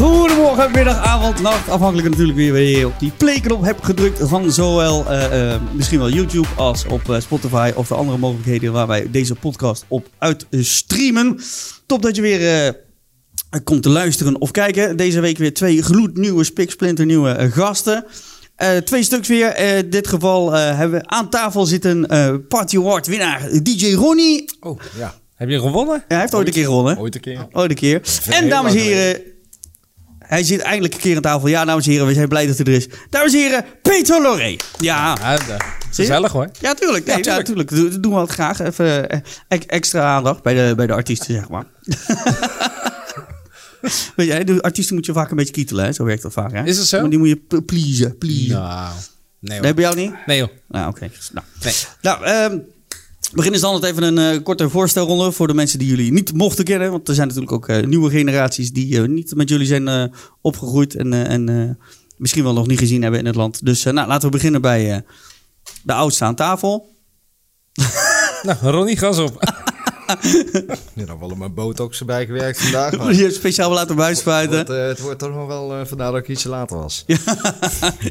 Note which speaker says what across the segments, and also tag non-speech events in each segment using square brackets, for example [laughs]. Speaker 1: Morgen, middag, avond, nacht. Afhankelijk natuurlijk weer wanneer je op die playknop hebt gedrukt. Van zowel eh, eh, misschien wel YouTube als op eh, Spotify. Of de andere mogelijkheden waar wij deze podcast op uit eh, streamen. Top dat je weer eh, komt te luisteren of kijken. Deze week weer twee gloednieuwe, spiksplinternieuwe eh, gasten. Eh, twee stuks weer. Eh, in dit geval eh, hebben we aan tafel zitten eh Party Award winnaar DJ Ronnie.
Speaker 2: Oh, ja.
Speaker 3: Heb je gewonnen?
Speaker 1: Ja, hij heeft ooit een keer gewonnen.
Speaker 2: Ooit een keer.
Speaker 1: Oh, de keer. En
Speaker 2: heel
Speaker 1: dames en
Speaker 2: lang
Speaker 1: heren, hij zit eindelijk een keer aan tafel. Ja, dames en heren, we zijn blij dat hij er is. Dames en heren, Peter Loré. Ja.
Speaker 3: Ja, dat- gezellig hoor.
Speaker 1: Ja, tuurlijk. Nee, ja,
Speaker 3: Ja,
Speaker 1: tuurlijk.
Speaker 3: tuurlijk.
Speaker 1: Doe- doen we het graag. Even eh, ek- extra aandacht bij de, bij de artiesten, zeg maar. [laughs] Weet jij, de artiesten moet je vaak een beetje kietelen, hè? Zo werkt dat vaak, hè?
Speaker 3: Is dat zo?
Speaker 1: Maar die moet je p- pleasen, pleasen.
Speaker 3: Nou, nee hoor.
Speaker 1: Nee, bij jou niet?
Speaker 3: Nee joh.
Speaker 1: Nou, oké. Nou,
Speaker 3: Nee.
Speaker 1: nou ehm, we beginnen dan altijd even een eh, korte voorstelronde voor de mensen die jullie niet mochten kennen. Want er zijn natuurlijk ook eh, nieuwe generaties die eh, niet met jullie zijn eh, opgegroeid en, eh, en eh, misschien wel nog niet gezien hebben in het land. Dus eh, nou, laten we beginnen bij eh, de oudste aan tafel.
Speaker 3: Nou, Ronnie, gas op.
Speaker 2: Nu dan wel op mijn botox erbij
Speaker 1: [laughs]
Speaker 2: gewerkt vandaag. Maar
Speaker 1: Die heb je speciaal laten
Speaker 2: het, wordt,
Speaker 1: buispuiten.
Speaker 2: eh, het wordt toch nog wel eh, vandaar dat ik ietsje later was.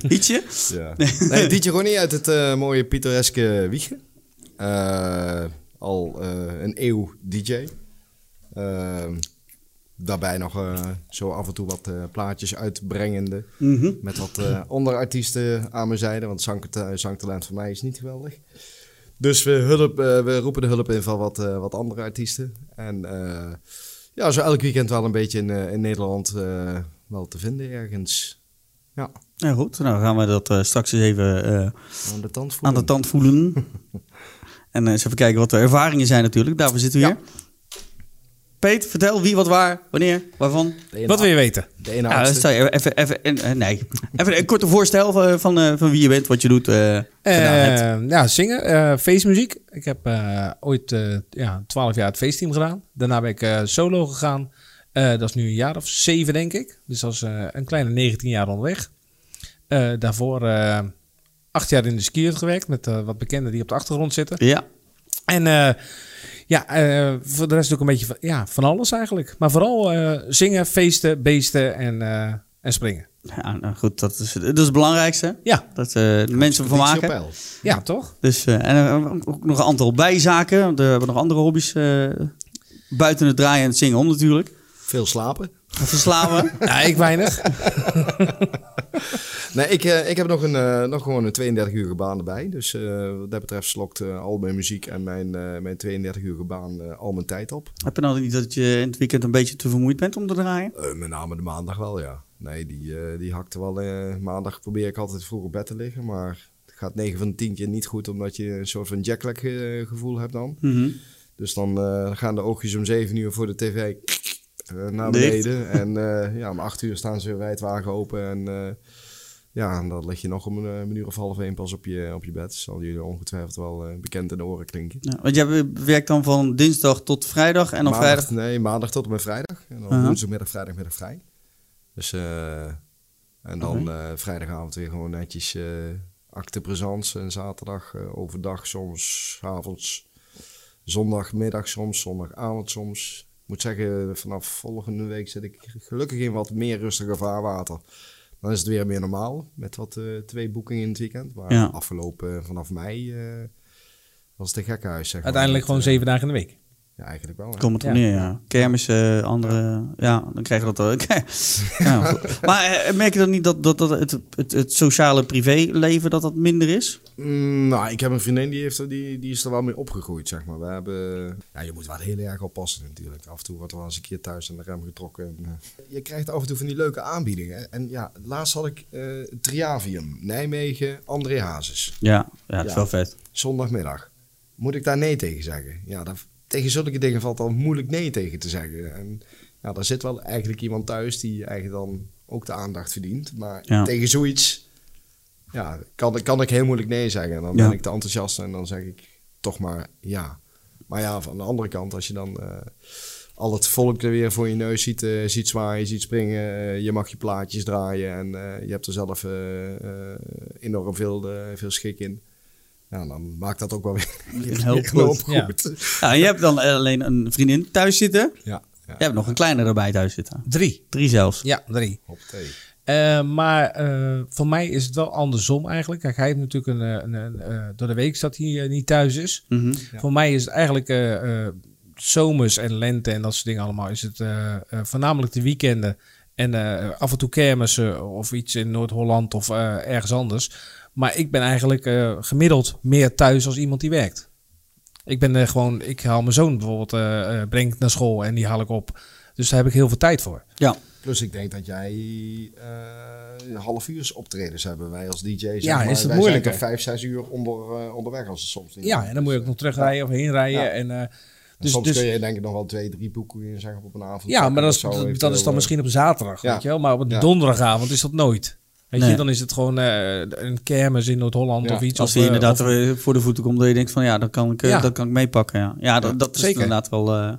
Speaker 1: Ietsje.
Speaker 2: Ja. [laughs] Nee, DJ Ronnie uit het eh, mooie pittoreske Wiegen. Eh, al eh, een eeuw DJ. Ehm, daarbij nog eh, zo af en toe wat eh, plaatjes uitbrengende. Met wat eh andere artiesten aan mijn zijde. Want zangta- zangtalent voor mij is niet geweldig. Dus we, hulp, eh, we roepen de hulp in van wat, eh, wat andere artiesten. En eh, ja, zo elk weekend wel een beetje in, eh, in Nederland eh, wel te vinden ergens. Ja,
Speaker 1: Nou goed, nou gaan we dat eh, straks eens even eh,
Speaker 2: aan de
Speaker 1: aan
Speaker 2: tand voelen.
Speaker 1: de tand voelen. en eh, eens even kijken wat de ervaringen zijn natuurlijk. Daarvoor zitten we
Speaker 2: Ja.
Speaker 1: hier. Peet, vertel wie, wat, waar, wanneer, waarvan.
Speaker 2: De ene
Speaker 3: Wat wil je weten?
Speaker 2: De ene
Speaker 1: Ja,
Speaker 2: oudste.
Speaker 1: stel je Nou, even, even, en- eh, nee. even een korte voorstel van, van, eh, van wie je bent, wat je doet. eh, gedaan hebt.
Speaker 3: Eh, ja, zingen, eh, feestmuziek. Ik heb eh, ooit eh, ja, 12 jaar het feestteam gedaan. Daarna ben ik eh, solo gegaan. Eh, dat is nu een jaar of zeven, denk ik. Dus dat is eh, een kleine 19 jaar onderweg. Eh, daarvoor eh, acht jaar in de skier gewerkt met eh, wat bekenden die op de achtergrond zitten.
Speaker 1: ja.
Speaker 3: En eh, ja, eh, voor de rest doe ik een beetje van, ja, van alles eigenlijk. Maar vooral eh, zingen, feesten, beesten en, eh, en springen.
Speaker 1: ja, nou goed, dat is, dat is het belangrijkste.
Speaker 3: Ja,
Speaker 1: Dat eh, de mensen van
Speaker 2: Politie op
Speaker 1: maken.
Speaker 2: peil.
Speaker 3: ja toch?
Speaker 1: Dus, eh, en eh, ook nog een aantal bijzaken. want We hebben nog andere hobby's. eh, buiten het draaien en het zingen om natuurlijk.
Speaker 2: Veel slapen.
Speaker 1: Verslaven.
Speaker 3: Ja, Nou, ik weinig.
Speaker 2: Nee, ik, eh, ik heb nog, een, eh, nog gewoon een 32-uurige baan erbij. Dus eh, wat dat betreft slokt eh, al mijn muziek en mijn, eh, mijn 32-uurige baan eh, al mijn tijd op.
Speaker 1: Heb je nou niet dat je in het weekend een beetje te vermoeid bent om te draaien?
Speaker 2: Eh, met name de maandag wel, ja. Nee, die, eh, die hakte wel. eh, maandag probeer ik altijd vroeg op bed te liggen, maar het gaat 9 van de 10 keer niet goed, omdat je een soort van jacklag eh, gevoel hebt dan.
Speaker 1: Mhm.
Speaker 2: Dus dan eh, gaan de oogjes om 7 uur voor de tv eh, naar
Speaker 1: Dicht.
Speaker 2: beneden. En eh, ja, om 8 uur staan ze weer wijdwagen open. En eh, ja, en dan lig je nog om een, eh, een uur of half één pas op je, op je bed. Zal jullie ongetwijfeld wel eh, bekend in de oren klinken.
Speaker 1: Ja, Nou, want jij werkt dan van dinsdag tot vrijdag en dan
Speaker 2: maandag,
Speaker 1: vrijdag.
Speaker 2: Nee, maandag tot en met vrijdag. En dan
Speaker 1: Aha.
Speaker 2: woensdagmiddag, vrijdagmiddag vrij. Dus, eh, en dan eh, vrijdagavond weer gewoon netjes eh acte présence. En zaterdag eh, overdag soms, 's avonds, zondagmiddag soms, zondagavond soms. Ik moet zeggen, vanaf volgende week zit ik gelukkig in wat meer rustiger vaarwater. Dan is het weer meer normaal, met wat eh, twee boekingen in het weekend. Maar
Speaker 1: Ja.
Speaker 2: afgelopen vanaf mei eh, was het een gekkenhuis, zeg maar.
Speaker 3: Uiteindelijk
Speaker 2: Met,
Speaker 3: gewoon
Speaker 2: eh,
Speaker 3: zeven dagen in de week.
Speaker 2: Ja, eigenlijk wel. hè.
Speaker 1: Komt het op
Speaker 3: Ja.
Speaker 1: neer, ja. Kermis, eh, andere... Ja, dan krijg je dat wel. [laughs] ja, goed. maar eh, merk je dan niet dat, dat, dat het, het, het sociale privéleven dat dat minder is?
Speaker 2: Mm, nou, ik heb een vriendin die, heeft, er- die, die is er wel mee opgegroeid, zeg maar. We hebben... Ja, je moet wel heel erg oppassen natuurlijk. Af en toe wordt er wel eens een keer thuis aan de rem getrokken. En, eh, je krijgt af en toe van die leuke aanbiedingen. En ja, laatst had ik eh, Triavium, Nijmegen, André Hazes.
Speaker 1: Ja, ja dat is
Speaker 2: Ja.
Speaker 1: wel vet.
Speaker 2: Zondagmiddag. Moet ik daar nee tegen zeggen? Ja, daar- tegen zulke dingen valt al moeilijk nee tegen te zeggen. En ja, daar zit wel eigenlijk iemand thuis die eigenlijk dan ook de aandacht verdient. Maar
Speaker 1: Ja.
Speaker 2: tegen zoiets ja, kan, kan ik heel moeilijk nee zeggen. En dan
Speaker 1: Ja.
Speaker 2: ben ik te enthousiast en dan zeg ik toch maar ja. Maar ja, van de andere kant, als je dan eh, al het volk er weer voor je neus ziet, eh, ziet zwaaien, ziet springen, eh, je mag je plaatjes draaien en eh, je hebt er zelf eh, eh, enorm veel, eh, veel schik in. Ja, dan maakt dat ook wel weer
Speaker 1: Heel
Speaker 2: [laughs] weer een
Speaker 1: goed.
Speaker 2: hoop goed.
Speaker 1: Ja, en je hebt dan alleen een vriendin thuis zitten.
Speaker 2: Ja.
Speaker 1: Je hebt nog een kleine erbij thuis zitten.
Speaker 3: Drie.
Speaker 1: Drie zelfs.
Speaker 3: Ja, drie.
Speaker 2: Op thee.
Speaker 3: Eh, maar eh, voor mij is het wel andersom eigenlijk. Kijk, hij heeft natuurlijk een, eh, een, een, eh, door de week dat hij eh, niet thuis is.
Speaker 1: Mhm.
Speaker 3: Voor mij is het eigenlijk eh, eh, zomers en lente en dat soort dingen allemaal. Is het eh, eh, voornamelijk de weekenden en eh, af en toe kermissen of iets in Noord-Holland of eh, ergens anders. Maar ik ben eigenlijk eh, gemiddeld meer thuis als iemand die werkt. Ik ben eh, gewoon, ik haal mijn zoon bijvoorbeeld, eh, eh, breng ik naar school en die haal ik op. Dus daar heb ik heel veel tijd voor.
Speaker 1: Ja.
Speaker 2: Plus ik denk dat jij eh half uur optredens hebben wij als DJ's. zeg
Speaker 3: Ja,
Speaker 2: maar.
Speaker 3: is het
Speaker 2: Wij zijn
Speaker 3: moeilijker.
Speaker 2: toch vijf, zes uur onder, eh, onderweg als het soms niet
Speaker 3: Ja, en dan moet je ook nog terugrijden of heenrijden.
Speaker 2: Ja.
Speaker 3: En, eh,
Speaker 2: Dus,
Speaker 3: dus,
Speaker 2: soms
Speaker 3: dus,
Speaker 2: kun je denk ik nog wel twee, drie boeken zeggen op een avond.
Speaker 3: ja, maar dat is,
Speaker 2: Zo even,
Speaker 3: dat is dan
Speaker 2: eh,
Speaker 3: misschien op zaterdag,
Speaker 2: Ja.
Speaker 3: weet je wel. Maar op een
Speaker 2: Ja.
Speaker 3: donderdagavond is dat nooit. Weet
Speaker 1: Nee.
Speaker 3: je, dan is het gewoon eh, een kermis in Noord-Holland
Speaker 2: Ja,
Speaker 3: of iets.
Speaker 1: Als
Speaker 3: of,
Speaker 1: hij
Speaker 3: eh,
Speaker 1: inderdaad
Speaker 3: of-
Speaker 1: er voor de voeten komt, dat je denkt van ja, dat kan ik, eh,
Speaker 3: Ja.
Speaker 1: dat kan ik meepakken. Ja, ja dat, dat is
Speaker 3: Zeker.
Speaker 1: inderdaad wel. eh,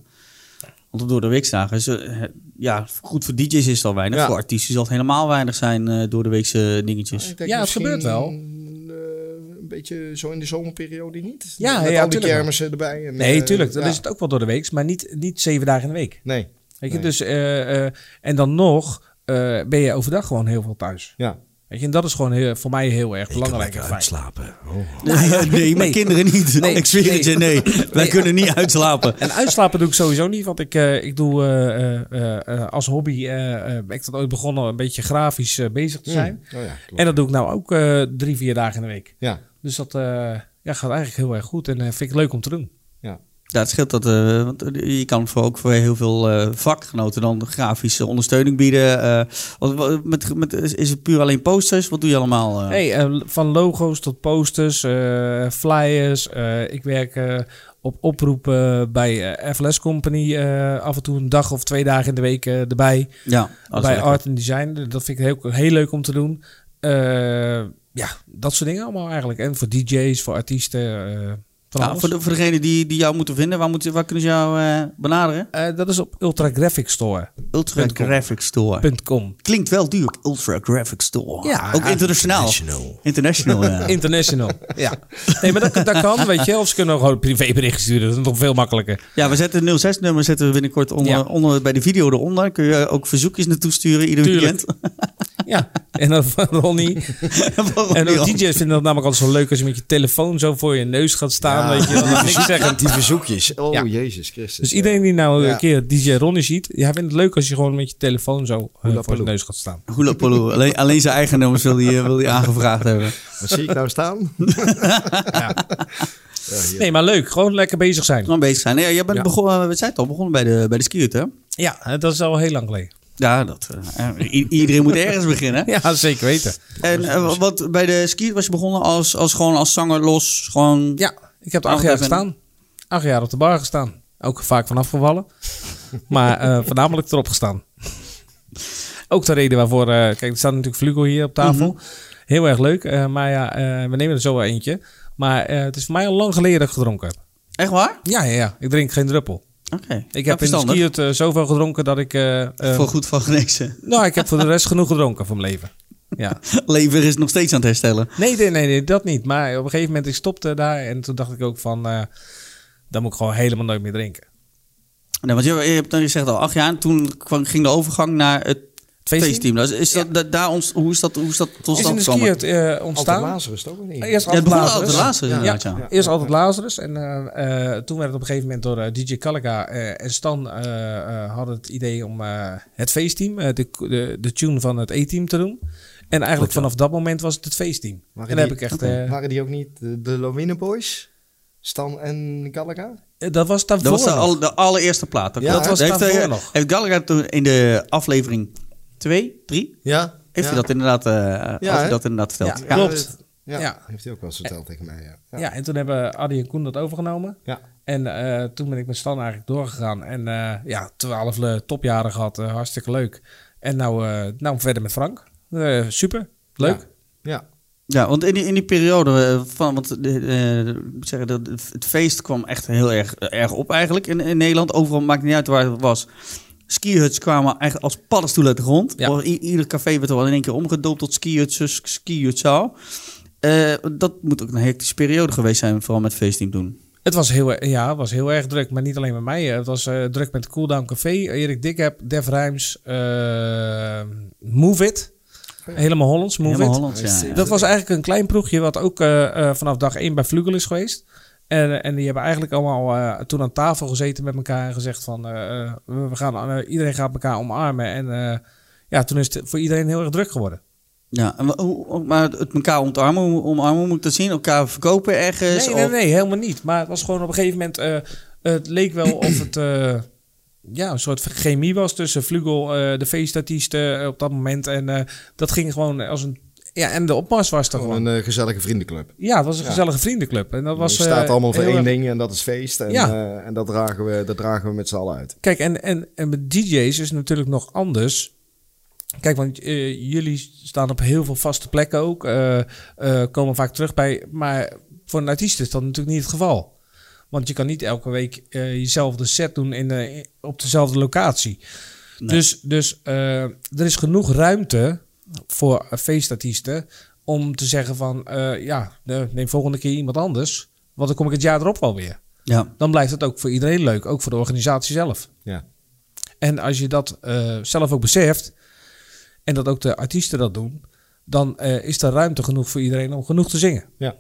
Speaker 1: want op door de weekdagen is eh, ja, goed voor DJ's is het al weinig.
Speaker 2: Ja.
Speaker 1: Voor artiesten zal het helemaal weinig zijn eh, door de weekse dingetjes.
Speaker 2: Oh, Ik denk
Speaker 3: Ja, het
Speaker 2: misschien,
Speaker 3: gebeurt wel.
Speaker 2: eh, een beetje zo in de zomerperiode niet.
Speaker 3: Ja,
Speaker 2: Met
Speaker 3: ja,
Speaker 2: al die
Speaker 3: tuurlijk.
Speaker 2: kermissen erbij. En,
Speaker 3: Nee,
Speaker 2: eh,
Speaker 3: tuurlijk. Dan
Speaker 2: ja.
Speaker 3: is het ook wel door de week, maar niet, niet zeven dagen in de week.
Speaker 2: Nee,
Speaker 3: Weet je,
Speaker 2: Nee.
Speaker 3: dus, eh, eh, en dan nog eh, ben je overdag gewoon heel veel thuis.
Speaker 2: ja.
Speaker 3: Weet je, en dat is gewoon heel- voor mij heel erg belangrijk. en fijn.
Speaker 2: slapen.
Speaker 1: [laughs] Nee, nee, mijn
Speaker 3: Nee.
Speaker 1: kinderen niet.
Speaker 3: Nee.
Speaker 1: Ik zweer het je, nee. Wij
Speaker 3: Nee.
Speaker 1: kunnen niet uitslapen.
Speaker 3: En uitslapen doe ik sowieso niet, want ik, eh, ik doe eh, eh, eh, als hobby, eh, eh, ben ik dat ooit begonnen, een beetje grafisch eh, bezig te zijn.
Speaker 2: Oh, ja, klopt.
Speaker 3: En dat doe ik nou ook eh, drie, vier dagen in de week.
Speaker 2: ja,
Speaker 3: Dus dat eh, ja, gaat eigenlijk heel erg goed en eh, vind ik leuk om te doen.
Speaker 1: Ja, het scheelt dat, eh, want eh, je kan voor ook voor heel veel eh, vakgenoten dan grafische ondersteuning bieden. eh, wat, wat- met, met, is is het puur alleen posters? Wat doe je allemaal? eh?
Speaker 3: Hey, eh, van logo's tot posters, eh, flyers. eh, ik werk eh, op oproep eh, bij eh, FLS Company. eh, af en toe een dag of twee dagen in de week eh, erbij.
Speaker 1: Ja, dat is
Speaker 3: bij
Speaker 1: lekker.
Speaker 3: Art and Design. Dat vind ik heel, heel leuk om te doen. Eh, ja, dat soort dingen allemaal eigenlijk. En voor DJ's, voor artiesten. eh, van
Speaker 1: Ja,
Speaker 3: alles.
Speaker 1: voor, de, voor degene die, die jou moeten vinden, waar, moeten waar kunnen ze jou eh, benaderen?
Speaker 3: Eh, dat is op ultragraphicstore.com.
Speaker 1: Ultra
Speaker 3: Punt com.
Speaker 1: Graphic Store. Klinkt wel duur, Ultra Graphic Store.
Speaker 3: Ja,
Speaker 1: ook internationaal.
Speaker 2: international.
Speaker 1: International, [laughs] ja.
Speaker 3: International. ja. Nee, maar dat, dat kan, weet je. Of ze kunnen ook gewoon een privébericht sturen. Dat is nog veel makkelijker.
Speaker 1: Ja, we zetten het 06-nummer zetten we binnenkort onder,
Speaker 3: Ja.
Speaker 1: onder, bij de video eronder. Dan Kun je ook verzoekjes naartoe sturen ieder
Speaker 3: Tuurlijk.
Speaker 1: [laughs]
Speaker 3: Ja. En dan van Ronnie.
Speaker 1: weekend.
Speaker 3: En ook DJ's vinden dat namelijk altijd zo leuk als je met je telefoon zo voor je neus gaat staan. Weet je, dan
Speaker 1: [laughs]
Speaker 3: is niks zeggen.
Speaker 2: Die verzoekjes. Oh,
Speaker 3: Ja.
Speaker 2: Jezus Christus.
Speaker 3: Dus iedereen die nou
Speaker 2: Ja.
Speaker 3: een keer DJ Ronnie ziet, jij vindt het leuk als je gewoon met je telefoon zo eh, voor je
Speaker 2: Hoelapaloe.
Speaker 3: neus gaat staan.
Speaker 1: Hula Paloo. Alleen, alleen zijn eigen nummers wil hij, eh, wil hij aangevraagd [laughs] hebben.
Speaker 2: Wat zie ik nou
Speaker 3: [laughs]
Speaker 2: staan? ja, hier.
Speaker 3: Nee, maar leuk. Gewoon lekker bezig zijn.
Speaker 1: Dan bezig zijn. Nee, jij bent
Speaker 3: Ja.
Speaker 1: begonnen, we zijn het al begonnen bij de, bij de skiert, hè?
Speaker 3: Ja, hè, dat is al heel lang geleden.
Speaker 1: Ja, dat, eh, i- iedereen moet ergens beginnen.
Speaker 3: [laughs] Ja, zeker weten.
Speaker 1: En eh, wat, bij de skiert was je begonnen als, als, gewoon als zanger los. Gewoon...
Speaker 3: Ja, ik heb er
Speaker 1: Oh,
Speaker 3: acht jaar
Speaker 1: even-
Speaker 3: gestaan. Acht jaar op de bar gestaan. Ook vaak van [laughs] afgevallen. maar eh, voornamelijk erop gestaan. Ook de reden waarvoor... eh, kijk, er staat natuurlijk Flugo hier op tafel. Heel erg leuk. eh, maar ja, eh, we nemen er zo wel eentje. Maar eh, het is voor mij al lang geleden dat ik gedronken heb.
Speaker 1: Echt waar?
Speaker 3: Ja, ja, ja. Ik drink geen druppel.
Speaker 1: Oké.
Speaker 3: Ik
Speaker 1: Ja,
Speaker 3: heb in de
Speaker 1: verstandig.
Speaker 3: skiert eh, zoveel gedronken dat ik... eh, eh,
Speaker 1: Voor goed van genezen.
Speaker 3: nou, ik heb voor de rest genoeg gedronken van mijn leven.
Speaker 1: [laughs]
Speaker 3: Ja.
Speaker 1: Lever is nog steeds aan het herstellen.
Speaker 3: Nee, nee, nee, nee, dat niet. Maar op een gegeven moment, ik stopte daar. En toen dacht ik ook van... eh, dan moet ik gewoon helemaal nooit meer drinken.
Speaker 1: Nee, want je, je hebt dan gezegd al acht jaar. Toen kwam, ging de overgang naar het
Speaker 3: feestteam?
Speaker 1: feestteam. Dus is dat, dat- daar ons, hoe is dat, hoe is dat tot
Speaker 3: is in
Speaker 1: stand
Speaker 3: de
Speaker 1: gekomen?
Speaker 3: skiert eh,
Speaker 2: Altijd
Speaker 3: ontstaan.
Speaker 2: Lazarus toch? of niet?
Speaker 3: Eerst
Speaker 1: Ja, het begon
Speaker 3: Lazarus.
Speaker 1: altijd laatste
Speaker 3: Ja,
Speaker 1: inderdaad, ja.
Speaker 3: eerst altijd Lazarus. En eh, eh, toen werd het op een gegeven moment door eh, DJ Kalka eh, en Stan eh, eh, hadden het idee om eh, het feestteam, eh, de, de, de tune van het E-team te doen. En eigenlijk vanaf dat moment was het het feestteam.
Speaker 2: Waren
Speaker 3: en daar
Speaker 2: die-
Speaker 3: heb ik echt.
Speaker 1: Oké.
Speaker 3: eh,
Speaker 2: Waren die ook niet de, de Lawine Boys? Stan en Gallagher?
Speaker 3: eh, dat was daarvoor.
Speaker 1: Dat was de,
Speaker 3: nog.
Speaker 1: al- de allereerste plaat.
Speaker 2: Ja,
Speaker 1: klopt.
Speaker 2: dat was
Speaker 1: heeft,
Speaker 3: daarvoor
Speaker 1: eh,
Speaker 3: nog.
Speaker 1: Heeft Gallagher toen in de aflevering 2, 3...
Speaker 2: Ja.
Speaker 1: Heeft hij dat inderdaad, eh had hij
Speaker 2: hè?
Speaker 1: dat inderdaad verteld?
Speaker 3: Ja.
Speaker 1: Ja.
Speaker 3: Klopt.
Speaker 2: Ja,
Speaker 3: Ja.
Speaker 2: heeft hij ook wel eens verteld tegen mij. Ja.
Speaker 3: Ja, en toen hebben Adi en Koen dat overgenomen.
Speaker 2: Ja.
Speaker 3: En eh, toen ben ik met Stan eigenlijk doorgegaan. En eh, ja, twaalf eh, topjaren gehad. eh, hartstikke leuk. En nou, eh, nou verder met Frank. Eh, super. Leuk.
Speaker 2: Ja.
Speaker 1: want in die, in die periode eh, van, want de- eh, ik moet zeggen, dat het feest kwam echt heel erg, eh, erg op eigenlijk in, in Nederland. Overal maakt niet uit waar het was. Skihuts kwamen echt als paddenstoelen uit de grond.
Speaker 3: Ja.
Speaker 1: I- ieder café werd er wel in één keer omgedoopt tot skihuts, dus skihutzaal. Eh dat moet ook een hectische periode geweest zijn, vooral met feestteam doen.
Speaker 3: Het was heel, er- ja, het was heel erg druk, maar niet alleen met mij. eh. Het was eh, druk met Cooldown Café, Erik Dikheb, Def Rijms, eh, Move It. Helemaal Hollands, Move
Speaker 1: Helemaal
Speaker 3: It.
Speaker 1: Hollands, ja.
Speaker 3: Dat was eigenlijk een klein ploegje wat ook eh, eh, vanaf dag één bij Vlugel is geweest. En, eh, en die hebben eigenlijk allemaal eh, toen aan tafel gezeten met elkaar en gezegd van eh, eh, we we gaan, eh, iedereen gaat elkaar omarmen. En eh, ja, toen is het voor iedereen heel erg druk geworden.
Speaker 1: Ja, en wa- hoe- hoe- maar het elkaar ontarmen, hoe- omarmen, hoe moet ik dat zien? Elkaar verkopen ergens?
Speaker 3: Nee, nee,
Speaker 1: of-
Speaker 3: nee, helemaal niet. Maar het was gewoon op een gegeven moment. eh, het leek wel of het. eh, ja, een soort chemie was tussen Vlugel, eh, de feestartiesten eh, op dat moment. En eh, dat ging gewoon als een. Ja, en de opmars was er
Speaker 2: Gewoon
Speaker 3: gewoon.
Speaker 2: een eh, gezellige vriendenclub.
Speaker 3: Ja, het was een
Speaker 2: Ja.
Speaker 3: gezellige vriendenclub. En dat
Speaker 2: Het
Speaker 3: was.
Speaker 2: staat
Speaker 3: eh,
Speaker 2: allemaal voor
Speaker 3: heel
Speaker 2: één
Speaker 3: erg-
Speaker 2: ding en dat is feest. En,
Speaker 3: Ja.
Speaker 2: eh, en dat, dragen we, dat dragen we met z'n allen uit.
Speaker 3: Kijk, en, en, en met DJ's is het natuurlijk nog anders. Kijk, want eh, jullie staan op heel veel vaste plekken ook. eh, eh, komen vaak terug bij. Maar voor een artiest is dat natuurlijk niet het geval. Want je kan niet elke week eh, jezelf de set doen in de, op dezelfde locatie.
Speaker 1: Nee.
Speaker 3: Dus, dus eh, er is genoeg ruimte voor eh, feestartiesten om te zeggen van... eh, ja, eh, neem volgende keer iemand anders. Want dan kom ik het jaar erop wel weer.
Speaker 1: Ja,
Speaker 3: Dan blijft het ook voor iedereen leuk. Ook voor de organisatie zelf.
Speaker 2: Ja.
Speaker 3: En als je dat eh, zelf ook beseft, en dat ook de artiesten dat doen, dan eh, is er ruimte genoeg voor iedereen om genoeg te zingen.
Speaker 2: Ja.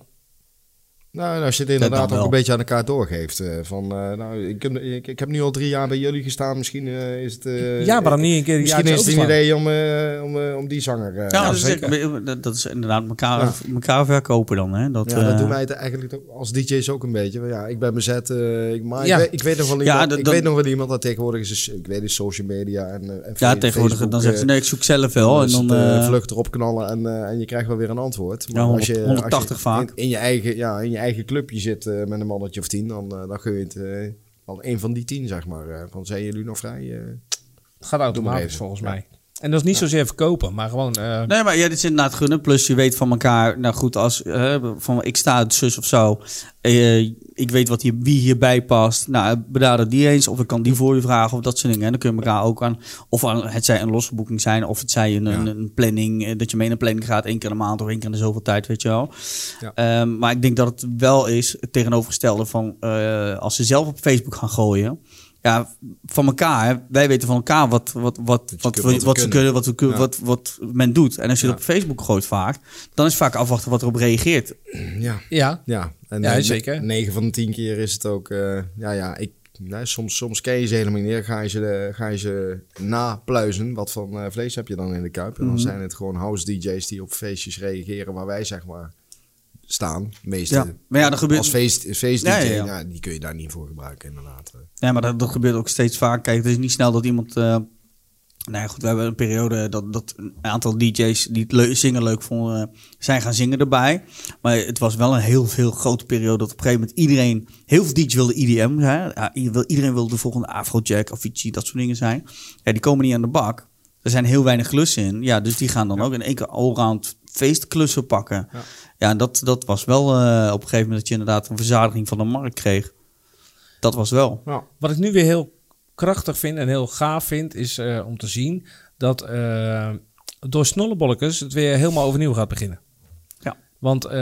Speaker 2: Nou, en als je het inderdaad
Speaker 1: dan
Speaker 2: ook
Speaker 1: wel.
Speaker 2: een beetje aan elkaar doorgeeft. eh, van, eh, nou, ik, heb, ik, ik heb nu al drie jaar bij jullie gestaan. Misschien eh, is het... eh,
Speaker 3: ja, maar dan niet een keer een
Speaker 2: Misschien
Speaker 3: jaartje
Speaker 2: is het een
Speaker 3: overslaan.
Speaker 2: idee om, eh, om, eh, om die zanger... eh,
Speaker 1: ja,
Speaker 2: te
Speaker 1: dat, is,
Speaker 2: spreken.
Speaker 1: dat- dat is inderdaad elkaar, elkaar verkopen dan. Hè? Dat,
Speaker 2: Ja, dat
Speaker 1: eh,
Speaker 2: doen wij het eigenlijk ook als DJ's ook een beetje. Maar Ja, ik ben bezet, eh, ik, maar
Speaker 3: Ja.
Speaker 2: ik, weet, ik weet nog wel
Speaker 1: Ja,
Speaker 2: iemand,
Speaker 1: dat-
Speaker 2: ik
Speaker 1: dat-
Speaker 2: weet nog wel iemand dat tegenwoordig is, ik weet is social media en, eh, en
Speaker 1: ja
Speaker 2: fe-
Speaker 1: tegenwoordig
Speaker 2: Facebook,
Speaker 1: dan zegt ze,
Speaker 2: eh,
Speaker 1: nee, ik zoek zelf wel. En
Speaker 2: is
Speaker 1: dan,
Speaker 2: het, eh,
Speaker 1: eh,
Speaker 2: vlucht erop knallen en, eh, en je krijgt wel weer een antwoord.
Speaker 1: Ja, honderd-
Speaker 2: als je,
Speaker 1: 180
Speaker 2: als je
Speaker 1: vaak.
Speaker 2: In, in je eigen, ja, in je eigen clubje zit eh, met een mannetje of tien, dan, eh, dan gun je het eh, al een van die tien, zeg maar. eh, van zijn jullie nog vrij?
Speaker 3: Het
Speaker 2: eh?
Speaker 3: gaat
Speaker 2: Doe maar
Speaker 3: automatisch
Speaker 2: even.
Speaker 3: volgens
Speaker 2: Ja.
Speaker 3: mij. En dat is niet zozeer verkopen, maar gewoon. eh,
Speaker 1: Nee, maar ja, dit is inderdaad gunnen. Plus je weet van elkaar, nou goed, als eh, van ik sta het zus of zo. eh, ik weet wat hier, wie hierbij past. Nou, benader die eens. Of ik kan die voor je vragen of dat soort dingen. En dan kun je elkaar ook aan, of aan, het zij een losse boeking zijn. Of het zij een, een, een planning, eh, dat je mee naar een planning gaat. één keer in de maand of één keer in de zoveel tijd, weet je wel.
Speaker 2: Ja.
Speaker 1: Ehm, maar ik denk dat het wel is het tegenovergestelde van eh, als ze zelf op Facebook gaan gooien. Ja, van elkaar. hè. Wij weten van elkaar wat, wat, wat, wat, wat,
Speaker 2: kunt- wat we
Speaker 1: wat ze
Speaker 2: kunnen.
Speaker 1: kunnen, wat, we, kun-
Speaker 2: Ja.
Speaker 1: wat, wat men doet. En als je
Speaker 2: Ja.
Speaker 1: dat op Facebook gooit vaak, dan is vaak afwachten wat erop reageert.
Speaker 2: Eh, [clears throat] Ja.
Speaker 3: ja,
Speaker 2: Ja, en
Speaker 3: Ja,
Speaker 2: eh,
Speaker 3: zeker.
Speaker 2: ne- Negen van de tien keer is het ook. eh, ja, ja, ik, nou, soms, soms ken je ze helemaal niet. Ga je ze, eh, ga je ze napluizen. Wat van eh, vlees heb je dan in de kuip? En dan
Speaker 1: Mhm.
Speaker 2: zijn het gewoon house DJ's die op feestjes reageren waar wij zeg maar staan. Meeste.
Speaker 1: Ja. Maar ja, dat gebeurt-
Speaker 2: Als feest, feest DJ,
Speaker 1: Ja,
Speaker 2: ja,
Speaker 1: ja, ja.
Speaker 2: die kun je daar niet voor gebruiken inderdaad.
Speaker 1: Ja, maar dat, dat gebeurt ook steeds vaak. Kijk, het is niet snel dat iemand. eh, nou ja, goed, we hebben een periode dat, dat een aantal DJ's die het leu- zingen leuk vonden, eh, zijn gaan zingen erbij. Maar het was wel een heel, heel grote periode dat op een gegeven moment iedereen, heel veel DJ's wilden E IDM zijn. Ja, i- wil- iedereen wilde de volgende Afrojack, Avicii, dat soort dingen zijn. Ja, die komen niet aan de bak. Er zijn heel weinig klussen in. Ja, dus die gaan dan ook in één keer allround feestklussen pakken. Ja, en dat, dat was wel eh, op een gegeven moment dat je inderdaad een verzadiging van de markt kreeg. Dat was wel.
Speaker 2: Ja.
Speaker 3: Wat ik nu weer heel krachtig vind en heel gaaf vind, is eh, om te zien dat eh, door Snollebollekes het weer helemaal overnieuw gaat beginnen.
Speaker 1: Ja.
Speaker 3: Want eh,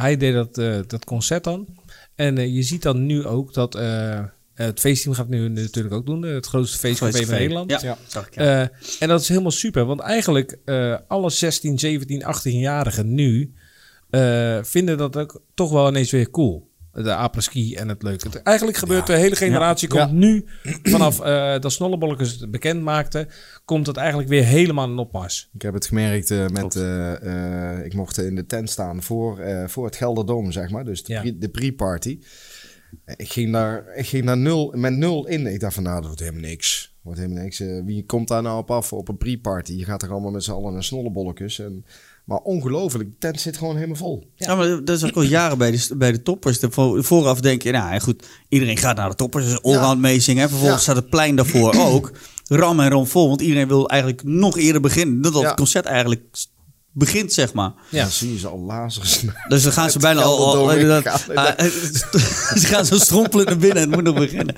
Speaker 3: hij deed dat, eh, dat concert dan. En eh, je ziet dan nu ook dat eh, het feestteam gaat nu natuurlijk ook doen. eh, Het grootste feestcafé van Nederland.
Speaker 1: Ja, zag ik. Ja.
Speaker 3: Eh, en dat is helemaal super, want eigenlijk eh, alle 16, 17, 18-jarigen nu eh, vinden dat ook toch wel ineens weer cool. De apres-ski en het leuke. Het- Eigenlijk gebeurt de hele generatie, komt nu vanaf eh dat Snollebollekes het bekend maakte, komt het eigenlijk weer helemaal in opmars.
Speaker 2: Ik heb het gemerkt eh, met. eh, eh, ik mocht in de tent staan voor, eh, voor het Gelderdoom, zeg maar. Dus de
Speaker 3: Ja.
Speaker 2: pre- de pre-party. Eh, Ik ging daar, ik ging daar nul, met nul in. Ik dacht van, nou, dat wordt helemaal niks. Wordt helemaal niks. Eh, wie komt daar nou op af op een pre-party? Je gaat er allemaal met z'n allen naar snollebolletjes. En, maar ongelooflijk, de tent zit gewoon helemaal vol.
Speaker 3: Eh,
Speaker 1: Ja, maar dat is ook al jaren bij de, bij de toppers. De, vo- vooraf denk je, nou ja, goed, iedereen gaat naar de toppers. Dus allround meezingen. En vervolgens
Speaker 2: Ja.
Speaker 1: staat het plein [clears throat] daarvoor ook. Ram en rom vol, want iedereen wil eigenlijk nog eerder beginnen. Dat
Speaker 2: Ja.
Speaker 1: het concert eigenlijk s- begint, zeg maar.
Speaker 3: Ja.
Speaker 2: Dan zie je ze al lazers. [laughs]
Speaker 1: Dus dan gaan ze bijna al... al,
Speaker 2: Gelderdoom
Speaker 1: inderdaad,
Speaker 2: ingegaan.
Speaker 1: ah, [laughs] ze gaan zo strompelend naar binnen. Het moet nog beginnen.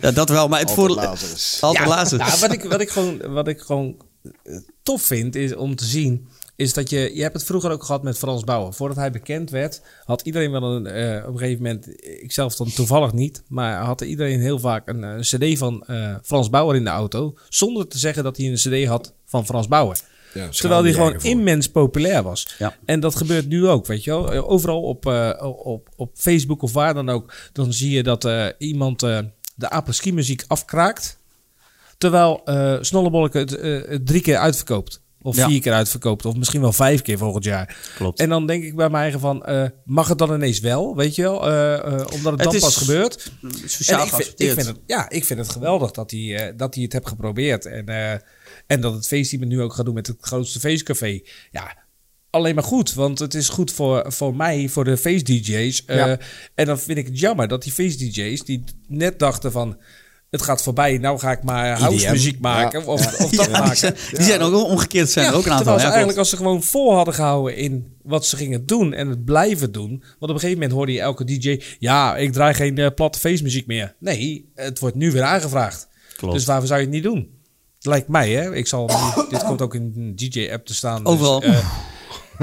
Speaker 1: Ja, dat wel, maar het
Speaker 2: Altijd
Speaker 1: voordeel...
Speaker 2: Lazarus.
Speaker 1: [laughs] Altijd Lazarus.
Speaker 3: Nou, wat, ik, wat, ik gewoon, wat ik gewoon eh, tof vind, is om te zien Is dat je, je hebt het vroeger ook gehad met Frans Bauer. Voordat hij bekend werd, had iedereen wel een, eh, op een gegeven moment, ik zelf dan toevallig niet, maar had iedereen heel vaak een, eh, CD van eh, Frans Bauer in de auto. Zonder te zeggen dat hij een CD had van Frans Bauer.
Speaker 2: Ja,
Speaker 3: Terwijl die gewoon
Speaker 2: in
Speaker 3: immens populair was.
Speaker 1: Ja.
Speaker 3: En dat gebeurt nu ook, weet je wel. Overal op, eh, op, op Facebook of waar dan ook, dan zie je dat eh, iemand eh, de apres-ski muziek afkraakt. Terwijl eh Snollebolleke het eh, het drie keer uitverkoopt. Of
Speaker 1: Ja.
Speaker 3: vier keer uitverkoopt. Of misschien wel vijf keer volgend jaar.
Speaker 1: Klopt.
Speaker 3: En dan denk ik bij mijn eigen van, eh, mag het dan ineens wel, weet je wel? Eh, eh, omdat het,
Speaker 1: Het
Speaker 3: dan
Speaker 1: is
Speaker 3: pas gebeurt.
Speaker 1: Sociaal
Speaker 3: En ik, vind, ik
Speaker 1: geaccepteerd.
Speaker 3: vind het, Ja, ik vind het geweldig dat hij, eh, dat hij het heeft geprobeerd. En, eh, en dat het feestteam het nu ook gaat doen met het grootste feestcafé. Ja, alleen maar goed. Want het is goed voor, voor mij, voor de feestdj's. eh
Speaker 2: Ja.
Speaker 3: En dan vind ik het jammer dat die feestdj's die net dachten van... Het gaat voorbij, nou ga ik maar house muziek maken. Of, of
Speaker 1: [laughs] Ja,
Speaker 3: dat
Speaker 1: die
Speaker 3: maken.
Speaker 1: zijn, die zijn ook omgekeerd, zijn
Speaker 3: Ja,
Speaker 1: er ook een
Speaker 3: terwijl
Speaker 1: aantal.
Speaker 3: ze
Speaker 1: Ja, klopt.
Speaker 3: eigenlijk als ze gewoon vol hadden gehouden in wat ze gingen doen en het blijven doen. Want op een gegeven moment hoorde je elke DJ, ja, ik draai geen eh, platte feestmuziek meer. Nee, het wordt nu weer aangevraagd.
Speaker 1: Klopt.
Speaker 3: Dus waarom zou je het niet doen? Lijkt mij, hè? Ik
Speaker 1: [coughs]
Speaker 3: zal, nu- dit komt ook in een DJ-app te staan. dus,
Speaker 1: Overal.
Speaker 3: eh,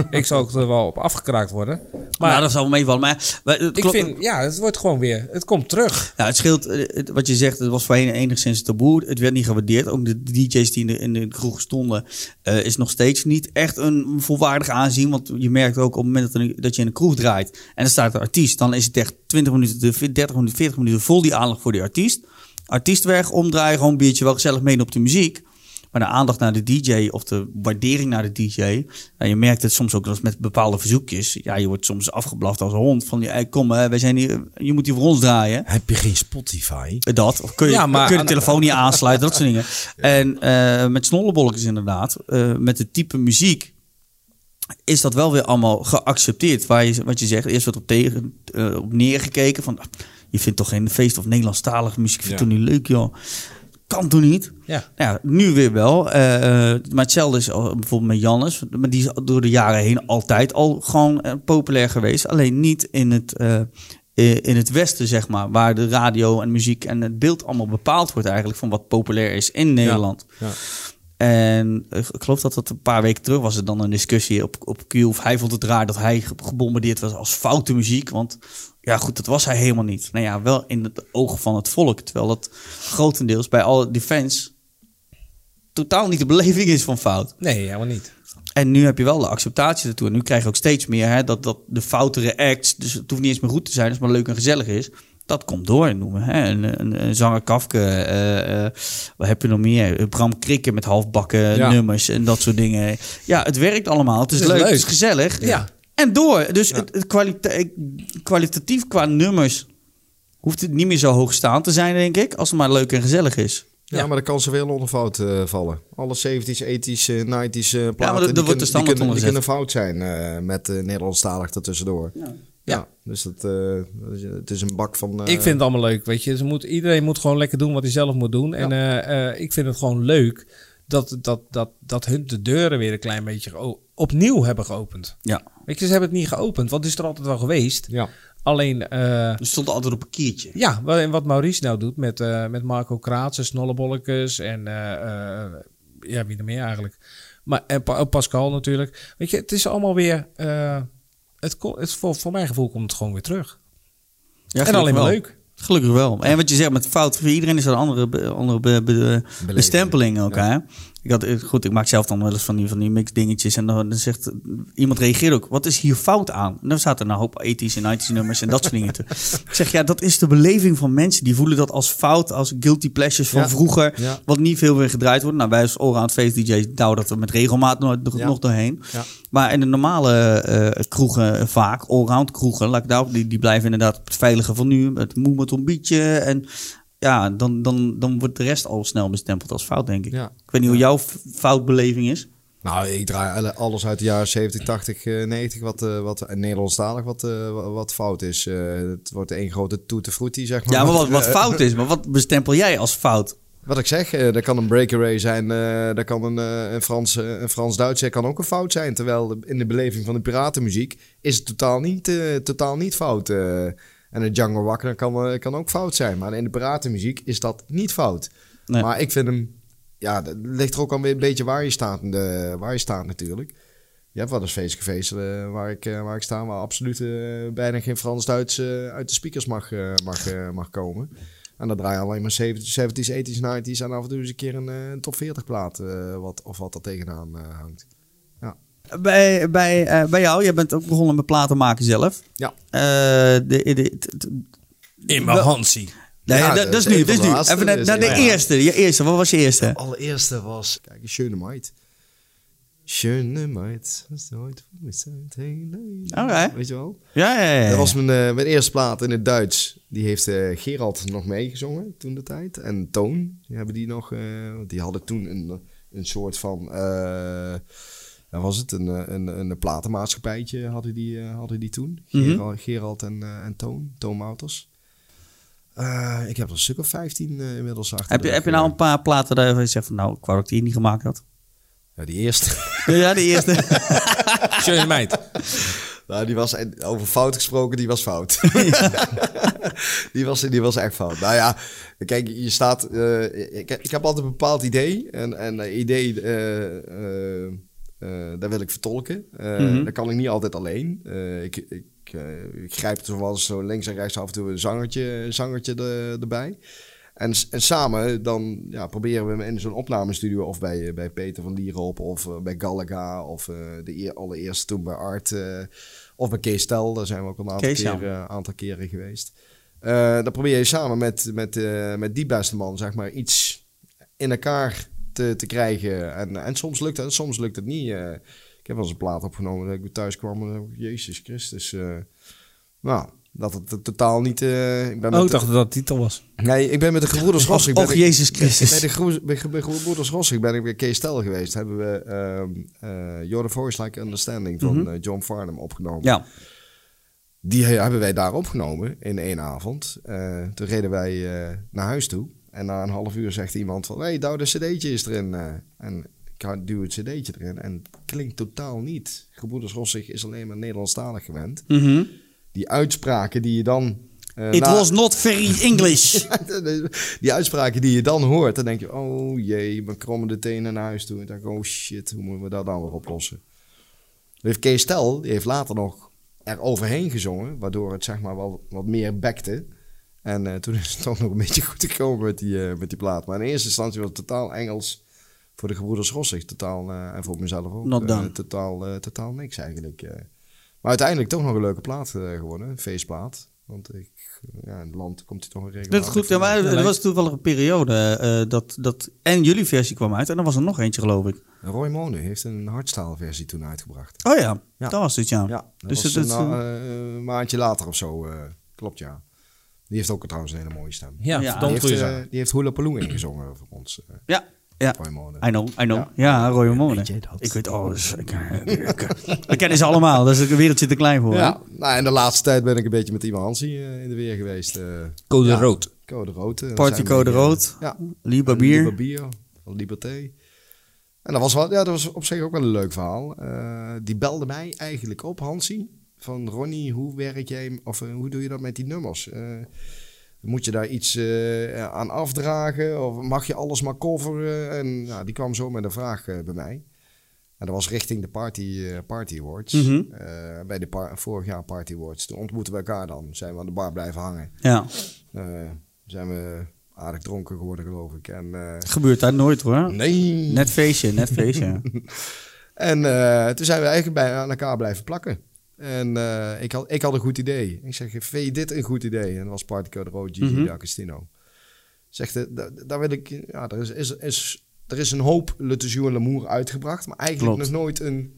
Speaker 3: ik zal ook er wel op afgekraakt worden. Maar
Speaker 1: nou, dat zal wel meevallen. Maar, maar het,
Speaker 3: ik
Speaker 1: klopt,
Speaker 3: vind, ja, het wordt gewoon weer, het komt terug.
Speaker 1: ja, het scheelt, eh, het- wat je zegt, het was voorheen enigszins taboe. Het werd niet gewaardeerd. Ook de DJ's die in de, in de kroeg stonden, eh, is nog steeds niet echt een volwaardig aanzien. Want je merkt ook op het moment dat, er- dat je in een kroeg draait en er staat een artiest, dan is het echt 20 minuten, de- 30 minuten, 40 minuten vol die aandacht voor die artiest. Artiest weg, omdraaien, gewoon een biertje, wel gezellig mee op de muziek. Maar de aandacht naar de DJ of de waardering naar de DJ. Nou, je merkt het soms ook wel eens met bepaalde verzoekjes. Ja, je wordt soms afgeblaft als een hond. Van ja, kom, hè, wij zijn hier, je moet hier voor ons draaien.
Speaker 4: Heb je geen Spotify?
Speaker 1: Dat. Of kun je,
Speaker 3: Ja, maar-
Speaker 1: kun je de telefoon niet aansluiten, dat soort
Speaker 3: [laughs]
Speaker 1: dingen. En eh, met snollebolletjes inderdaad, eh, met het type muziek, is dat wel weer allemaal geaccepteerd. Waar je, wat je zegt, eerst werd op, tegen, eh, op neergekeken van... ah, je vindt toch geen feest of Nederlandstalige muziek, ik vind het toch niet leuk, joh. Kan toch niet?
Speaker 3: Ja.
Speaker 1: Nou ja, nu weer wel. Eh, eh, maar hetzelfde is al bijvoorbeeld met Jannes. Maar die is al door de jaren heen altijd al gewoon eh, populair geweest. Alleen niet in het, eh, eh, in het Westen, zeg maar. Waar de radio en muziek en het beeld allemaal bepaald wordt eigenlijk... van wat populair is in Nederland. En eh, ik geloof dat dat een paar weken terug was. Er dan een discussie op, op Q. Of hij vond het raar dat hij ge- gebombardeerd was als foute muziek. Want ja, goed, dat was hij helemaal niet. Nou ja, wel in het oog van het volk. Terwijl dat grotendeels bij al die fans totaal niet de beleving is van fout.
Speaker 3: Nee, helemaal niet.
Speaker 1: En nu heb je wel de acceptatie ertoe. En nu krijg je ook steeds meer hè, dat, dat de foutere acts... dus het hoeft niet eens meer goed te zijn... als het maar leuk en gezellig is... dat komt door, noemen. Hè. Een, een, een zanger Kafke, eh, eh, wat heb je nog meer? Eh, Bram Krikken met halfbakken
Speaker 2: Ja.
Speaker 1: nummers en dat soort dingen. Ja, het werkt allemaal. Het is, leuk, het is gezellig.
Speaker 3: Ja.
Speaker 1: En door. Dus het, het kwalita- eh, kwalitatief qua nummers... hoeft het niet meer zo hoogstaand te zijn, denk ik... als het maar leuk en gezellig is.
Speaker 2: Ja, maar dan kan ze weer onder fout eh, vallen. Alle 70s, 80s, eh, 90s eh, platen,
Speaker 1: daar wordt
Speaker 2: die,
Speaker 1: de
Speaker 2: kunnen, die,
Speaker 1: standaard
Speaker 2: kunnen,
Speaker 1: onder
Speaker 2: die
Speaker 1: gezet.
Speaker 2: kunnen fout zijn eh, met eh, Nederlandstalig ertussendoor. Ja.
Speaker 3: Ja.
Speaker 2: dus dat, eh, dat is- het is een bak van... eh,
Speaker 3: Ik vind het allemaal leuk, weet je. Ze moet, iedereen moet gewoon lekker doen wat hij zelf moet doen. En eh, eh, ik vind het gewoon leuk dat, dat, dat, dat hun de deuren weer een klein beetje geo- opnieuw hebben geopend.
Speaker 1: Ja.
Speaker 3: Weet je, ze hebben het niet geopend, want het is er altijd wel geweest.
Speaker 2: Ja.
Speaker 3: Alleen, eh,
Speaker 1: Er stond altijd op een kiertje.
Speaker 3: ja, wa- en wat Maurice nou doet met, eh, met Marco Kraats en Snollebollekes en eh, eh, ja, wie er meer eigenlijk. Maar, en Pa- ook Pascal natuurlijk. Weet je, het is allemaal weer... eh, het, ko- het, voor, voor mijn gevoel komt het gewoon weer terug.
Speaker 1: Ja,
Speaker 3: en
Speaker 1: gelukkig
Speaker 3: alleen maar
Speaker 1: wel.
Speaker 3: leuk.
Speaker 1: Gelukkig wel. En wat je zegt met fout, voor iedereen is er een andere, be- andere be- be- bestempeling ook. Hè? Ik had, eh, goed, ik maak zelf dan wel eens van die, van die mix dingetjes. En dan, dan zegt eh, iemand reageert ook, wat is hier fout aan? En dan zaten er een hoop 80s en 90s nummers en dat soort dingen.
Speaker 2: [laughs]
Speaker 1: tussen. Ik zeg, ja, dat is de beleving van mensen. Die voelen dat als fout, als guilty pleasures van
Speaker 2: Ja.
Speaker 1: vroeger.
Speaker 2: Ja.
Speaker 1: Wat niet veel weer gedraaid wordt. Nou, wij als Oren aan het feest DJ's douwen dat er met regelmaat nog, nog,
Speaker 2: Ja.
Speaker 1: nog doorheen.
Speaker 2: Ja.
Speaker 1: Maar in de normale eh, kroegen vaak, allround kroegen, laat ik daarop, die, die blijven inderdaad op het veilige van nu. Het moe met ontbietje. En ja, dan, dan, dan wordt de rest al snel bestempeld als fout, denk ik.
Speaker 2: Ja.
Speaker 1: Ik weet niet hoe jouw f- foutbeleving is.
Speaker 2: Nou, ik draai alle- alles uit de jaren 70, 80, eh, 90, wat, eh, wat eh, Nederlandstalig wat, eh, wa- wat fout is. Eh, het wordt één grote toetefroetie, zeg maar.
Speaker 1: Ja, maar wat,
Speaker 2: [laughs]
Speaker 1: wat fout is, maar wat bestempel jij als fout?
Speaker 2: Wat ik zeg, eh, dat kan een breakaway zijn, eh dat kan een, eh, een, Frans, eh, een Frans-Duitse kan ook een fout zijn. Terwijl de- in de beleving van de piratenmuziek is het totaal niet, eh, totaal niet fout. eh. en een Django Wagner kan, eh, kan ook fout zijn, maar in de piratenmuziek is dat niet fout.
Speaker 1: Nee.
Speaker 2: Maar ik vind hem, ja, dat ligt er ook alweer een beetje waar je staat, eh, waar je staat natuurlijk. Je hebt wel eens feestcafés eh, waar, ik, eh, waar ik sta, waar absoluut eh, bijna geen Frans-Duits eh, uit de speakers mag, eh, mag, eh, mag komen. En dan draai je alleen maar 70s, 80s, 90s en af en toe eens een keer een, eh, een top 40 plaat eh, wat, of wat er tegenaan eh, hangt.
Speaker 1: Bij, bij, eh, bij jou, jij bent ook begonnen met platen maken zelf.
Speaker 2: Ja.
Speaker 1: Eh, de, de- t- t-
Speaker 3: In mijn Hansie.
Speaker 1: nee,
Speaker 2: Ja,
Speaker 1: dat-
Speaker 2: dat
Speaker 1: dat is
Speaker 2: is
Speaker 1: nu.
Speaker 2: een
Speaker 1: Dat is
Speaker 2: van de
Speaker 1: nu.
Speaker 2: laatste,
Speaker 1: Even naar,
Speaker 2: dus
Speaker 1: naar de
Speaker 2: ja.
Speaker 1: eerste. Je eerste. Wat was je eerste?
Speaker 2: allereerste was. Kijk, een schöne meid. Schöne meid. Was nooit voor me zijn hele
Speaker 1: Oké.
Speaker 2: Weet je wel?
Speaker 1: Ja, ja, ja.
Speaker 2: Dat
Speaker 1: ja.
Speaker 2: was mijn, eh, mijn eerste plaat in het Duits. Die heeft eh, Gerald nog meegezongen toen de tijd. En Toon die hebben die nog. eh, want die hadden toen een, een soort van. eh wat was het? Een, eh, een, een platenmaatschappijtje hadden die, eh, hadden die toen.
Speaker 1: Mhm.
Speaker 2: Gerald, Gerald en, eh, en Toon. Toon Mouters. Eh, ik heb er een stuk of 15 eh, inmiddels achter.
Speaker 1: heb,
Speaker 2: de
Speaker 1: je,
Speaker 2: rug,
Speaker 1: heb je
Speaker 2: eh.
Speaker 1: nou een paar platen daarvan je zegt van nou, ik wou dat ik die niet gemaakt had?
Speaker 2: Ja, die eerste. [laughs]
Speaker 1: Ja, de eerste.
Speaker 3: Schöne meid.
Speaker 2: Nou, die was en over fout gesproken, die was fout. [laughs] die, was, die was echt fout. Nou ja, kijk, je staat. eh, ik, ik heb altijd een bepaald idee. En, en eh, idee, eh, eh, eh, daar wil ik vertolken. Eh,
Speaker 1: Mhm.
Speaker 2: Dat kan ik niet altijd alleen. Eh, ik, ik, eh, ik grijp zo wel eens zo links en rechts af en toe een zangertje, een zangertje er- erbij. En, s- en samen dan ja, proberen we hem in zo'n opnamestudio of bij, eh, bij Peter van Lierop of eh, bij Galaga of eh, de eer- allereerste toen bij Art eh, of bij Kees Tel. Daar zijn we ook al een aantal,
Speaker 1: Kees, ja.
Speaker 2: keer, eh, aantal keren geweest. Eh, dan probeer je samen met, met, eh, met die beste man zeg maar iets in elkaar te, te krijgen. En, en soms lukt het en soms lukt het niet. eh. ik heb wel eens een plaat opgenomen dat ik thuis kwam en dacht ik, Jezus Christus. eh, nou, dat het t- totaal niet... eh, ik ben
Speaker 3: Oh,
Speaker 2: met
Speaker 3: ik
Speaker 2: de-
Speaker 3: dacht dat dat titel was.
Speaker 2: Nee, ik ben met de gebroeders Ross.
Speaker 1: Och,
Speaker 2: ik ben-
Speaker 1: och, Jezus
Speaker 2: bij
Speaker 1: Christus.
Speaker 2: de groe- bij ge- bij Gebroeders Rossig ben ik bij Kees Tel geweest. Hebben we ehm eh Your Voice Like Understanding van eh, John Farnham opgenomen.
Speaker 1: Mhm. Ja.
Speaker 2: Die he- hebben wij daar opgenomen in één avond. Eh, toen reden wij eh, naar huis toe. En na een half uur zegt iemand van... Hé, hey, duw de cd'tje is erin. eh. en ik hou- duw het cd'tje erin. En het klinkt totaal niet. Gebroeders Rossig is alleen maar Nederlandstalig gewend.
Speaker 1: Mhm.
Speaker 2: Die uitspraken die je dan... eh,
Speaker 1: It
Speaker 2: na-
Speaker 1: was not very
Speaker 2: [laughs]
Speaker 1: English.
Speaker 2: die uitspraken die je dan hoort, dan denk je: oh jee, mijn krommende tenen naar huis toe. En dan denk ik: oh shit, hoe moeten we dat dan weer oplossen? Dan heeft Kees Tel, die heeft later nog er overheen gezongen, waardoor het zeg maar wel wat meer bekte. En eh, toen is het toch nog een beetje goed gekomen met die, eh, met die plaat. Maar in eerste instantie was het totaal Engels voor de gebroeders Rossig. Totaal, eh, en voor mezelf ook.
Speaker 1: Not
Speaker 2: eh,
Speaker 1: done.
Speaker 2: totaal, eh, totaal niks eigenlijk. eh. Maar uiteindelijk toch nog een leuke plaat eh, geworden. Een feestplaat. Want ik, eh, ja, in het land komt hij toch een regelmatig
Speaker 1: Dat is goed. Ja,
Speaker 2: voor.
Speaker 1: maar er
Speaker 3: leuk.
Speaker 1: was toevallig een periode eh, dat, dat... En jullie versie kwam uit en er was er nog eentje, geloof ik.
Speaker 2: Roy Mone heeft een hardstyle-versie toen uitgebracht.
Speaker 1: Oh ja,
Speaker 2: Ja.
Speaker 1: dat was het, ja.
Speaker 2: Ja, dat
Speaker 1: Dus
Speaker 2: was
Speaker 1: het-
Speaker 2: een,
Speaker 1: het-
Speaker 2: eh, een maandje later of zo. eh, klopt, ja. Die heeft ook trouwens een hele mooie stem.
Speaker 3: Ja,
Speaker 1: Ja,
Speaker 2: die,
Speaker 3: verdomd
Speaker 2: heeft,
Speaker 3: goeie
Speaker 2: eh,
Speaker 3: zanger.
Speaker 2: die heeft Hula Paloo ingezongen voor ons, eh,
Speaker 1: Ja, ja.
Speaker 2: Roy Mone.
Speaker 1: I know, I know. Ja, Roy Hormonen.
Speaker 2: jij dat?
Speaker 1: Ik weet alles. Ik,
Speaker 2: [laughs]
Speaker 1: eh, ik, ik ken ze allemaal. Dat is de wereld zit te klein voor.
Speaker 2: Ja, nou, en de laatste tijd ben ik een beetje met Iwan Hansie eh, in de weer geweest. eh,
Speaker 3: Code
Speaker 2: ja.
Speaker 3: rood.
Speaker 2: Code Rood. eh, dat
Speaker 1: Party
Speaker 2: zijn
Speaker 1: Code
Speaker 2: we, eh,
Speaker 1: Rood.
Speaker 2: Ja.
Speaker 1: Liba
Speaker 2: Liba
Speaker 1: Bier.
Speaker 2: Bier, Liberté. En dat was, wel, ja, dat was op zich ook wel een leuk verhaal. Eh, die belde mij eigenlijk op, Hansie. Van Ronnie, hoe werk jij, of eh, hoe doe je dat met die nummers? Eh, moet je daar iets eh, aan afdragen? Of mag je alles maar coveren? En nou, die kwam zo met een vraag eh, bij mij. En dat was richting de Party, eh, party Awards.
Speaker 1: Mhm.
Speaker 2: Eh, bij de par- vorig jaar Party Awards. Toen ontmoetten we elkaar dan. Zijn we aan de bar blijven hangen.
Speaker 1: Ja,
Speaker 2: Eh, zijn we aardig dronken geworden, geloof ik. En, eh,
Speaker 1: gebeurt daar nooit hoor.
Speaker 2: Nee.
Speaker 1: Net feestje, net
Speaker 2: [laughs]
Speaker 1: feestje.
Speaker 2: En eh, toen zijn we eigenlijk bij, aan elkaar blijven plakken. En eh, ik, had, ik had een goed idee. Ik zeg, vind je dit een goed idee? En dat was Partico de Rood, Gigi
Speaker 1: Mhm.
Speaker 2: D'Agostino. Zegt, eh, da- daar wil ik... Ja, er is, is, is, er is een hoop Le Toujours L'amour uitgebracht. Maar eigenlijk
Speaker 1: Klopt.
Speaker 2: nog nooit een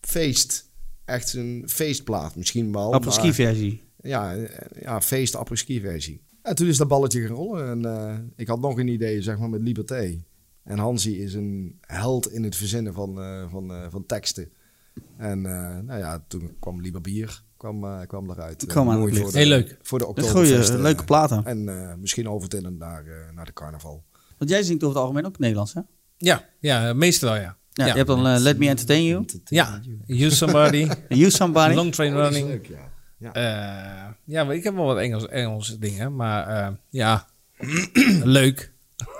Speaker 2: feest. Echt een feestplaat misschien wel. maar-
Speaker 1: Apres-ski versie.
Speaker 2: ja, eh, ja, feest apres-ski versie. En toen is dat balletje gaan rollen. En eh, ik had nog een idee, zeg maar, met Liberté. En Hansi is een held in het verzinnen van, eh, van, eh, van teksten. En eh, nou ja, toen kwam Lieber Bier kwam, eh kwam eruit.
Speaker 1: Kwam aan
Speaker 2: Mooi
Speaker 1: het
Speaker 2: voor
Speaker 1: licht.
Speaker 2: de-
Speaker 3: Heel leuk.
Speaker 2: Voor de
Speaker 1: Dat is
Speaker 2: oktoberfest.
Speaker 1: goeie,
Speaker 2: eh,
Speaker 1: leuke platen.
Speaker 2: En eh, misschien over het in en naar, eh, naar de carnaval.
Speaker 1: Want jij zingt over het algemeen ook Nederlands, hè?
Speaker 3: Ja, ja, meestal wel, ja.
Speaker 1: Ja,
Speaker 3: Ja,
Speaker 1: Je hebt dan eh, Let Me Entertain
Speaker 3: [laughs]
Speaker 1: You,
Speaker 3: Ja, You Somebody,
Speaker 1: You Somebody.
Speaker 3: Long Train
Speaker 2: Dat is
Speaker 3: Running.
Speaker 2: leuk, ja.
Speaker 3: Eh, ja, maar ik heb wel wat Engels, Engels dingen, maar eh, ja, [clears throat] leuk.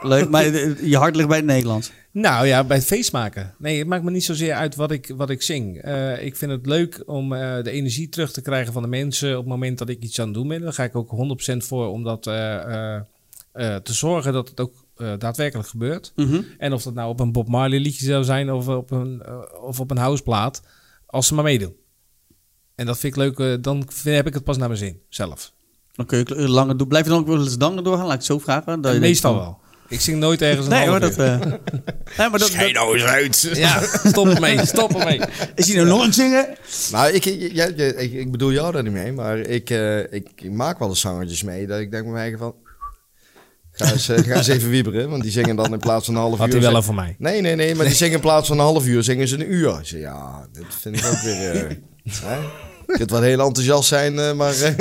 Speaker 1: Leuk, maar eh, je hart ligt bij het Nederlands.
Speaker 3: Nou ja, bij het feest maken. Nee, het maakt me niet zozeer uit wat ik, wat ik zing. Eh, ik vind het leuk om eh, de energie terug te krijgen van de mensen op het moment dat ik iets aan het doen ben. Daar ga ik ook 100% voor om dat eh, eh, eh, te zorgen dat het ook eh, daadwerkelijk gebeurt. En of dat nou op een Bob Marley liedje zou zijn of op een, eh, of op een houseplaat, als ze maar meedoen. En dat vind ik leuk, eh, dan vind- heb ik het pas naar mijn zin, zelf.
Speaker 1: Dan kun je kle- langer doen. Blijf je dan ook wel eens langer doorgaan? Laat ik het zo vragen. Dat je denkt
Speaker 3: Eh, Meestal
Speaker 1: van-
Speaker 3: wel. Ik zing nooit ergens een
Speaker 1: Nee hoor,
Speaker 3: half
Speaker 1: dat...
Speaker 3: uur.
Speaker 1: eh, [laughs] nee, maar dat,
Speaker 2: Schijn nou eens uit.
Speaker 3: Ja, stop ermee, stop ermee.
Speaker 1: is hij nou nog aan het
Speaker 3: [laughs]
Speaker 1: zingen?
Speaker 2: Nou, ik, ik, jij- jij- ik, ik bedoel jou daar niet mee, maar ik, eh, ik, ik maak wel eens zangertjes mee. Dat ik denk bij mij eigen van... Ga eens, eh, ga eens even wieberen, want die zingen dan in plaats van een half
Speaker 3: Had
Speaker 2: uur...
Speaker 3: hij wel
Speaker 2: zeg-
Speaker 3: over mij.
Speaker 2: Nee, nee, nee, maar die zingen in plaats van een half uur, zingen ze een uur. Ik zeg, ja, dit vind ik ook
Speaker 3: [laughs]
Speaker 2: weer... eh hè? Je kunt wel heel enthousiast zijn, eh, maar... eh, [laughs]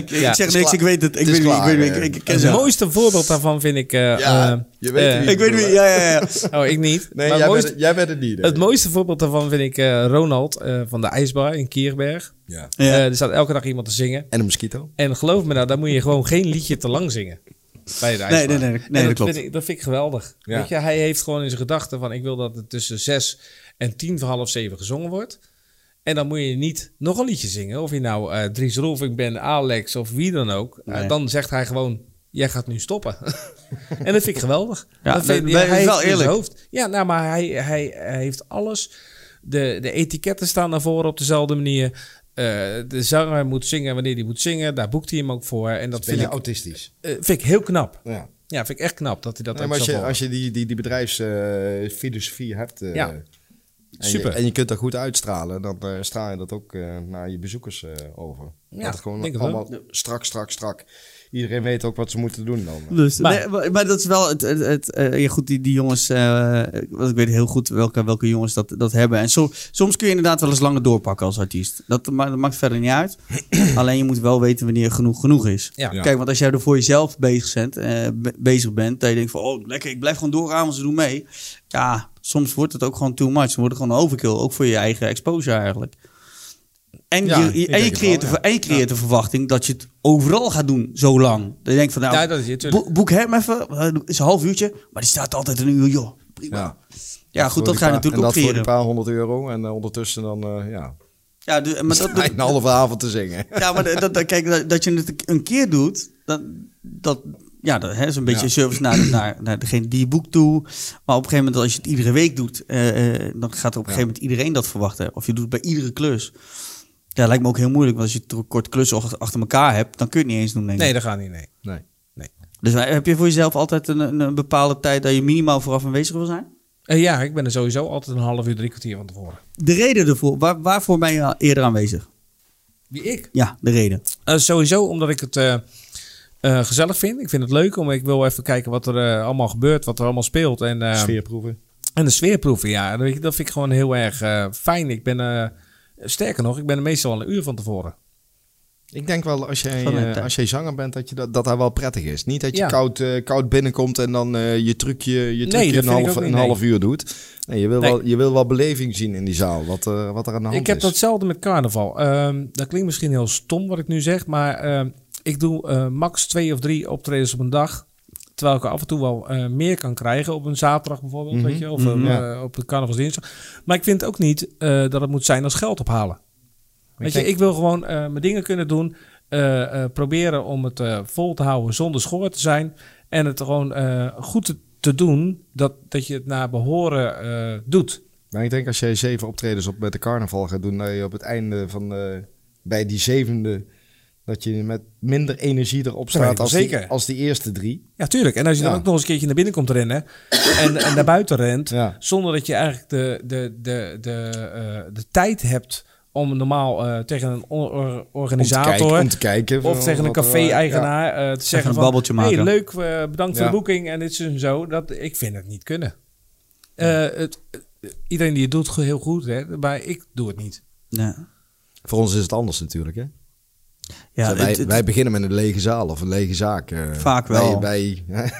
Speaker 1: Ik,
Speaker 3: Ja,
Speaker 1: ik zeg niks,
Speaker 2: is klaar.
Speaker 1: ik weet het. Ik
Speaker 2: Het is
Speaker 1: weet wie, ik weet
Speaker 2: klaar,
Speaker 1: wie, ik-
Speaker 2: eh.
Speaker 1: ik, ik ken
Speaker 3: Het
Speaker 1: ze.
Speaker 3: mooiste voorbeeld daarvan vind ik... eh,
Speaker 2: Ja,
Speaker 3: eh,
Speaker 2: je weet
Speaker 3: eh,
Speaker 2: wie.
Speaker 1: Ik weet wie, ja, ja, ja.
Speaker 3: [laughs] Oh, ik niet.
Speaker 2: nee,
Speaker 3: maar
Speaker 2: jij,
Speaker 3: mooiste-
Speaker 2: bent, jij bent het niet. hè?
Speaker 3: het mooiste voorbeeld daarvan vind ik eh, Ronald eh, van de IJsbar in Kierberg.
Speaker 2: Ja.
Speaker 1: Ja.
Speaker 3: Eh, er staat elke dag iemand te zingen.
Speaker 2: En een mosquito.
Speaker 3: En geloof me nou, daar moet je gewoon geen liedje te lang zingen. Bij de
Speaker 1: nee,
Speaker 3: ijsbaan.
Speaker 1: nee, nee,
Speaker 3: En
Speaker 1: dat
Speaker 3: dat,
Speaker 1: klopt.
Speaker 3: Vind ik, dat vind ik geweldig.
Speaker 2: Ja.
Speaker 3: Weet je, hij heeft gewoon in zijn gedachten van... ik wil dat het tussen zes en tien voor half zeven gezongen wordt. En dan moet je niet nog een liedje zingen. Of je nou eh Dries Rolfink bent, Alex of wie dan ook. Eh,
Speaker 1: Nee.
Speaker 3: dan zegt hij gewoon, jij gaat nu stoppen. [laughs] en dat vind ik geweldig.
Speaker 1: Ja,
Speaker 3: dat vind,
Speaker 1: dat- dat is
Speaker 3: hij heeft
Speaker 1: wel
Speaker 3: het in zijn
Speaker 1: eerlijk.
Speaker 3: hoofd. Ja, nou, maar hij, hij, hij heeft alles... De, de etiketten staan naar voren op dezelfde manier. Eh, de zanger moet zingen wanneer hij moet zingen. Daar boekt hij hem ook voor. En
Speaker 2: Dus
Speaker 3: dat vind ik,
Speaker 2: autistisch.
Speaker 3: eh, vind ik heel knap.
Speaker 2: Ja.
Speaker 3: Ja, vind ik echt knap dat hij dat
Speaker 2: Nee,
Speaker 3: ook
Speaker 2: maar als
Speaker 3: zo
Speaker 2: je,
Speaker 3: voor-
Speaker 2: als je die, die, die bedrijfsfilosofie hebt... eh,
Speaker 3: Ja.
Speaker 2: en
Speaker 3: Super.
Speaker 2: Je, en je kunt dat goed uitstralen, dan eh, straal je dat ook eh, naar je bezoekers eh, over.
Speaker 3: Ja,
Speaker 2: dat het gewoon
Speaker 3: denk het wel.
Speaker 2: allemaal strak, strak, strak. Iedereen weet ook wat ze moeten doen dan.
Speaker 1: Dus, nee,
Speaker 3: Maar-
Speaker 1: maar, maar dat is wel het. het, het, eh, ja, goed, die, die jongens. eh, want ik weet heel goed welke, welke jongens dat, dat hebben. En so- soms kun je inderdaad wel eens langer doorpakken als artiest. Dat, ma- dat maakt verder niet uit. [clears throat] Alleen je moet wel weten wanneer genoeg genoeg is.
Speaker 3: Ja.
Speaker 1: Kijk, want als jij er voor jezelf bezig bent, eh, be- bezig bent. Dat je denkt van, oh lekker, ik blijf gewoon doorgaan, want ze doen mee. Ja, soms wordt het ook gewoon too much. Dan wordt het gewoon een overkill. Ook voor je eigen exposure eigenlijk. En,
Speaker 2: Ja,
Speaker 1: je,
Speaker 2: ik
Speaker 1: en, je
Speaker 2: denk het
Speaker 1: creëert
Speaker 2: wel,
Speaker 1: de,
Speaker 2: ja.
Speaker 1: en je creëert de verwachting dat je het overal gaat doen zo lang. Dat je denkt van nou,
Speaker 3: Ja, dat is het, tuurlijk.
Speaker 1: bo- boek hem even, eh, is een half uurtje, maar die staat altijd een uur, joh. Prima. Ja, goed, dat ga je natuurlijk ook
Speaker 2: En dat voor
Speaker 1: creëren.
Speaker 2: een paar honderd euro. En eh, ondertussen dan, eh, ja,
Speaker 1: Ja, du- maar dat,
Speaker 2: [laughs] een halve avond te zingen.
Speaker 1: ja, maar dat, dat- kijk, dat, dat je het een keer doet, dat, dat, ja, dat hè, is een beetje
Speaker 2: Ja.
Speaker 1: een service naar, naar, naar degene die je boekt toe. Maar op een gegeven moment, als je het iedere week doet, eh, eh, dan gaat er op een gegeven moment iedereen dat verwachten. Of je doet het bij iedere klus. Ja, lijkt me ook heel moeilijk, want als je te kort klussen ach- achter elkaar hebt, dan kun je het niet eens doen, denk ik.
Speaker 3: Nee, dat gaat niet, nee.
Speaker 2: Nee.
Speaker 1: Dus eh, heb je voor jezelf altijd een, een- een bepaalde tijd dat je minimaal vooraf aanwezig wil zijn?
Speaker 3: Eh, ja, ik ben er sowieso altijd een half uur, drie kwartier van tevoren.
Speaker 1: De reden ervoor, waar, waarvoor ben je al eerder aanwezig?
Speaker 3: Wie ik?
Speaker 1: Ja, de reden.
Speaker 3: Eh, sowieso omdat ik het eh, eh, gezellig vind. Ik vind het leuk, om ik wil even kijken wat er eh, allemaal gebeurt, wat er allemaal speelt. En, eh,
Speaker 2: Sfeerproeven.
Speaker 3: en de sfeerproeven, ja. Weet je, dat vind ik gewoon heel erg eh, fijn. Ik ben, eh, sterker nog, ik ben er meestal al een uur van tevoren.
Speaker 2: Ik denk wel, als jij,
Speaker 1: Van het,
Speaker 2: eh,
Speaker 1: eh,
Speaker 2: als jij zanger bent, dat, je dat, dat hij wel prettig is. Niet dat je
Speaker 3: Ja.
Speaker 2: koud, eh, koud binnenkomt en dan eh, je trucje, je
Speaker 3: dat
Speaker 2: trucje
Speaker 3: vind
Speaker 2: een,
Speaker 3: ik
Speaker 2: half,
Speaker 3: ook niet,
Speaker 2: een
Speaker 3: nee.
Speaker 2: half uur doet. Nee, je, wil
Speaker 3: Nee.
Speaker 2: Wel, je wil wel beleving zien in die zaal, wat, eh, wat er aan de hand
Speaker 3: Ik heb
Speaker 2: is.
Speaker 3: datzelfde met carnaval. Ehm, dat klinkt misschien heel stom wat ik nu zeg, maar ehm, ik doe eh, max twee of drie optredens op een dag. Terwijl ik er af en toe wel eh, meer kan krijgen op een zaterdag bijvoorbeeld, weet je, of eh,
Speaker 2: Mhm. Ja.
Speaker 3: eh, op een carnavalsdinsdag. Maar ik vind ook niet eh, dat het moet zijn als geld ophalen. Weet je,
Speaker 2: denk-
Speaker 3: ik wil gewoon eh, mijn dingen kunnen doen, eh, eh, proberen om het eh, vol te houden zonder schoor te zijn en het gewoon eh, goed te, te doen, dat, dat je het naar behoren eh, doet.
Speaker 2: Maar ik denk als jij zeven optredens op met de carnaval gaat doen, dat je op het einde van eh, bij die zevende dat je met minder energie erop
Speaker 3: weet ik
Speaker 2: staat
Speaker 3: wel
Speaker 2: als die,
Speaker 3: zeker.
Speaker 2: als die eerste drie.
Speaker 3: Ja, tuurlijk. En als je
Speaker 2: Ja.
Speaker 3: dan ook nog eens een keertje naar binnen komt rennen en, en naar buiten rent,
Speaker 2: Ja.
Speaker 3: zonder dat je eigenlijk de, de, de, de, eh, de tijd hebt om normaal eh, tegen een or- or-
Speaker 2: Om te
Speaker 3: organisator
Speaker 2: kijken, om te kijken
Speaker 3: of
Speaker 2: van
Speaker 3: tegen een
Speaker 2: wat er- Ja.
Speaker 3: café-eigenaar eh, te zeggen
Speaker 1: een
Speaker 3: van,
Speaker 1: babbeltje maken.
Speaker 3: hey, leuk, eh, bedankt voor
Speaker 2: Ja.
Speaker 3: de boeking en dit en zo. Dat, ik vind het niet kunnen. Eh, het, iedereen die het doet, heel goed, hè, maar ik doe het niet.
Speaker 1: Ja.
Speaker 2: Voor ons is het anders natuurlijk, hè?
Speaker 1: Ja,
Speaker 2: Zij, wij,
Speaker 1: het- het-
Speaker 2: wij beginnen met een lege zaal of een lege zaak. eh.
Speaker 1: Vaak wel.
Speaker 2: Wij, [laughs] wij,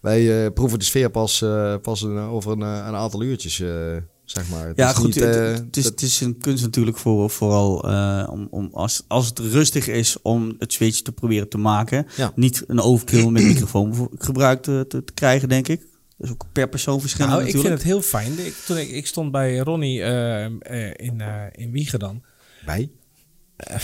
Speaker 2: wij eh, proeven de sfeer pas, eh, pas een, over een, eh, een aantal uurtjes. eh, Zeg maar. Het
Speaker 1: Ja,
Speaker 2: is
Speaker 1: goed.
Speaker 2: niet,
Speaker 1: het,
Speaker 2: eh,
Speaker 1: het is,
Speaker 2: dat-
Speaker 1: het is een kunst natuurlijk voor, vooral eh, om, om als, als het rustig is om het zweetje te proberen te maken.
Speaker 2: Ja.
Speaker 1: Niet een overkill met microfoon voor- gebruikt te, te, te krijgen, denk ik. Dat is ook per persoon verschillend
Speaker 3: Nou, ik vind
Speaker 1: natuurlijk.
Speaker 3: het heel fijn. Ik, toen ik, ik stond bij Ronnie eh, eh, in, eh in Wiegen dan.
Speaker 2: Wij?
Speaker 1: [laughs]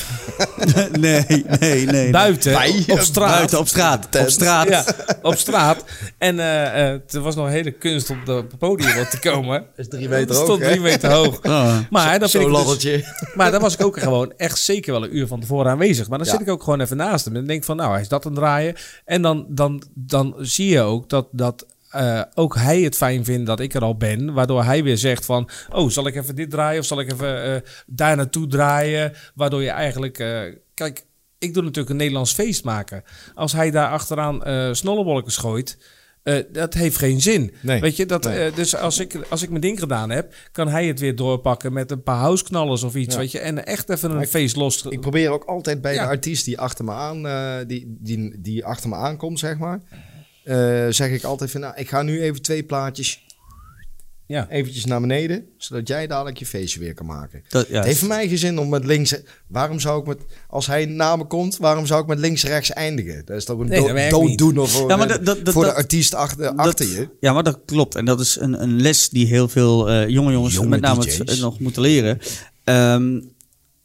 Speaker 1: nee, nee, nee. nee.
Speaker 3: Buiten,
Speaker 2: Bij-
Speaker 3: op straat.
Speaker 1: Buiten, op straat. Op straat.
Speaker 3: Ja, op straat. En eh, eh, er was nog een hele kunst om de- op het podium wat te komen. Dat is drie
Speaker 2: meter hoog,
Speaker 3: stond
Speaker 2: hè?
Speaker 3: drie meter hoog.
Speaker 1: Ah.
Speaker 3: Maar dat vind
Speaker 2: Zo'n
Speaker 3: ik dus-
Speaker 2: laddertje. [laughs]
Speaker 3: Maar daar was ik ook gewoon echt zeker wel een uur van tevoren aanwezig. Maar dan
Speaker 2: Ja.
Speaker 3: zit ik ook gewoon even naast hem. En denk van, nou, hij is dat aan het draaien. En dan, dan, dan zie je ook dat, dat eh, ook hij het fijn vindt dat ik er al ben. Waardoor hij weer zegt van, oh, zal ik even dit draaien? Of zal ik even eh, daar naartoe draaien? Waardoor je eigenlijk... eh, kijk, ik doe natuurlijk een Nederlands feest maken. Als hij daar achteraan eh snollebolken gooit... eh, dat heeft geen zin.
Speaker 2: Nee.
Speaker 3: Weet je, dat,
Speaker 2: Nee.
Speaker 3: eh, eh, dus als ik, als ik mijn ding gedaan heb, kan hij het weer doorpakken met een paar houseknallers of iets.
Speaker 2: Ja.
Speaker 3: Weet je, en echt even
Speaker 2: Maar
Speaker 3: een
Speaker 2: ik-
Speaker 3: feest los.
Speaker 2: Ik probeer ook altijd bij
Speaker 3: Ja.
Speaker 2: de artiest die achter me aan, eh, die, die, die achter me aankomt, zeg maar. eh, zeg ik altijd van, nou, ik ga nu even twee plaatjes
Speaker 3: ja.
Speaker 2: eventjes naar beneden, zodat jij dadelijk je feestje weer kan maken.
Speaker 1: Dat, ja.
Speaker 2: Het heeft voor mij geen zin om met links. Waarom zou ik met. Als hij na me komt, waarom zou ik met links-rechts eindigen? Dat is toch een
Speaker 3: Nee, dat
Speaker 2: dood
Speaker 3: werkt niet.
Speaker 2: dooddoener voor,
Speaker 1: Ja, maar
Speaker 2: de-
Speaker 1: dat- dat- dat-
Speaker 2: voor de
Speaker 1: dat-
Speaker 2: artiest achter,
Speaker 1: Dat-
Speaker 2: eh, achter je.
Speaker 1: Ja, maar dat klopt. En dat is een, een les die heel veel eh, jonge jongens,
Speaker 2: Jonge
Speaker 1: met name
Speaker 2: DJ's.
Speaker 1: het- het nog moeten leren. Ehm,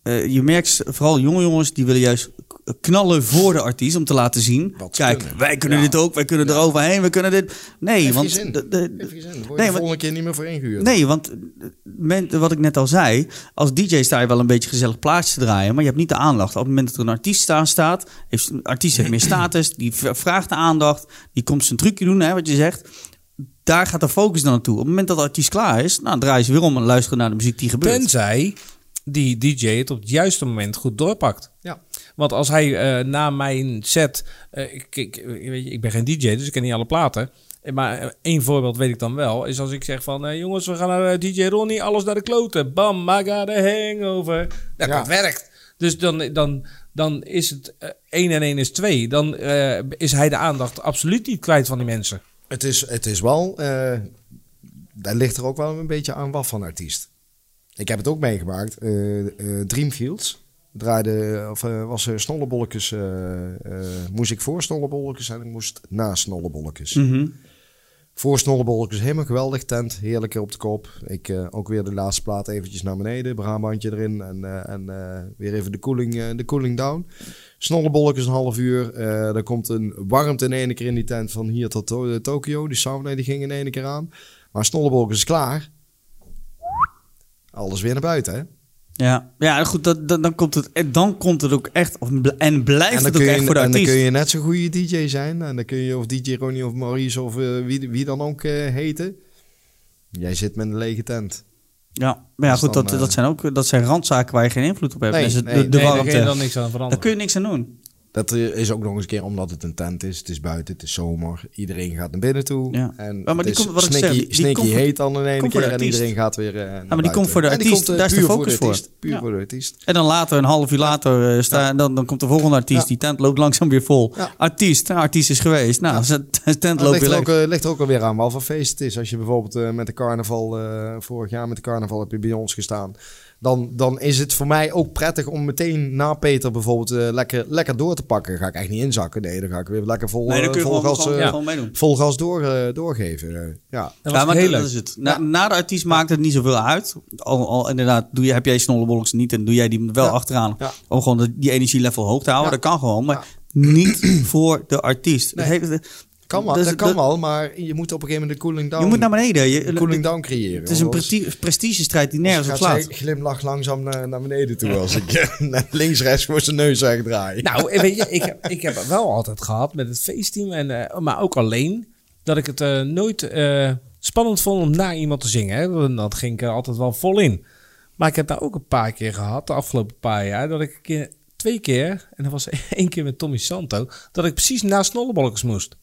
Speaker 1: eh, je merkt vooral jonge jongens die willen juist k- knallen voor de artiest om te laten zien.
Speaker 2: Wat ze
Speaker 1: Kijk,
Speaker 2: kunnen.
Speaker 1: wij kunnen dit ook, wij kunnen eroverheen, we kunnen dit. Nee,
Speaker 2: Heeft geen
Speaker 1: want
Speaker 2: zin.
Speaker 1: de- de-
Speaker 2: Heeft geen zin. Daar word je
Speaker 1: Nee,
Speaker 2: de
Speaker 1: want-
Speaker 2: volgende keer niet meer voor ingehuurd.
Speaker 1: Nee, want eh, men- wat ik net al zei, als DJ sta je wel een beetje gezellig plaatjes te draaien, maar je hebt niet de aandacht. Op het moment dat er een artiest aan staat, heeft een artiest heeft meer status, die v- vraagt de aandacht, die komt zijn trucje doen, hè, wat je zegt. Daar gaat de focus dan naartoe. Op het moment dat de artiest klaar is, nou, draaien ze weer om en luisteren naar de muziek die gebeurt.
Speaker 3: Tenzij die DJ het op het juiste moment goed doorpakt.
Speaker 2: Ja.
Speaker 3: Want als hij eh, na mijn set. eh, ik, ik, weet je, ik ben geen DJ, dus ik ken niet alle platen. Eh, Maar eh, één voorbeeld weet ik dan wel. Is als ik zeg van. eh, jongens, we gaan naar eh, DJ Ronnie, alles naar de kloten. Bam, I got a hangover. Nou,
Speaker 2: Ja.
Speaker 3: dat werkt. Dus dan, dan, dan is het eh, één en één is twee. Dan eh, is hij de aandacht absoluut niet kwijt van die mensen.
Speaker 2: Het, is, het is wel. eh daar ligt er ook wel een beetje aan wat van artiest. Ik heb het ook meegemaakt. eh, eh, Dreamfields draaide. Of eh, was er snollebolletjes. eh, eh, moest ik voor snollebolletjes en ik moest na snollebolletjes.
Speaker 1: Mhm.
Speaker 2: Voor snollebolletjes helemaal geweldig tent. Heerlijk op de kop. Ik eh, ook weer de laatste plaat eventjes naar beneden. Braambandje erin. En, eh, en eh, weer even de cooling, eh, de cooling down. Snollebolletjes een half uur. Eh er komt een warmte in ene keer in die tent van hier tot To- eh, Tokio. Die sauna die ging in ene keer aan. Maar snollebolletjes is klaar. Alles weer naar buiten hè.
Speaker 1: Ja, ja goed, dat, dat- dan, komt het, en dan komt het ook echt, of bl- en blijft
Speaker 2: En dan,
Speaker 1: het ook
Speaker 2: kun je,
Speaker 1: echt voor de
Speaker 2: en dan
Speaker 1: artiest.
Speaker 2: kun je net zo'n goede DJ zijn. En dan kun je of DJ Ronnie of Maurice of eh, wie, wie dan ook eh, heten. Jij zit met een lege tent.
Speaker 1: Ja, maar ja,
Speaker 2: Dus
Speaker 1: goed,
Speaker 2: dan,
Speaker 1: dat,
Speaker 2: eh,
Speaker 1: dat zijn ook dat zijn randzaken waar je geen invloed op hebt.
Speaker 2: Nee,
Speaker 1: Dus het-
Speaker 2: nee,
Speaker 1: de, de
Speaker 3: nee, daar kun je
Speaker 1: warmte.
Speaker 3: dan niks aan
Speaker 1: Daar
Speaker 3: veranderen.
Speaker 1: kun je niks aan doen.
Speaker 2: Dat eh, is ook nog eens een keer omdat het een tent is. Het is buiten, het is zomer. Iedereen gaat naar binnen toe.
Speaker 1: Ja.
Speaker 2: En
Speaker 1: Ja, maar
Speaker 2: het
Speaker 1: die
Speaker 2: is
Speaker 1: komt- wat ik
Speaker 2: sneaky,
Speaker 1: zeg, die- die
Speaker 2: sneaky
Speaker 1: komt voor-
Speaker 2: heet dan in één
Speaker 1: komt voor
Speaker 2: keer.
Speaker 1: de
Speaker 2: En
Speaker 1: artiest.
Speaker 2: iedereen gaat weer eh, naar
Speaker 1: maar die komt
Speaker 2: buiten.
Speaker 1: voor de
Speaker 2: En die
Speaker 1: artiest,
Speaker 2: komt, eh,
Speaker 1: daar is de
Speaker 2: puur
Speaker 1: focus voor.
Speaker 2: artiest, Puur
Speaker 1: Ja.
Speaker 2: voor de artiest.
Speaker 1: En dan later, een half uur later, eh, sta, dan, dan komt de volgende artiest.
Speaker 2: Ja.
Speaker 1: Die tent loopt langzaam weer vol.
Speaker 2: Ja.
Speaker 1: Artiest, nou, artiest is geweest. Nou, zijn tent
Speaker 2: Maar Het
Speaker 1: loopt
Speaker 2: ligt
Speaker 1: weer
Speaker 2: er, ook,
Speaker 1: leeg.
Speaker 2: eh, ligt er ook alweer aan wat voor feest het is. Als je bijvoorbeeld eh, met de carnaval, eh, vorig jaar met de carnaval heb je bij ons gestaan. Dan, dan is het voor mij ook prettig om meteen na Peter bijvoorbeeld eh, lekker, lekker door te pakken. Ga ik echt niet inzakken. Nee, dan ga ik weer lekker vol,
Speaker 1: Nee,
Speaker 2: eh,
Speaker 1: dan kun je
Speaker 2: vol,
Speaker 1: gewoon,
Speaker 2: gas,
Speaker 1: gewoon,
Speaker 2: eh,
Speaker 1: gewoon meedoen.
Speaker 2: vol gas door, eh, doorgeven. eh, ja.
Speaker 3: Dat was
Speaker 1: ja, maar
Speaker 3: heel
Speaker 1: dat
Speaker 3: leuk.
Speaker 1: is het. Na, na de artiest maakt het niet zoveel uit. Al, al inderdaad, doe je, heb jij snollebolks niet en doe jij die wel
Speaker 2: Ja.
Speaker 1: achteraan.
Speaker 2: Ja.
Speaker 1: Om gewoon dat- die energielevel hoog te houden.
Speaker 2: Ja.
Speaker 1: Dat kan gewoon, maar niet [clears throat] voor de artiest. Dat heeft-
Speaker 2: Kan wel,
Speaker 1: dus
Speaker 2: dat kan wel, maar je moet op een gegeven moment de cooling down,
Speaker 1: Je moet naar beneden. Je-
Speaker 2: de cooling down creëren.
Speaker 1: het is een
Speaker 2: anders-
Speaker 1: presti- prestigestrijd die nergens op
Speaker 2: Dus gaat
Speaker 1: slaat.
Speaker 2: zij glimlach langzaam naar, naar beneden toe als ik [laughs] naar links rechts voor zijn neus eigenlijk draai.
Speaker 3: Nou, en weet je, ik, heb- ik heb het wel altijd gehad met het feestteam, en, eh, maar ook alleen, dat ik het eh, nooit eh, spannend vond om na iemand te zingen. Hè. Dan, dan ging ik er altijd wel vol in. Maar ik heb daar ook een paar keer gehad, de afgelopen paar jaar, dat ik een keer, twee keer, en dat was [laughs] één keer met Tommy Santo, dat ik precies na snollebolkers moest.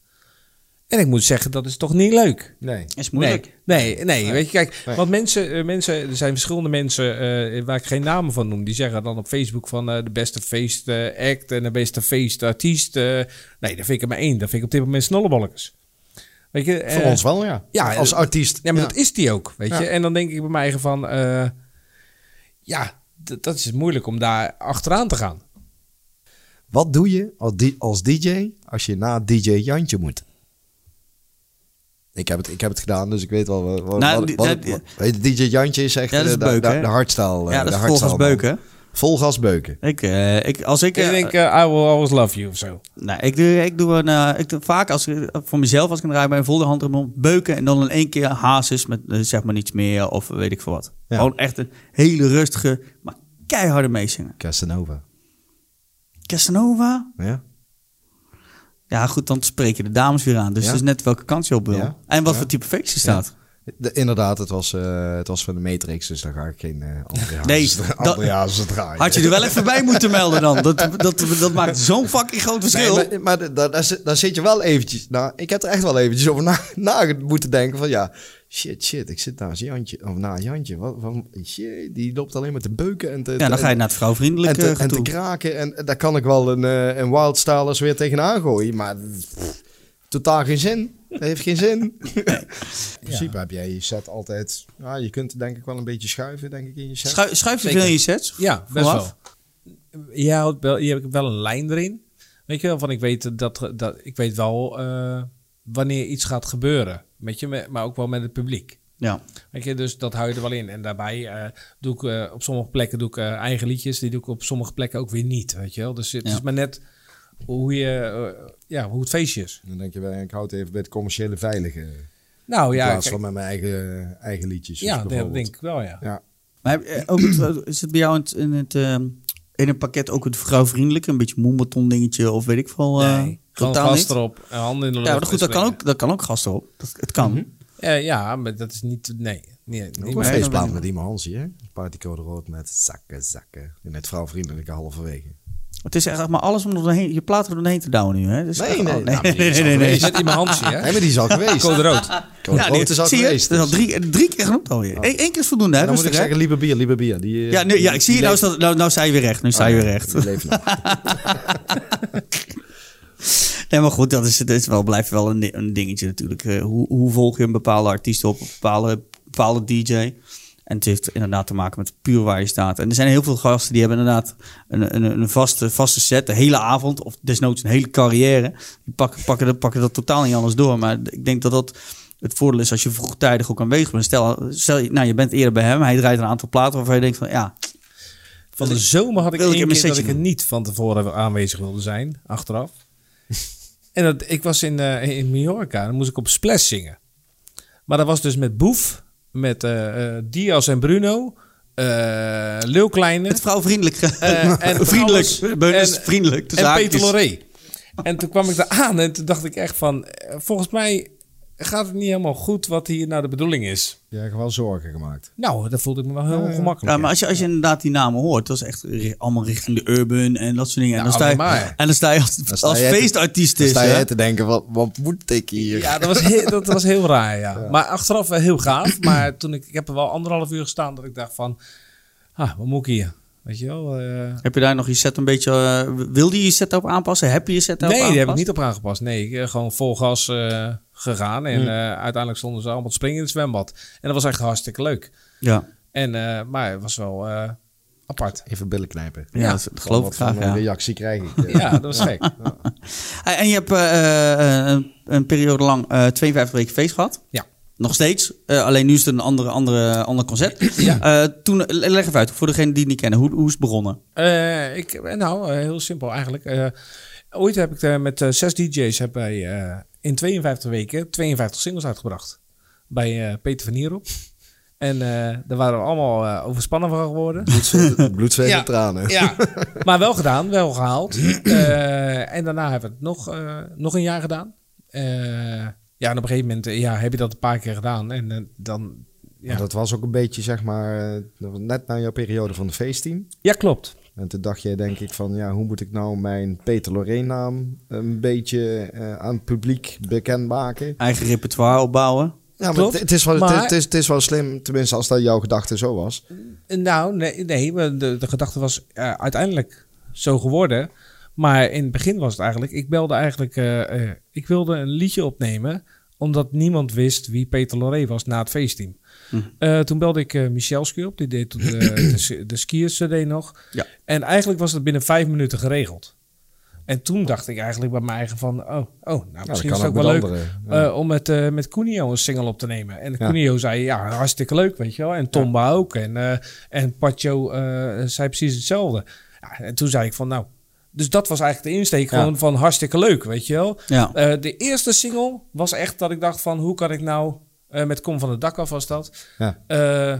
Speaker 3: En ik moet zeggen, dat is toch niet leuk.
Speaker 2: nee.
Speaker 1: Is moeilijk.
Speaker 3: Nee, nee, nee, weet je, kijk,
Speaker 2: Nee.
Speaker 3: want mensen, eh, mensen, er zijn verschillende mensen eh, waar ik geen namen van noem, die zeggen dan op Facebook van eh, de beste feestact eh, act en de beste feestartiest. eh nee, daar vind ik er maar één. Daar vind ik op dit moment snollebolkers. Weet je,
Speaker 2: Voor
Speaker 3: eh,
Speaker 2: ons wel, ja.
Speaker 3: ja,
Speaker 2: als
Speaker 3: eh,
Speaker 2: artiest.
Speaker 3: Ja, maar
Speaker 2: Ja.
Speaker 3: dat is die ook, weet je.
Speaker 2: Ja.
Speaker 3: En dan denk ik bij mij eigen van... eh, ja, d- dat is moeilijk om daar achteraan te gaan.
Speaker 2: Wat doe je als, di- als DJ als je na DJ Jantje moet? Ik heb het, ik heb het gedaan, dus ik weet wel wat. wat,
Speaker 1: Nou,
Speaker 2: wat-
Speaker 1: die-
Speaker 2: wat-
Speaker 1: dat-
Speaker 2: wat- weet je, DJ Jantje is echt
Speaker 1: Ja, dat is
Speaker 2: eh, de,
Speaker 1: beuken,
Speaker 2: de,
Speaker 1: hè?
Speaker 2: de hardstyle. eh,
Speaker 1: ja,
Speaker 2: de
Speaker 1: dat is
Speaker 2: hardstyle
Speaker 1: volgens
Speaker 2: man.
Speaker 1: beuken.
Speaker 2: Vol gas beuken.
Speaker 1: Ik, eh, ik, als ik,
Speaker 3: Ik
Speaker 1: eh,
Speaker 3: denk, eh, I will always love you of zo.
Speaker 1: Nou, ik doe, ik doe een, eh, ik doe vaak als, eh, voor mezelf als ik een draai bij een volle hand om beuken en dan in één keer hazes met eh, zeg maar niets meer of weet ik veel wat.
Speaker 2: Ja.
Speaker 1: Gewoon echt een hele rustige, maar keiharde meezingen.
Speaker 2: Casanova.
Speaker 1: Casanova?
Speaker 2: Ja?
Speaker 1: Ja goed, dan spreek je de dames weer aan. Dus
Speaker 2: Ja.
Speaker 1: het is net welke kant je op wil.
Speaker 2: Ja.
Speaker 1: En wat
Speaker 2: Ja.
Speaker 1: voor type feestje staat.
Speaker 2: De- inderdaad, het was, eh, het was van de Matrix, dus daar ga ik geen eh andere [laughs]
Speaker 1: Nee,
Speaker 2: hazes-
Speaker 1: dat-
Speaker 2: andere hazes draaien.
Speaker 1: Had je er wel even bij moeten melden dan. Dat, dat, dat maakt zo'n fucking groot verschil.
Speaker 2: Nee, maar maar da- da- daar, zit- daar zit je wel eventjes... Nou, ik heb er echt wel eventjes over na, na moeten denken van ja... Shit, shit, ik zit naast Jantje. Of na Jantje. Wat, wat- shit, die loopt alleen maar te beuken en te...
Speaker 1: ja, dan ga je naar het
Speaker 2: en
Speaker 1: vrouwvriendelijk
Speaker 2: te,
Speaker 1: eh,
Speaker 2: en te
Speaker 1: toe.
Speaker 2: kraken. En daar kan ik wel een, eh, een wildstylers weer tegenaan gooien. Maar pff, totaal geen zin. Dat heeft geen
Speaker 1: [laughs]
Speaker 2: zin. In principe heb jij je set altijd... Ja, je kunt denk ik wel een beetje schuiven denk ik, in je set.
Speaker 1: Schuif, schuif je
Speaker 3: Zeker.
Speaker 1: veel in je sets?
Speaker 3: Ja, best
Speaker 1: Vooraf?
Speaker 3: wel. Je, houdt wel. je hebt wel een lijn erin. Weet je wel, van ik weet, dat, dat, ik weet wel eh, wanneer iets gaat gebeuren. Met je, me- maar ook wel met het publiek.
Speaker 1: Ja.
Speaker 3: Weet je, dus dat hou je er wel in. En daarbij eh, doe ik eh, op sommige plekken doe ik, eh, eigen liedjes. Die doe ik op sommige plekken ook weer niet. Weet je wel? Dus het
Speaker 1: Ja.
Speaker 3: is maar net hoe, je, eh, ja, hoe het feestje is.
Speaker 2: Dan denk je wel, ik houd even bij het commerciële veilige.
Speaker 3: Nou
Speaker 1: Oh
Speaker 2: In
Speaker 3: ja,
Speaker 2: plaats
Speaker 3: kijk,
Speaker 2: van met mijn eigen, eigen liedjes.
Speaker 3: ja dat
Speaker 2: bijvoorbeeld.
Speaker 3: denk ik wel, ja.
Speaker 2: Ja.
Speaker 1: Maar heb- eh, ook het- is het bij jou in het, in, het, ehm, in een pakket ook het vrouwvriendelijk? Een beetje moemeton dingetje of weet ik veel. eh,
Speaker 3: Nee, gewoon
Speaker 1: totaal
Speaker 3: gas
Speaker 1: niet.
Speaker 3: erop, eh, handen in de lucht.
Speaker 1: Ja, maar goed,
Speaker 3: en
Speaker 1: dat kan
Speaker 3: springen.
Speaker 1: ook, dat kan ook gast erop. Dat, het kan.
Speaker 2: Mhm.
Speaker 3: Eh, ja, maar dat is niet... Nee, nee, niet
Speaker 2: Ook
Speaker 3: mijn-
Speaker 2: een
Speaker 1: mij.
Speaker 2: feestplaat met iemand Hansie, hè? Partycode rood met zakken, zakken. En het vrouwvriendelijke halverwege.
Speaker 1: Het is echt maar alles om er doorheen, je plaat er doorheen te douwen nu. Hè? Dus
Speaker 2: Nee,
Speaker 1: echt-
Speaker 2: nee,
Speaker 1: oh, nee,
Speaker 2: nou, die
Speaker 1: nee,
Speaker 2: is
Speaker 1: nee, nee, nee,
Speaker 3: Je zit in mijn handje, hè?
Speaker 2: Nee, maar die is al geweest.
Speaker 3: Code rood.
Speaker 2: Code
Speaker 1: Ja,
Speaker 2: rood
Speaker 1: nee,
Speaker 2: is al
Speaker 1: zie je?
Speaker 2: geweest.
Speaker 1: Dat is al
Speaker 2: dus.
Speaker 1: drie, drie keer genoemd alweer. Eén één keer is voldoende, hè?
Speaker 2: Dan moet ik
Speaker 1: rustig, hè?
Speaker 2: zeggen, lieve bier, lieve bier. Die, eh,
Speaker 1: ja, nu, ja,
Speaker 2: die-
Speaker 1: ik zie je,
Speaker 2: die
Speaker 1: nou,
Speaker 2: leeft-
Speaker 1: staat- nou, nou sta je weer recht. Nu sta je
Speaker 2: Oh,
Speaker 1: weer
Speaker 2: ja,
Speaker 1: recht.
Speaker 2: die leeft
Speaker 1: [laughs]
Speaker 2: nog.
Speaker 1: Nee, maar goed, dat, is, dat is wel, blijft wel een, di- een dingetje natuurlijk. Eh, hoe, hoe volg je een bepaalde artiest op, een bepaalde, bepaalde DJ? En het heeft inderdaad te maken met puur waar je staat. En er zijn heel veel gasten die hebben inderdaad een, een, een vaste, vaste set, de hele avond, of desnoods een hele carrière. Die pakken, pakken, dat, pakken dat totaal niet anders door. Maar ik denk dat dat het voordeel is als je vroegtijdig ook aanwezig bent. Stel, stel je- nou, je bent eerder bij hem, hij draait een aantal platen waarvan je denkt van ja,
Speaker 3: Van de zomer had ik
Speaker 1: Wil ik
Speaker 3: één
Speaker 1: in mijn
Speaker 3: keer dat
Speaker 1: setje
Speaker 3: ik er niet van tevoren aanwezig wilde zijn, achteraf. en dat, ik was in, eh, in Mallorca, dan moest ik op Splash zingen. Maar dat was dus met Boef, met eh, eh, Diaz en Bruno, eh Leeuw Kleine
Speaker 1: het vrouwvriendelijk.
Speaker 3: Eh, en
Speaker 1: [laughs] vriendelijk.
Speaker 3: trouwens-
Speaker 1: Beunens,
Speaker 3: en-
Speaker 1: vriendelijk. tussen
Speaker 3: en
Speaker 1: haakjes.
Speaker 3: Peter Loré. En toen kwam ik daar aan en toen dacht ik echt van, eh, volgens mij gaat het niet helemaal goed wat hier nou de bedoeling is.
Speaker 2: Je hebt wel zorgen gemaakt.
Speaker 3: Nou, dat voelde ik me wel heel ongemakkelijk.
Speaker 1: Ja, Eh, maar als je, als je inderdaad die namen hoort, dat is echt ri- allemaal richting de urban en dat soort dingen. En,
Speaker 3: Nou,
Speaker 1: dan, sta je,
Speaker 3: alleen maar.
Speaker 1: en dan sta je als,
Speaker 2: sta
Speaker 1: als
Speaker 2: jij te-
Speaker 1: feestartiest
Speaker 2: Dan
Speaker 1: is.
Speaker 2: sta je
Speaker 1: hè?
Speaker 2: te denken, wat, wat moet ik hier?
Speaker 3: Ja, dat was heel, dat was heel raar, ja. Maar achteraf wel heel gaaf. Maar toen ik, ik heb er wel anderhalf uur gestaan dat ik dacht van... Ah, wat moet ik hier? Weet je wel? eh,
Speaker 1: Heb je daar nog je set een beetje... eh, wilde je je set op aanpassen? Heb je je set op
Speaker 3: nee, daar
Speaker 1: aangepast?
Speaker 3: heb ik niet op aangepast. Nee, ik, eh, gewoon vol gas eh, gegaan. En eh, uiteindelijk stonden ze allemaal te springen in het zwembad. En dat was echt hartstikke leuk.
Speaker 1: Ja,
Speaker 3: En, eh, maar het was wel eh,
Speaker 2: [laughs]
Speaker 3: apart.
Speaker 2: Even billen knijpen.
Speaker 1: ja,
Speaker 3: Ja,
Speaker 1: dat geloof ik
Speaker 2: Wat voor
Speaker 1: graag,
Speaker 2: een
Speaker 1: ja.
Speaker 2: reactie krijg
Speaker 1: [laughs]
Speaker 2: ik? eh.
Speaker 3: Ja, dat was gek.
Speaker 1: En en je hebt eh, eh, een, een periode lang eh, 52 weken feest gehad.
Speaker 3: Ja.
Speaker 1: Nog steeds. Eh, alleen nu is het een andere, andere, ander
Speaker 3: [clears throat]
Speaker 1: concept. Eh, toen, leg even uit, voor degene die het niet kennen. Hoe, hoe is het begonnen?
Speaker 3: Eh, ik, eh, nou, eh, heel simpel eigenlijk. Eh, ooit heb ik eh, met eh, zes DJ's heb wij, eh, in 52 weken 52 singles uitgebracht. Bij eh, Peter van Nierop. En eh, daar waren we allemaal eh, overspannen van geworden.
Speaker 2: Bloed, zweet- bloed, zweet en tranen.
Speaker 3: Ja, maar wel gedaan, wel gehaald. Eh, en daarna hebben we het nog, eh, nog een jaar gedaan. Eh, ja, en op een gegeven moment eh, ja, heb je dat een paar keer gedaan. En eh, dan.
Speaker 2: Maar
Speaker 3: Ja,
Speaker 2: Dat was ook een beetje, zeg maar, eh, net na jouw periode van het feestteam.
Speaker 3: ja klopt.
Speaker 2: En toen dacht jij denk ik van, ja, hoe moet ik nou mijn Peter Lorraine naam een beetje eh, aan het publiek bekend maken?
Speaker 1: Eigen repertoire opbouwen.
Speaker 2: Ja, maar
Speaker 3: Klopt,
Speaker 2: het, het is wel, het,
Speaker 3: maar-
Speaker 2: is- het is, het is wel slim, tenminste als dat jouw gedachte zo was.
Speaker 3: Nou, nee, nee maar de, de gedachte was eh, uiteindelijk zo geworden. Maar in het begin was het eigenlijk, ik belde eigenlijk, eh, eh, ik wilde een liedje opnemen Omdat niemand wist wie Peter Loré was na het feestteam.
Speaker 1: Hm.
Speaker 3: Eh, toen belde ik eh Michelski op. Die deed toen [clears throat] de, de, s- de skiers CD nog.
Speaker 1: Ja.
Speaker 3: En eigenlijk was het binnen vijf minuten geregeld. En toen dacht ik eigenlijk bij mijn eigen van... Oh, oh nou, misschien is het ook wel leuk eh, om met, eh met Cunio een single op te nemen. En
Speaker 2: Ja.
Speaker 3: Cunio zei, ja, hartstikke leuk, weet je wel. En Tomba ook. En, eh en Pacho eh, zei precies hetzelfde. Ja, en toen zei ik van, nou... Dus dat was eigenlijk de insteek
Speaker 2: Ja.
Speaker 3: gewoon van hartstikke leuk, weet je wel.
Speaker 1: Ja.
Speaker 3: Eh, de eerste single was echt dat ik dacht van... hoe kan ik nou, eh, met Kom van het Dak af was dat...
Speaker 2: Ja.
Speaker 3: eh,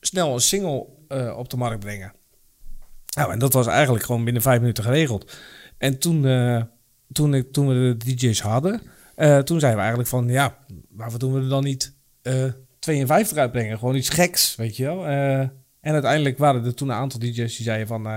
Speaker 3: snel een single eh, op de markt brengen. Nou, en dat was eigenlijk gewoon binnen vijf minuten geregeld. En toen, eh, toen, ik, toen we de DJ's hadden, eh, toen zeiden we eigenlijk van... ja, waarvoor doen we er dan niet eh 52 uitbrengen? Gewoon iets geks, weet je wel? Eh, en uiteindelijk waren er toen een aantal DJ's die zeiden van... eh,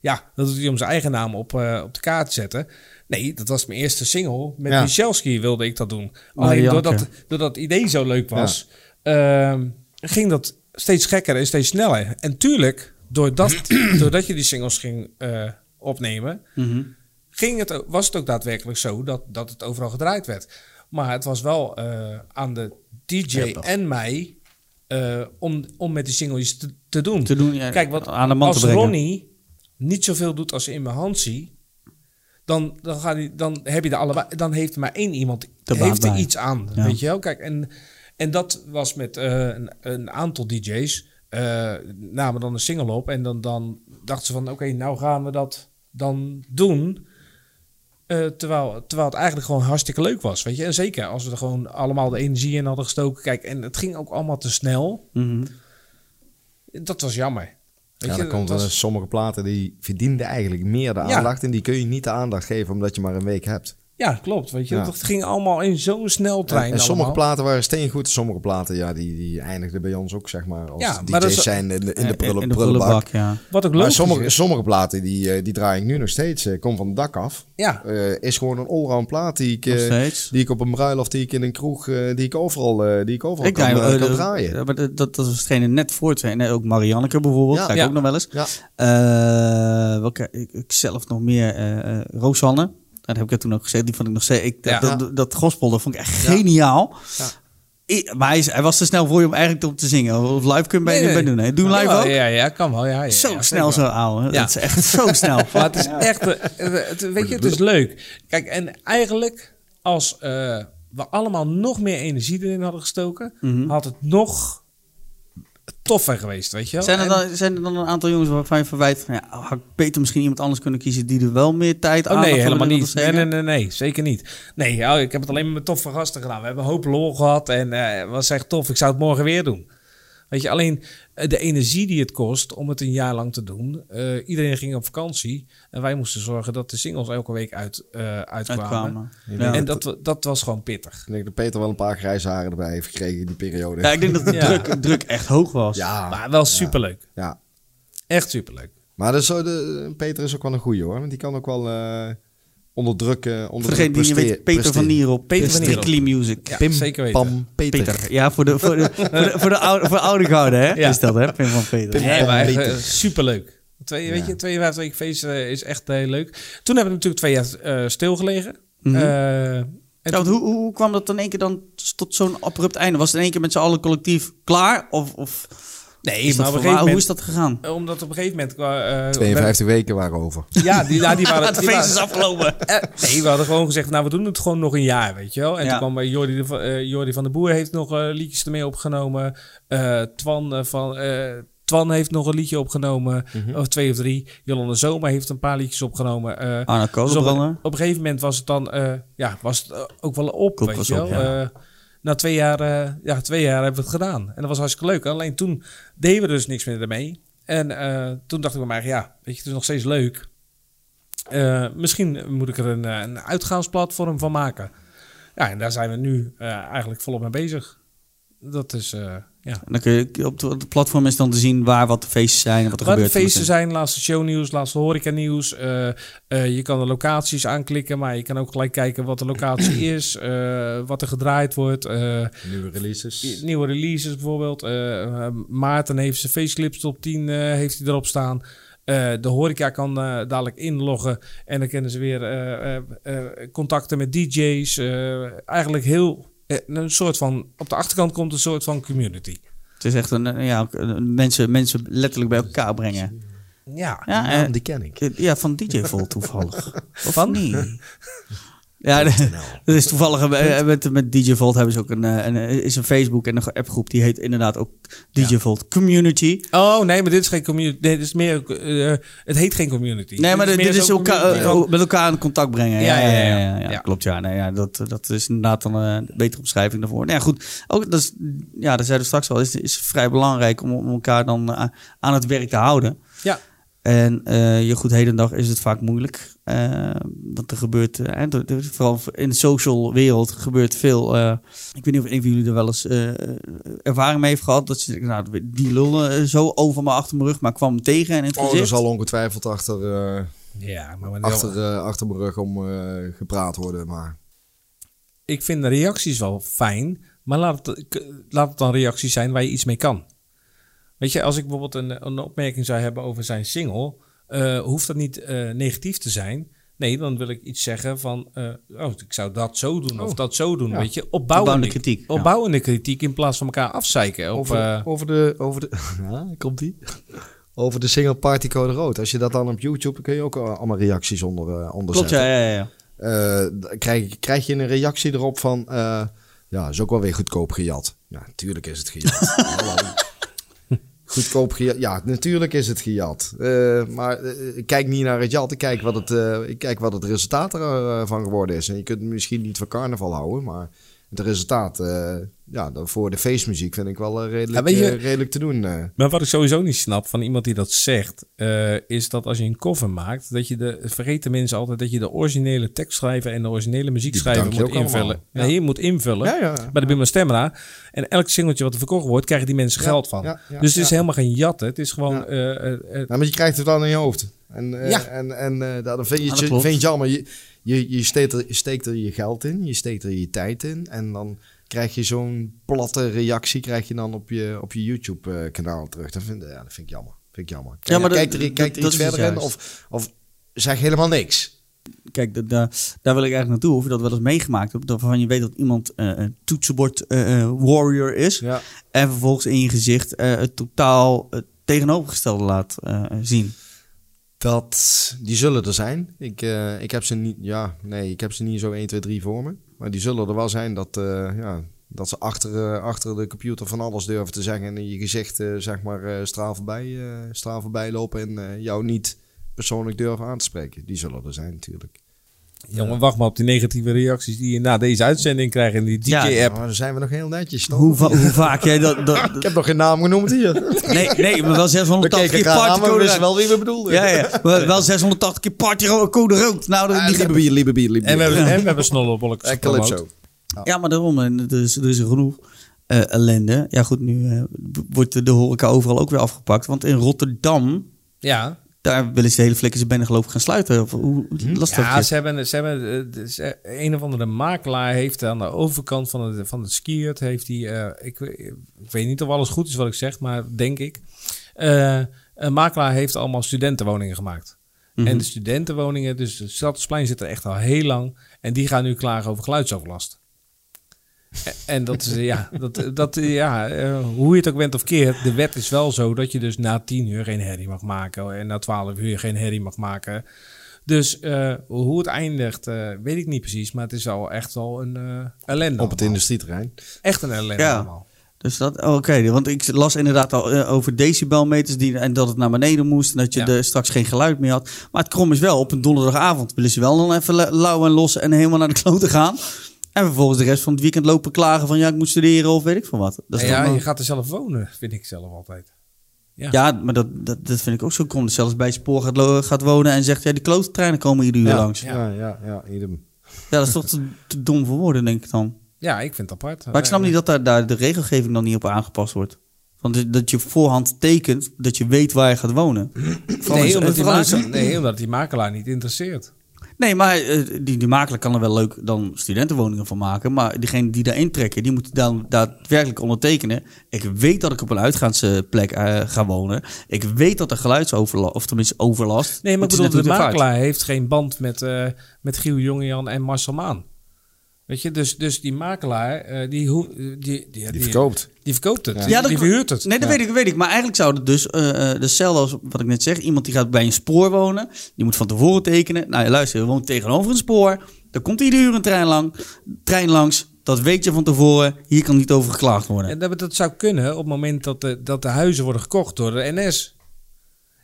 Speaker 3: ja, dat doet hij om zijn eigen naam op, eh, op de kaart te zetten. Nee, dat was mijn eerste single. Met
Speaker 2: Ja.
Speaker 3: Michelski wilde ik dat doen. Alleen
Speaker 1: Janke.
Speaker 3: doordat, doordat het idee zo leuk was, ehm, ging dat steeds gekker en steeds sneller. En tuurlijk, doordat, [clears throat] doordat je die singles ging eh, opnemen,
Speaker 1: Mhm.
Speaker 3: ging het, o- was het ook daadwerkelijk zo dat, dat het overal gedraaid werd. Maar het was wel eh, aan de DJ
Speaker 1: Ja, toch.
Speaker 3: en mij eh, om, om met die singles te, te doen.
Speaker 1: Te doen, ja,
Speaker 3: Kijk, wat
Speaker 1: aan de man
Speaker 3: als
Speaker 1: te brengen.
Speaker 3: Ronnie niet zoveel doet als in Hansi, dan, dan, gaat hij, dan, heb je de allebei, dan heeft er maar één iemand
Speaker 1: De baat
Speaker 3: heeft er
Speaker 1: bij.
Speaker 3: iets aan.
Speaker 1: Ja.
Speaker 3: Weet je wel? Kijk, en, en dat was met eh, een, een aantal DJ's. eh, namen dan een single op en dan, dan dachten ze van... oké, nou gaan we dat dan doen. Eh, terwijl, terwijl het eigenlijk gewoon hartstikke leuk was, weet je. En zeker als we er gewoon allemaal de energie in hadden gestoken. Kijk, en het ging ook allemaal te snel.
Speaker 1: Mhm.
Speaker 3: Dat was jammer. Weet
Speaker 2: Ja,
Speaker 3: je,
Speaker 2: dan komt
Speaker 3: dat
Speaker 2: er
Speaker 3: was-
Speaker 2: sommige platen die verdienden eigenlijk meer de
Speaker 3: Ja.
Speaker 2: aandacht. En die kun je niet de aandacht geven omdat je maar een week hebt.
Speaker 3: Ja, klopt, weet je.
Speaker 2: Ja.
Speaker 3: Het ging allemaal in zo'n sneltrein
Speaker 2: en en sommige
Speaker 3: allemaal.
Speaker 2: platen waren steengoed. En sommige platen ja, die, die eindigden bij ons ook zeg maar als
Speaker 3: Ja, maar dat
Speaker 2: DJ's
Speaker 3: is-
Speaker 2: zijn in de, in de, prullen,
Speaker 1: Eh, in de
Speaker 2: prullenbak.
Speaker 1: prullenbak, ja.
Speaker 3: Wat ook
Speaker 2: Maar
Speaker 3: logisch
Speaker 2: sommige,
Speaker 3: is.
Speaker 2: sommige platen die, eh, die draai ik nu nog steeds. eh, kom van het dak af.
Speaker 3: Ja,
Speaker 2: Eh, is gewoon een allround plaat die ik,
Speaker 1: Nog
Speaker 2: eh,
Speaker 1: steeds.
Speaker 2: die ik op een bruiloft, die ik in een kroeg, eh, die ik overal, eh, die ik overal
Speaker 1: Ik
Speaker 2: kan,
Speaker 1: draai,
Speaker 2: eh,
Speaker 1: eh,
Speaker 2: kan
Speaker 1: de-
Speaker 2: draaien.
Speaker 1: ja, maar dat, dat, dat schenen net voor te zijn. En ook Marianneke bijvoorbeeld,
Speaker 2: Ja.
Speaker 1: ga ik
Speaker 3: Ja.
Speaker 1: ook nog wel eens.
Speaker 2: Ja.
Speaker 1: Eh, welke, ik, ik zelf nog meer, eh eh, Rosanne. Dat heb ik er toen ook gezegd. Die vond ik nog steeds. Ik, dat,
Speaker 3: Ja.
Speaker 1: dat, dat, gospel, dat vond ik echt geniaal.
Speaker 3: Ja.
Speaker 1: I- maar hij, is- hij was te snel voor je om eigenlijk op te zingen. Of live kun je bij
Speaker 3: Nee, nee.
Speaker 1: doen. Hè? Doe hem live
Speaker 3: ja,
Speaker 1: ook.
Speaker 3: Ja, ja, kan wel, ja. ja
Speaker 1: zo
Speaker 3: ja,
Speaker 1: snel
Speaker 3: zeker
Speaker 1: zo,
Speaker 3: wel.
Speaker 1: ouwe.
Speaker 3: Ja.
Speaker 1: Dat is echt
Speaker 3: [laughs]
Speaker 1: zo snel.
Speaker 3: Maar het is echt... eh, eh, het- weet je, het is leuk. Kijk, en eigenlijk als eh, we allemaal nog meer energie erin hadden gestoken... had het nog toffer geweest, weet je wel.
Speaker 1: Zijn er,
Speaker 3: En-
Speaker 1: dan, zijn er dan een aantal jongens waarvan je verwijt van... Ja, oh, had ik beter misschien iemand anders kunnen kiezen die er wel meer tijd
Speaker 3: Oh
Speaker 1: aandacht
Speaker 3: nee,
Speaker 1: aan
Speaker 3: helemaal
Speaker 1: wilde
Speaker 3: niet. Nee,
Speaker 1: besteden?
Speaker 3: nee, nee, nee, zeker niet. Nee, ja, ik heb het alleen maar met toffe gasten gedaan. We hebben een hoop lol gehad en eh, het was echt tof. Ik zou het morgen weer doen. Weet je, alleen eh, de energie die het kost om het een jaar lang te doen. eh, iedereen ging op vakantie en wij moesten zorgen dat de singles elke week uit, eh, uitkwamen.
Speaker 1: Uitkwamen.
Speaker 2: Ja.
Speaker 3: En dat, wa- dat was gewoon pittig.
Speaker 2: Ik denk dat Peter wel een paar grijze haren erbij heeft gekregen in die periode.
Speaker 1: Ja, ik denk dat de
Speaker 3: Ja.
Speaker 1: druk, druk echt hoog was.
Speaker 2: Ah, ja.
Speaker 3: Maar wel superleuk.
Speaker 2: ja.
Speaker 3: Echt superleuk.
Speaker 2: Maar dat is zo de, Peter is ook wel een goeie hoor. Want die kan ook wel eh onder druk, eh onder
Speaker 1: Voor degene
Speaker 2: druk
Speaker 1: die niet weet, Peter van
Speaker 2: Nier.
Speaker 1: Nierop.
Speaker 3: Peter
Speaker 1: Peter
Speaker 3: van Nierop.
Speaker 1: Strictly Music.
Speaker 3: Ja,
Speaker 2: Pim,
Speaker 3: zeker weten.
Speaker 2: Pam, Peter.
Speaker 1: Peter. Ja, voor de, voor de, voor de, voor de oude, voor oude gouden, hè?
Speaker 3: Ja.
Speaker 1: Is dat, hè? Pim van Peter. Ja.
Speaker 2: Pim.
Speaker 3: Nee,
Speaker 2: Pam
Speaker 3: maar echt,
Speaker 2: Peter.
Speaker 3: eh, superleuk. Twee, weet je, 52 weken feest eh, is echt heel leuk. Toen hebben we natuurlijk twee jaar eh, stilgelegen.
Speaker 1: Mhm.
Speaker 3: Eh, en
Speaker 1: Ja, want hoe, hoe hoe kwam dat in één keer dan tot zo'n abrupt einde? Was het in één keer met z'n allen collectief klaar? Of, of
Speaker 3: Nee,
Speaker 1: is dat
Speaker 3: maar op een
Speaker 1: voor-
Speaker 3: gegeven moment...
Speaker 1: hoe is dat gegaan?
Speaker 3: Eh, Omdat op een gegeven moment... eh, eh,
Speaker 2: 52 weken waren over.
Speaker 3: we- ja,
Speaker 1: [laughs]
Speaker 3: die, ja, die waren...
Speaker 1: Het
Speaker 3: die
Speaker 1: feest is
Speaker 3: waren-
Speaker 1: afgelopen.
Speaker 3: Eh, nee, we hadden gewoon gezegd, nou, we doen het gewoon nog een jaar, weet je wel. En
Speaker 1: Ja.
Speaker 3: toen kwam eh, Jordi, de, Va- eh, Jordi van der Boer heeft nog eh, liedjes ermee opgenomen. Eh, Twan, eh, van, eh, Twan heeft nog een liedje opgenomen.
Speaker 1: Mhm.
Speaker 3: Of twee of drie. Jolande Zomer heeft een paar liedjes opgenomen. Eh,
Speaker 1: Arno
Speaker 3: dus op, een,
Speaker 1: Kolenbrander.
Speaker 3: op een gegeven moment was het dan... eh, ja, was het eh, ook wel op,
Speaker 1: Ook
Speaker 3: weet
Speaker 1: was
Speaker 3: je wel.
Speaker 1: op, ja.
Speaker 3: Eh, na twee jaar, eh, ja, twee jaar hebben we het gedaan. En dat was hartstikke leuk. Alleen toen deden we dus niks meer ermee. En eh, toen dacht ik bij mij, ja, weet je, het is nog steeds leuk. Eh, misschien moet ik er een, eh, een uitgaansplatform van maken. Ja, en daar zijn we nu eh, eigenlijk volop mee bezig. Dat is, eh, ja.
Speaker 1: En Dan kun je, op het platform is dan te zien waar wat de feesten zijn en wat er
Speaker 3: Waar de
Speaker 1: gebeurt.
Speaker 3: feesten zijn, laatste shownieuws, laatste horecanieuws. eh eh je kan de locaties aanklikken, maar je kan ook gelijk kijken wat de locatie
Speaker 1: [clears throat]
Speaker 3: is, eh, wat er gedraaid wordt. eh,
Speaker 2: Nieuwe releases.
Speaker 3: nieuwe releases bijvoorbeeld. Eh, eh, Maarten heeft zijn faceclips top 10 eh, heeft hij erop staan. Eh, de horeca kan eh, dadelijk inloggen en dan kunnen ze weer eh, eh, eh, contacten met DJ's. eh, eigenlijk heel eh, een soort van, op de achterkant komt een soort van community.
Speaker 1: Het is echt een, eh, ja, een- mensen, mensen letterlijk bij elkaar brengen.
Speaker 3: Ja.
Speaker 1: Ja,
Speaker 2: naam,
Speaker 1: eh,
Speaker 2: die ken ik.
Speaker 1: ja van DJ Volt [laughs] toevallig. Of niet? Ja, dat is toevallig. eh, eh, Met, met DJ Volt hebben ze ook een, eh, een, eh, is een Facebook en een appgroep. Die heet inderdaad ook DJ Volt Community.
Speaker 3: Oh nee, maar dit is geen community. Nee, dit is meer, eh, het heet geen community.
Speaker 1: Nee, maar dit,
Speaker 3: meer
Speaker 1: dit is
Speaker 3: zo'n
Speaker 1: elkaar,
Speaker 3: community
Speaker 1: eh,
Speaker 3: van-
Speaker 1: ook met elkaar in contact brengen.
Speaker 3: Ja, ja, ja, ja. Ja.
Speaker 1: Klopt, ja. Nee, ja dat, dat is inderdaad dan eh, een betere omschrijving daarvoor. Nou ja, goed. Ook, dat is, ja, dat zeiden we straks al. is, is vrij belangrijk om, om elkaar dan eh, aan het werk te houden.
Speaker 3: Ja.
Speaker 1: En eh, je goed, hedendag is het vaak moeilijk. Eh, want er gebeurt, eh, en er- er- vooral in de social wereld, gebeurt veel. eh, ik weet niet of een van jullie er wel eens eh, ervaring mee heeft gehad. Dat ze denken, nou, die lullen eh, zo over me achter mijn rug, maar ik kwam hem tegen en in het
Speaker 2: Oh, er
Speaker 1: gezicht.
Speaker 2: zal ongetwijfeld achter, eh,
Speaker 3: Ja, maar wanneer-
Speaker 2: achter, eh, achter mijn rug om eh, gepraat worden. Maar
Speaker 3: ik vind de reacties wel fijn, maar laat het, k- laat het dan reacties zijn waar je iets mee kan. Weet je, als ik bijvoorbeeld een, een opmerking zou hebben over zijn single, eh, hoeft dat niet eh, negatief te zijn. Nee, dan wil ik iets zeggen van, eh, oh, ik zou dat zo doen of dat zo doen,
Speaker 2: ja.
Speaker 3: weet je.
Speaker 1: Opbouwende
Speaker 3: Opbouwende,
Speaker 1: kritiek, ja.
Speaker 3: Opbouwende kritiek in plaats van elkaar afzeiken. Of,
Speaker 2: over,
Speaker 3: eh,
Speaker 2: over de... Over de [laughs] ja, komt die? Over de single Party Code Rood. Als je dat dan op YouTube... dan kun je ook eh, allemaal reacties onder, eh, onder
Speaker 1: Klopt,
Speaker 2: zetten.
Speaker 1: ja, ja, ja.
Speaker 2: Eh, dan krijg, krijg je een reactie erop van... eh, ja, is ook wel weer goedkoop gejat. Ja, natuurlijk is het gejat.
Speaker 3: [laughs]
Speaker 2: Hallo. goedkoop gejat. Ja, natuurlijk is het gejat. Eh, maar eh, ik kijk niet naar het jat. Ik kijk wat het, eh, ik kijk wat het resultaat ervan geworden is. En je kunt het misschien niet van carnaval houden, maar... Het resultaat eh, ja, dan voor de feestmuziek vind ik wel eh, redelijk,
Speaker 3: Ja, weet je-
Speaker 2: eh, redelijk te doen. eh.
Speaker 3: Maar wat ik sowieso niet snap van iemand die dat zegt, eh, is dat als je een cover maakt, dat je de vergeten mensen altijd dat je de originele tekstschrijver en de originele muziekschrijver
Speaker 2: bedank je
Speaker 3: moet
Speaker 2: ook allemaal.
Speaker 3: invullen. Nee, je moet invullen
Speaker 2: Ja, ja.
Speaker 3: bij de Bimba Stemra. En elk singeltje wat er verkocht wordt, krijgen die mensen geld van.
Speaker 2: ja, ja,
Speaker 3: dus het is
Speaker 2: ja.
Speaker 3: helemaal geen jatten. Het is gewoon. eh, eh, eh,
Speaker 2: Nou, maar je krijgt het dan in je hoofd. En, eh,
Speaker 3: Ja.
Speaker 2: en, en eh, dan vind je,
Speaker 1: Ah,
Speaker 2: het
Speaker 1: dat
Speaker 2: je-
Speaker 1: klopt.
Speaker 2: vind je het jammer. Je, je, je, steekt er, je steekt er je geld in, je steekt er je tijd in. En dan krijg je zo'n platte reactie krijg je dan op je, op je YouTube-kanaal terug. Dat vind, ja, dat vind ik jammer. Vind ik jammer. Kijk,
Speaker 1: maar dat-
Speaker 2: kijk er, kijk
Speaker 1: dat-
Speaker 2: er
Speaker 1: dat
Speaker 2: iets
Speaker 1: is het
Speaker 2: verder in
Speaker 1: juist.
Speaker 2: of, of zeg helemaal niks.
Speaker 1: Kijk, da- da- daar wil ik eigenlijk naartoe. Of je dat wel eens meegemaakt hebt. dat- Waarvan je weet dat iemand eh, een toetsenbord eh, eh, warrior is.
Speaker 2: Ja.
Speaker 1: En vervolgens in je gezicht eh, het totaal eh, tegenovergestelde laat eh, zien.
Speaker 2: Dat, die zullen er zijn. Ik, eh, ik heb ze niet, ja, nee, ik heb ze niet zo 1, 2, 3 voor me. Maar die zullen er wel zijn dat, eh, ja, dat ze achter, eh, achter de computer van alles durven te zeggen. En in je gezicht, eh, zeg maar, eh straal, voorbij, eh, straal voorbij lopen en eh, jou niet persoonlijk durven aan te spreken. Die zullen er zijn natuurlijk.
Speaker 3: Jongen, wacht maar op die negatieve reacties die je na deze uitzending krijgt in die
Speaker 1: Ja,
Speaker 3: DJ-app.
Speaker 2: Maar dan zijn we nog heel netjes, toch?
Speaker 1: Hoe, va- hoe vaak jij dat...
Speaker 2: Ik
Speaker 1: dat
Speaker 2: heb nog geen naam genoemd [laughs] hier.
Speaker 1: nee, nee, maar wel
Speaker 2: We
Speaker 1: 680
Speaker 2: keken
Speaker 1: keer
Speaker 2: elkaar aan, maar we
Speaker 1: partycode
Speaker 2: wisten
Speaker 1: rood.
Speaker 2: wel wie we bedoelden.
Speaker 1: Ja, ja. Wel wel 680 keer partycode rood. Nou, dat-
Speaker 2: Ah,
Speaker 1: die-
Speaker 2: lieve bier, lieve bier, lieve
Speaker 3: en we
Speaker 2: bier.
Speaker 3: hebben, en we hebben snollebollek
Speaker 2: En
Speaker 3: gepromoot.
Speaker 2: Calypso.
Speaker 1: Ja, maar daarom. En er is, er is genoeg eh, ellende. Ja, goed, nu eh, b- wordt de- de horeca overal ook weer afgepakt. Want in Rotterdam...
Speaker 3: Ja,
Speaker 1: Daar willen ze de hele flikkers binnen geloof ik gaan sluiten. Of hoe lastig
Speaker 3: Ja, ze hebben, ze hebben eh, dus, eh, een of andere makelaar heeft aan de overkant van het, van het skiert, heeft die, eh, ik, we- ik weet niet of alles goed is wat ik zeg, maar denk ik. Eh, een makelaar heeft allemaal studentenwoningen gemaakt. En de studentenwoningen, dus het Stadsplein zit er echt al heel lang. En die gaan nu klagen over geluidsoverlast. E- En dat is, eh, ja, dat, dat, eh, ja eh, hoe je het ook bent of keert, de wet is wel zo dat je dus na tien uur geen herrie mag maken en na twaalf uur geen herrie mag maken. Dus eh, hoe het eindigt, eh, weet ik niet precies, maar het is al echt al een eh ellende.
Speaker 2: Op het
Speaker 3: allemaal.
Speaker 2: industrieterrein.
Speaker 3: Echt een ellende
Speaker 1: Ja.
Speaker 3: allemaal.
Speaker 1: Dus dat, oh, oké. Want ik las inderdaad al eh, over decibelmeters die, en dat het naar beneden moest. En dat je
Speaker 3: Ja.
Speaker 1: er straks geen geluid meer had. Maar het krom is wel, op een donderdagavond willen ze wel dan even la- lauw en los en helemaal naar de kloten gaan. En vervolgens de rest van het weekend lopen klagen van ja, ik moet studeren of weet ik van wat. Dat is
Speaker 3: ja,
Speaker 1: dan-
Speaker 3: je gaat er zelf wonen, vind ik zelf altijd.
Speaker 1: ja, maar dat, dat, dat vind ik ook zo krom. Dat Zelfs bij spoor gaat, lo- gaat wonen en zegt ja, die kloottreinen komen ieder uur langs. Ja.
Speaker 2: Ja, ja, ja, idem.
Speaker 1: dat is toch te, te dom voor woorden, denk ik dan.
Speaker 3: Ja, ik vind het apart. Eh,
Speaker 1: Maar ik snap niet dat daar, daar de regelgeving dan niet op aangepast wordt. Want dat je voorhand tekent dat je weet waar je gaat wonen. Vooral
Speaker 3: Nee
Speaker 1: in-
Speaker 3: omdat, die
Speaker 1: vooral in-
Speaker 3: makelaar, nee, omdat die makelaar niet interesseert.
Speaker 1: Nee, maar eh, die, die makelaar kan er wel leuk dan studentenwoningen van maken. Maar diegene die daarin trekken, die moet dan daadwerkelijk ondertekenen. Ik weet dat ik op een uitgaansplek eh, ga wonen. Ik weet dat er geluidsoverlast, of tenminste overlast.
Speaker 3: Nee, maar
Speaker 1: Want
Speaker 3: ik
Speaker 1: het is
Speaker 3: bedoel, de
Speaker 1: natuurlijk
Speaker 3: makelaar heeft geen band met, eh met Giel Jongejan en Marcel Maan. Weet je, dus, dus die makelaar, eh, die, hoe- die, die,
Speaker 2: Die verkoopt.
Speaker 3: Die verkoopt het.
Speaker 2: Ja.
Speaker 3: Die, die verhuurt het.
Speaker 1: Nee, dat
Speaker 3: Ja.
Speaker 1: weet, ik, weet ik. Maar eigenlijk zou het dus, eh eh, hetzelfde als wat ik net zeg, iemand die gaat bij een spoor wonen, die moet van tevoren tekenen. Nou ja, luister, je woont tegenover een spoor, er komt iedere uur een trein, lang, trein langs, dat weet je van tevoren, hier kan niet over geklaagd worden.
Speaker 3: En dat, dat zou kunnen op het moment dat de, dat de huizen worden gekocht door de NS.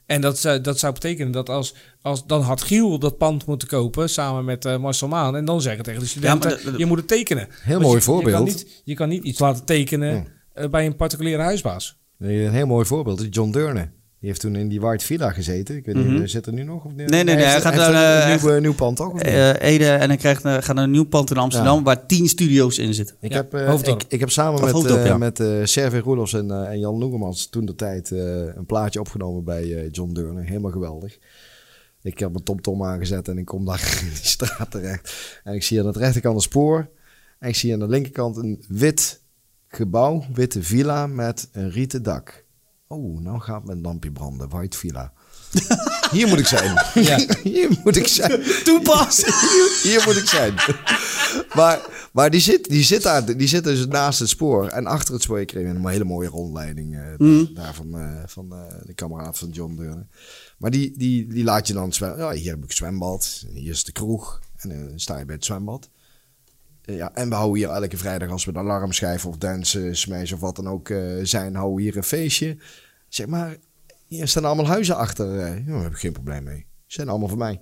Speaker 3: En dat, zou- dat zou betekenen dat als, als... Dan had Giel dat pand moeten kopen samen met eh, Marcel Maan. En dan zeggen tegen de studenten,
Speaker 1: Ja, maar dat- dat-
Speaker 3: je moet het tekenen.
Speaker 2: Heel
Speaker 3: Want
Speaker 2: mooi
Speaker 3: je- Je kan,
Speaker 2: voorbeeld.
Speaker 3: niet, je kan niet iets laten tekenen eh, bij een particuliere huisbaas.
Speaker 2: Nee, Een heel mooi voorbeeld is John Deurne. Die heeft toen in die White Villa gezeten. Ik weet
Speaker 1: Mhm.
Speaker 2: niet, zit er nu nog? Of nee,
Speaker 1: nee, nee, hij
Speaker 2: heeft-
Speaker 1: gaat
Speaker 2: heeft
Speaker 1: dan,
Speaker 2: een
Speaker 1: eh,
Speaker 2: nieuw,
Speaker 1: echt-
Speaker 2: eh, nieuw pand ook. of niet?
Speaker 1: Eh, Ede en hij krijgt, eh, gaat naar een nieuw pand in Amsterdam
Speaker 2: Ja.
Speaker 1: waar tien studio's in zitten.
Speaker 2: Ik,
Speaker 3: Ja,
Speaker 2: heb, eh,
Speaker 3: Hoofddorp.
Speaker 2: ik, ik heb samen
Speaker 1: Of
Speaker 2: met,
Speaker 1: Hoofddorp,
Speaker 2: eh,
Speaker 1: ja.
Speaker 2: met eh Servej Roelofs en, eh, en Jan Noegemans toen de tijd eh, een plaatje opgenomen bij eh, John Deurne. Helemaal geweldig. Ik heb mijn TomTom aangezet en ik kom daar [laughs] in die straat terecht. En ik zie aan de rechterkant een spoor. En ik zie aan de linkerkant een wit gebouw, witte villa met een rieten dak. Oh, nou gaat mijn lampje branden. White
Speaker 1: [laughs]
Speaker 2: villa. Hier moet ik zijn.
Speaker 3: Ja.
Speaker 2: [laughs] Hier moet ik zijn.
Speaker 1: Toen
Speaker 3: [laughs]
Speaker 1: pas!
Speaker 2: [laughs] Hier moet ik zijn. maar maar die, zit, die, zit daar, die zit dus naast het spoor. En achter het spoor kreeg je een hele mooie rondleiding. eh, daar van, eh, van eh, de kameraad van John Deurne. Maar die, die, die laat je dan zwemmen. Ja, hier heb ik een zwembad. en Hier is de kroeg. En dan sta je bij het zwembad. Eh, ja, en we houden hier elke vrijdag als we de alarmschijf of dansen, smash of wat dan ook eh, zijn, houden we hier een feestje. Zeg maar, hier staan allemaal huizen achter. eh. Ja, daar heb ik geen probleem mee. Ze zijn allemaal van mij.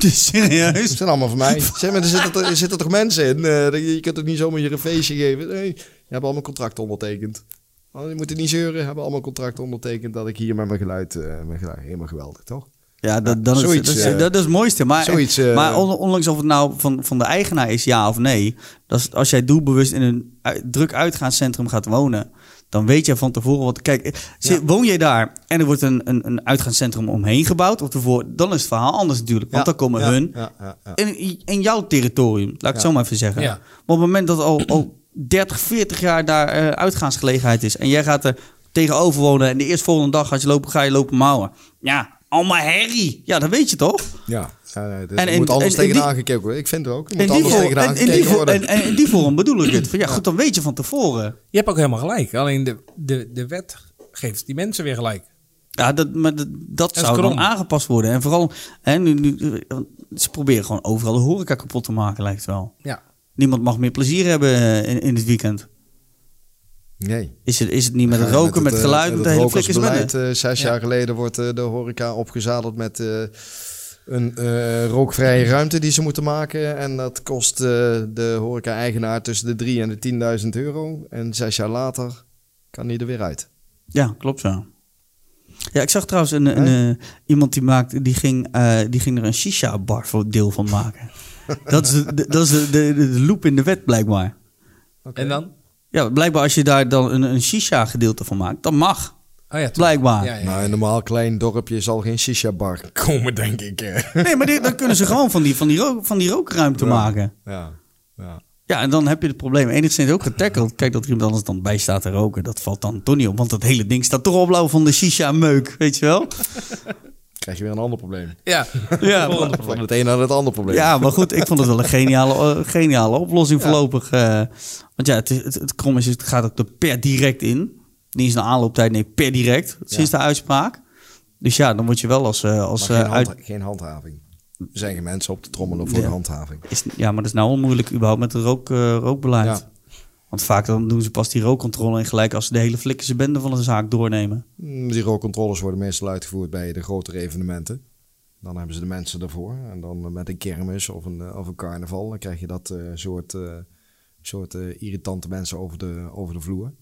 Speaker 1: Serieus?
Speaker 2: Ze zijn allemaal van mij. Zeg maar, er zitten, toch- er zitten toch mensen in? Eh, je je kunt toch niet zomaar je een feestje geven? Nee, je hebt allemaal contracten ondertekend. Oh, je moet het niet zeuren. Hebben allemaal contracten ondertekend dat ik hier met mijn geluid... eh, mijn geluid helemaal geweldig, toch?
Speaker 1: Ja, dat, dan
Speaker 2: Zoiets,
Speaker 1: is, dat, is,
Speaker 2: eh,
Speaker 1: dat is het mooiste. Maar,
Speaker 2: zoiets, eh,
Speaker 1: maar on- ondanks of het nou van, van de eigenaar is, ja of nee. Dat is, als jij doelbewust in een ui- druk uitgaanscentrum gaat wonen, dan weet jij van tevoren wat. Kijk, eh, zit- woon jij daar en er wordt een, een, een uitgaanscentrum omheen gebouwd, of ervoor, dan is het verhaal anders natuurlijk. Want
Speaker 2: Ja,
Speaker 1: dan komen
Speaker 2: ja,
Speaker 1: hun
Speaker 2: ja, ja, ja.
Speaker 1: In, in jouw territorium, laat ik het zo maar even zeggen.
Speaker 3: Ja.
Speaker 1: Maar op het moment dat al, al 30, 40 jaar daar eh, uitgaansgelegenheid is en jij gaat er tegenover wonen en de eerstvolgende dag gaat je lopen, ga je lopen mouwen. Ja, allemaal herrie. Ja, dat weet je toch?
Speaker 2: Ja. nee, dus
Speaker 1: En-
Speaker 2: er
Speaker 1: en-
Speaker 2: moet anders
Speaker 1: en- en
Speaker 2: tegenaan
Speaker 1: die-
Speaker 2: gekeken worden. Ik vind het ook. Er
Speaker 1: In
Speaker 2: moet
Speaker 1: die,
Speaker 2: anders
Speaker 1: vorm, en,
Speaker 2: tegenaan
Speaker 1: en die
Speaker 2: gekeken
Speaker 1: vorm,
Speaker 2: worden.
Speaker 1: en, en in die vorm bedoel ik dit. Van, ja, goed, dan weet je van tevoren.
Speaker 3: Je hebt ook helemaal gelijk. Alleen de, de, de wet geeft die mensen weer gelijk.
Speaker 1: Ja, dat, maar dat, dat
Speaker 3: is
Speaker 1: zou dan
Speaker 3: krom.
Speaker 1: aangepast worden. En vooral, hè, nu, nu, ze proberen gewoon overal de horeca kapot te maken, lijkt het wel.
Speaker 3: Ja.
Speaker 1: Niemand mag meer plezier hebben eh, in, in het weekend.
Speaker 2: Nee.
Speaker 1: Is het, is het niet met het
Speaker 2: Ja,
Speaker 1: roken, met, het geluid, met,
Speaker 2: met
Speaker 1: de hele flikkers
Speaker 2: rokersbeleid,
Speaker 1: met
Speaker 2: eh, zes
Speaker 3: Ja.
Speaker 2: jaar geleden wordt eh, de horeca opgezadeld met eh, een eh, rookvrije ruimte die ze moeten maken. En dat kost eh, de horeca-eigenaar tussen de 3.000 en de 10.000 euro. En zes jaar later kan die er weer uit.
Speaker 1: Ja, klopt zo. Ja, ik zag trouwens een, een, eh, iemand die, maakte, die, ging, eh, die ging er een shisha-bar voor deel van [laughs] maken. dat is, de, de- dat is de, de, de loop in de wet blijkbaar.
Speaker 3: En dan?
Speaker 1: Ja, blijkbaar als je daar dan een, een shisha-gedeelte van maakt, dan mag.
Speaker 3: Oh ja,
Speaker 1: Blijkbaar.
Speaker 3: Ja, ja.
Speaker 2: Nou, in een normaal klein dorpje zal geen shisha-bar [laughs] komen, denk ik. eh.
Speaker 1: Nee, maar dit- dan kunnen ze gewoon van die, van die, rook, van die rookruimte
Speaker 2: Ja.
Speaker 1: maken.
Speaker 2: Ja, ja.
Speaker 1: Ja, en dan heb je het probleem enigszins ook getackled. Kijk, dat er iemand anders dan bij staat te roken, dat valt dan toch niet op. Want dat hele ding staat toch opblauw van de shisha-meuk, weet je [laughs] wel?
Speaker 2: krijg je weer een ander probleem.
Speaker 3: Ja.
Speaker 1: Ja,
Speaker 3: Volgende probleem.
Speaker 2: Van het een naar het ander probleem.
Speaker 1: Ja, maar goed, ik vond het wel een geniale, eh, geniale oplossing voorlopig. eh. want ja, het, is- het, het krom is, het gaat ook er per direct in. Niet eens een aanlooptijd, nee, per direct. Sinds de uitspraak. Dus ja, dan word je wel als... eh,
Speaker 2: Maar
Speaker 1: als
Speaker 2: geen,
Speaker 1: eh,
Speaker 2: hand-
Speaker 1: uit,
Speaker 2: geen handhaving. Er zijn geen mensen op te trommelen voor de handhaving.
Speaker 1: is, ja, maar dat is nou onmoeilijk überhaupt met het rook, eh, rookbeleid.
Speaker 2: Ja.
Speaker 1: Want vaak dan doen ze pas die rookcontrole en gelijk als ze de hele flikkerse bende van een zaak doornemen.
Speaker 2: Mm, Die rookcontroles worden meestal uitgevoerd bij de grotere evenementen. Dan hebben ze de mensen ervoor. En dan eh, met een kermis of een, eh, of een carnaval, dan krijg je dat eh, soort, eh, soort eh, irritante mensen over de, over de vloer.